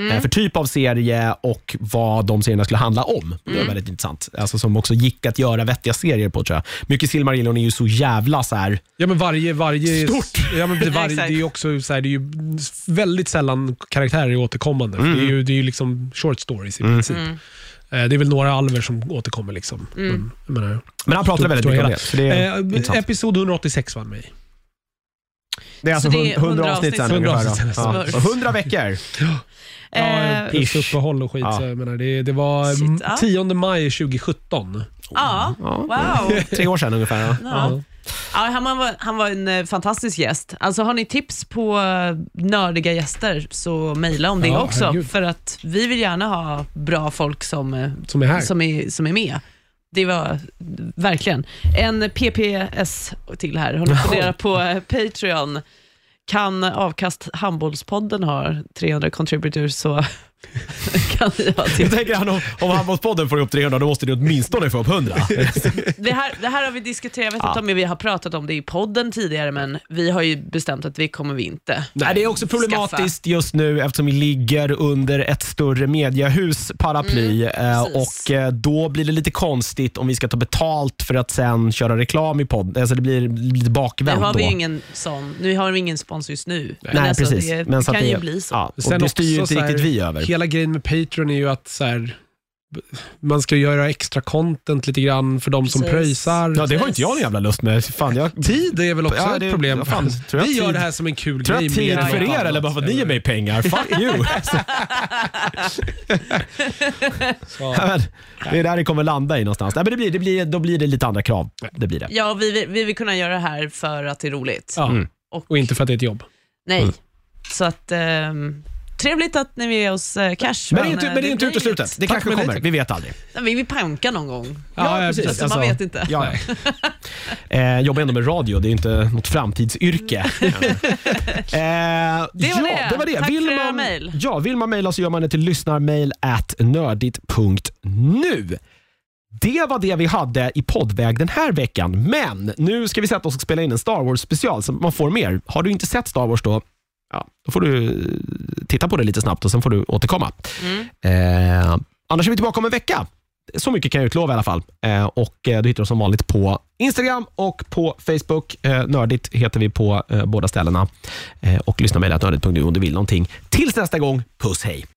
[SPEAKER 2] Mm.
[SPEAKER 1] Eh, För typ av serie och vad de serierna skulle handla om. Det
[SPEAKER 2] Mm.
[SPEAKER 1] var väldigt intressant. Alltså som också gick att göra vettiga serier på tror jag. Mycket Silmarillion är ju så jävla så här.
[SPEAKER 3] Ja, men varje, varje,
[SPEAKER 1] Stort.
[SPEAKER 3] Ja, men varje, det är ju också så här, det är ju väldigt sällan karaktärer är återkommande. Det är ju
[SPEAKER 1] Mm.
[SPEAKER 3] det är ju liksom short stories i princip.
[SPEAKER 2] Mm.
[SPEAKER 3] Eh, Det är väl några alver som återkommer. Liksom.
[SPEAKER 2] Mm.
[SPEAKER 3] Men, jag menar,
[SPEAKER 1] Men han pratade
[SPEAKER 3] stor-
[SPEAKER 1] väldigt
[SPEAKER 3] stor
[SPEAKER 1] mycket om
[SPEAKER 3] hela.
[SPEAKER 1] det. Så det är
[SPEAKER 3] eh,
[SPEAKER 1] intressant.
[SPEAKER 3] episod 186 vann mig.
[SPEAKER 1] Det är alltså
[SPEAKER 2] Så det är
[SPEAKER 1] 100, 100 avsnitt
[SPEAKER 2] avsnitt
[SPEAKER 1] sen ungefär.
[SPEAKER 2] sen.
[SPEAKER 1] då.
[SPEAKER 3] 100
[SPEAKER 1] Ja.
[SPEAKER 2] avsnitt sen.
[SPEAKER 1] Så 100 veckor.
[SPEAKER 3] Ja,
[SPEAKER 2] Eh,
[SPEAKER 3] plus
[SPEAKER 1] ish.
[SPEAKER 3] uppehåll och skit.
[SPEAKER 1] Ja.
[SPEAKER 3] Så jag menar, det, det var
[SPEAKER 2] Shit,
[SPEAKER 3] mm,
[SPEAKER 2] ja.
[SPEAKER 3] 10 maj 2017.
[SPEAKER 2] ja,
[SPEAKER 1] <laughs>
[SPEAKER 2] wow.
[SPEAKER 1] Tre år sedan ungefär. Ja.
[SPEAKER 2] Ja. Ja, han, var, han var en eh, fantastisk gäst. Alltså har ni tips på eh, nördiga gäster så mejla om det
[SPEAKER 3] Ja,
[SPEAKER 2] också.
[SPEAKER 3] herregud.
[SPEAKER 2] För att vi vill gärna ha bra folk som, eh,
[SPEAKER 3] Som är här.
[SPEAKER 2] som, är, som är med. Det var verkligen. En PPS till här, håller på att fundera på eh, Patreon. Kan Avkast Handbollspodden ha 300 contributors så <laughs> kan vi ha
[SPEAKER 1] Jag
[SPEAKER 2] till.
[SPEAKER 1] tänker han om, om handbollspodden får upp 300, då måste ni åtminstone få upp 100.
[SPEAKER 2] Det här, det här har vi diskuterat, jag vet
[SPEAKER 1] Ja.
[SPEAKER 2] inte om vi har pratat om det i podden tidigare, men vi har ju bestämt att vi kommer vi inte
[SPEAKER 1] Nej, det är också problematiskt just nu eftersom vi ligger under ett större mediehus paraply eh,
[SPEAKER 2] Mm, precis.
[SPEAKER 1] och eh, då blir det lite konstigt om vi ska ta betalt för att sen köra reklam i podden. Alltså det blir lite bakvänt
[SPEAKER 2] Nu har
[SPEAKER 1] då.
[SPEAKER 2] vi ju ingen sån, nu har vi ingen spons just nu. Men
[SPEAKER 1] Nej,
[SPEAKER 2] alltså,
[SPEAKER 1] precis.
[SPEAKER 2] Det,
[SPEAKER 1] Men så
[SPEAKER 2] det
[SPEAKER 1] att
[SPEAKER 2] kan ju bli så.
[SPEAKER 1] Ja, och
[SPEAKER 3] Sen
[SPEAKER 1] det styr ju inte
[SPEAKER 3] också så här,
[SPEAKER 1] riktigt vi över.
[SPEAKER 3] Hela grejen med Patreon är ju att så här, b- man ska göra extra content lite grann för de som
[SPEAKER 2] Precis.
[SPEAKER 3] pröjsar.
[SPEAKER 1] Ja, det har inte jag någon jävla lust med. Fan, jag
[SPEAKER 3] <laughs> Tid är väl också
[SPEAKER 1] Ja, det-
[SPEAKER 3] ett problem.
[SPEAKER 1] fan, tror jag
[SPEAKER 3] vi gör
[SPEAKER 1] tid-
[SPEAKER 3] det här som en kul
[SPEAKER 1] Tror
[SPEAKER 3] grej.
[SPEAKER 1] jag tid
[SPEAKER 3] mer än
[SPEAKER 1] för
[SPEAKER 3] något
[SPEAKER 1] er eller
[SPEAKER 3] annat.
[SPEAKER 1] bara för att ni ger mig pengar? Fuck
[SPEAKER 3] <laughs>
[SPEAKER 1] you! <laughs>
[SPEAKER 3] Så,
[SPEAKER 1] <laughs> Ja, men, det är där det kommer landa i någonstans. Nej, men det blir, det blir, då blir det lite andra krav. Det blir det.
[SPEAKER 2] Ja, vi, vill- vi vill kunna göra det här för att det är roligt.
[SPEAKER 3] ja.
[SPEAKER 2] Och,
[SPEAKER 3] Och inte för att det är ett jobb.
[SPEAKER 2] nej.
[SPEAKER 1] Mm.
[SPEAKER 2] Så att, ehm, trevligt att ni vill ge oss eh, cash.
[SPEAKER 1] Men det är inte, men det är
[SPEAKER 2] blir
[SPEAKER 1] inte
[SPEAKER 2] inget.
[SPEAKER 1] uteslutet. Det
[SPEAKER 3] Tack,
[SPEAKER 1] kanske
[SPEAKER 3] men nej,
[SPEAKER 1] kommer.
[SPEAKER 3] tack.
[SPEAKER 1] Vi vet aldrig.
[SPEAKER 2] Nej, Vi vill panka någon gång.
[SPEAKER 3] Ja, ja, alltså,
[SPEAKER 2] precis. Alltså, man
[SPEAKER 1] alltså.
[SPEAKER 2] vet inte.
[SPEAKER 1] Ja, ja. <laughs> Eh, jobbar ändå med radio, det är inte något
[SPEAKER 3] <laughs>
[SPEAKER 1] framtidsyrke. eh, det, var ja,
[SPEAKER 2] det.
[SPEAKER 1] det var det.
[SPEAKER 2] Tack
[SPEAKER 1] vill
[SPEAKER 2] för era
[SPEAKER 1] man,
[SPEAKER 2] mejl.
[SPEAKER 1] Ja, vill man mejla så gör man det till lyssnarmail at nördigt.nu. Det var det vi hade i poddväg den här veckan, men nu ska vi sätta oss och spela in en Star Wars special så man får mer. Har du inte sett Star Wars då, ja, då får du eh, titta på det lite snabbt och sen får du återkomma.
[SPEAKER 2] Mm.
[SPEAKER 1] Eh, annars är vi tillbaka om en vecka. Så mycket kan jag utlova i alla fall. Eh, och eh, Du hittar oss som vanligt på Instagram och på Facebook. Eh, nördigt heter vi på eh, båda ställena. Eh, och Lyssna mejla nördigt.nu om du vill någonting. Tills nästa gång, puss hej!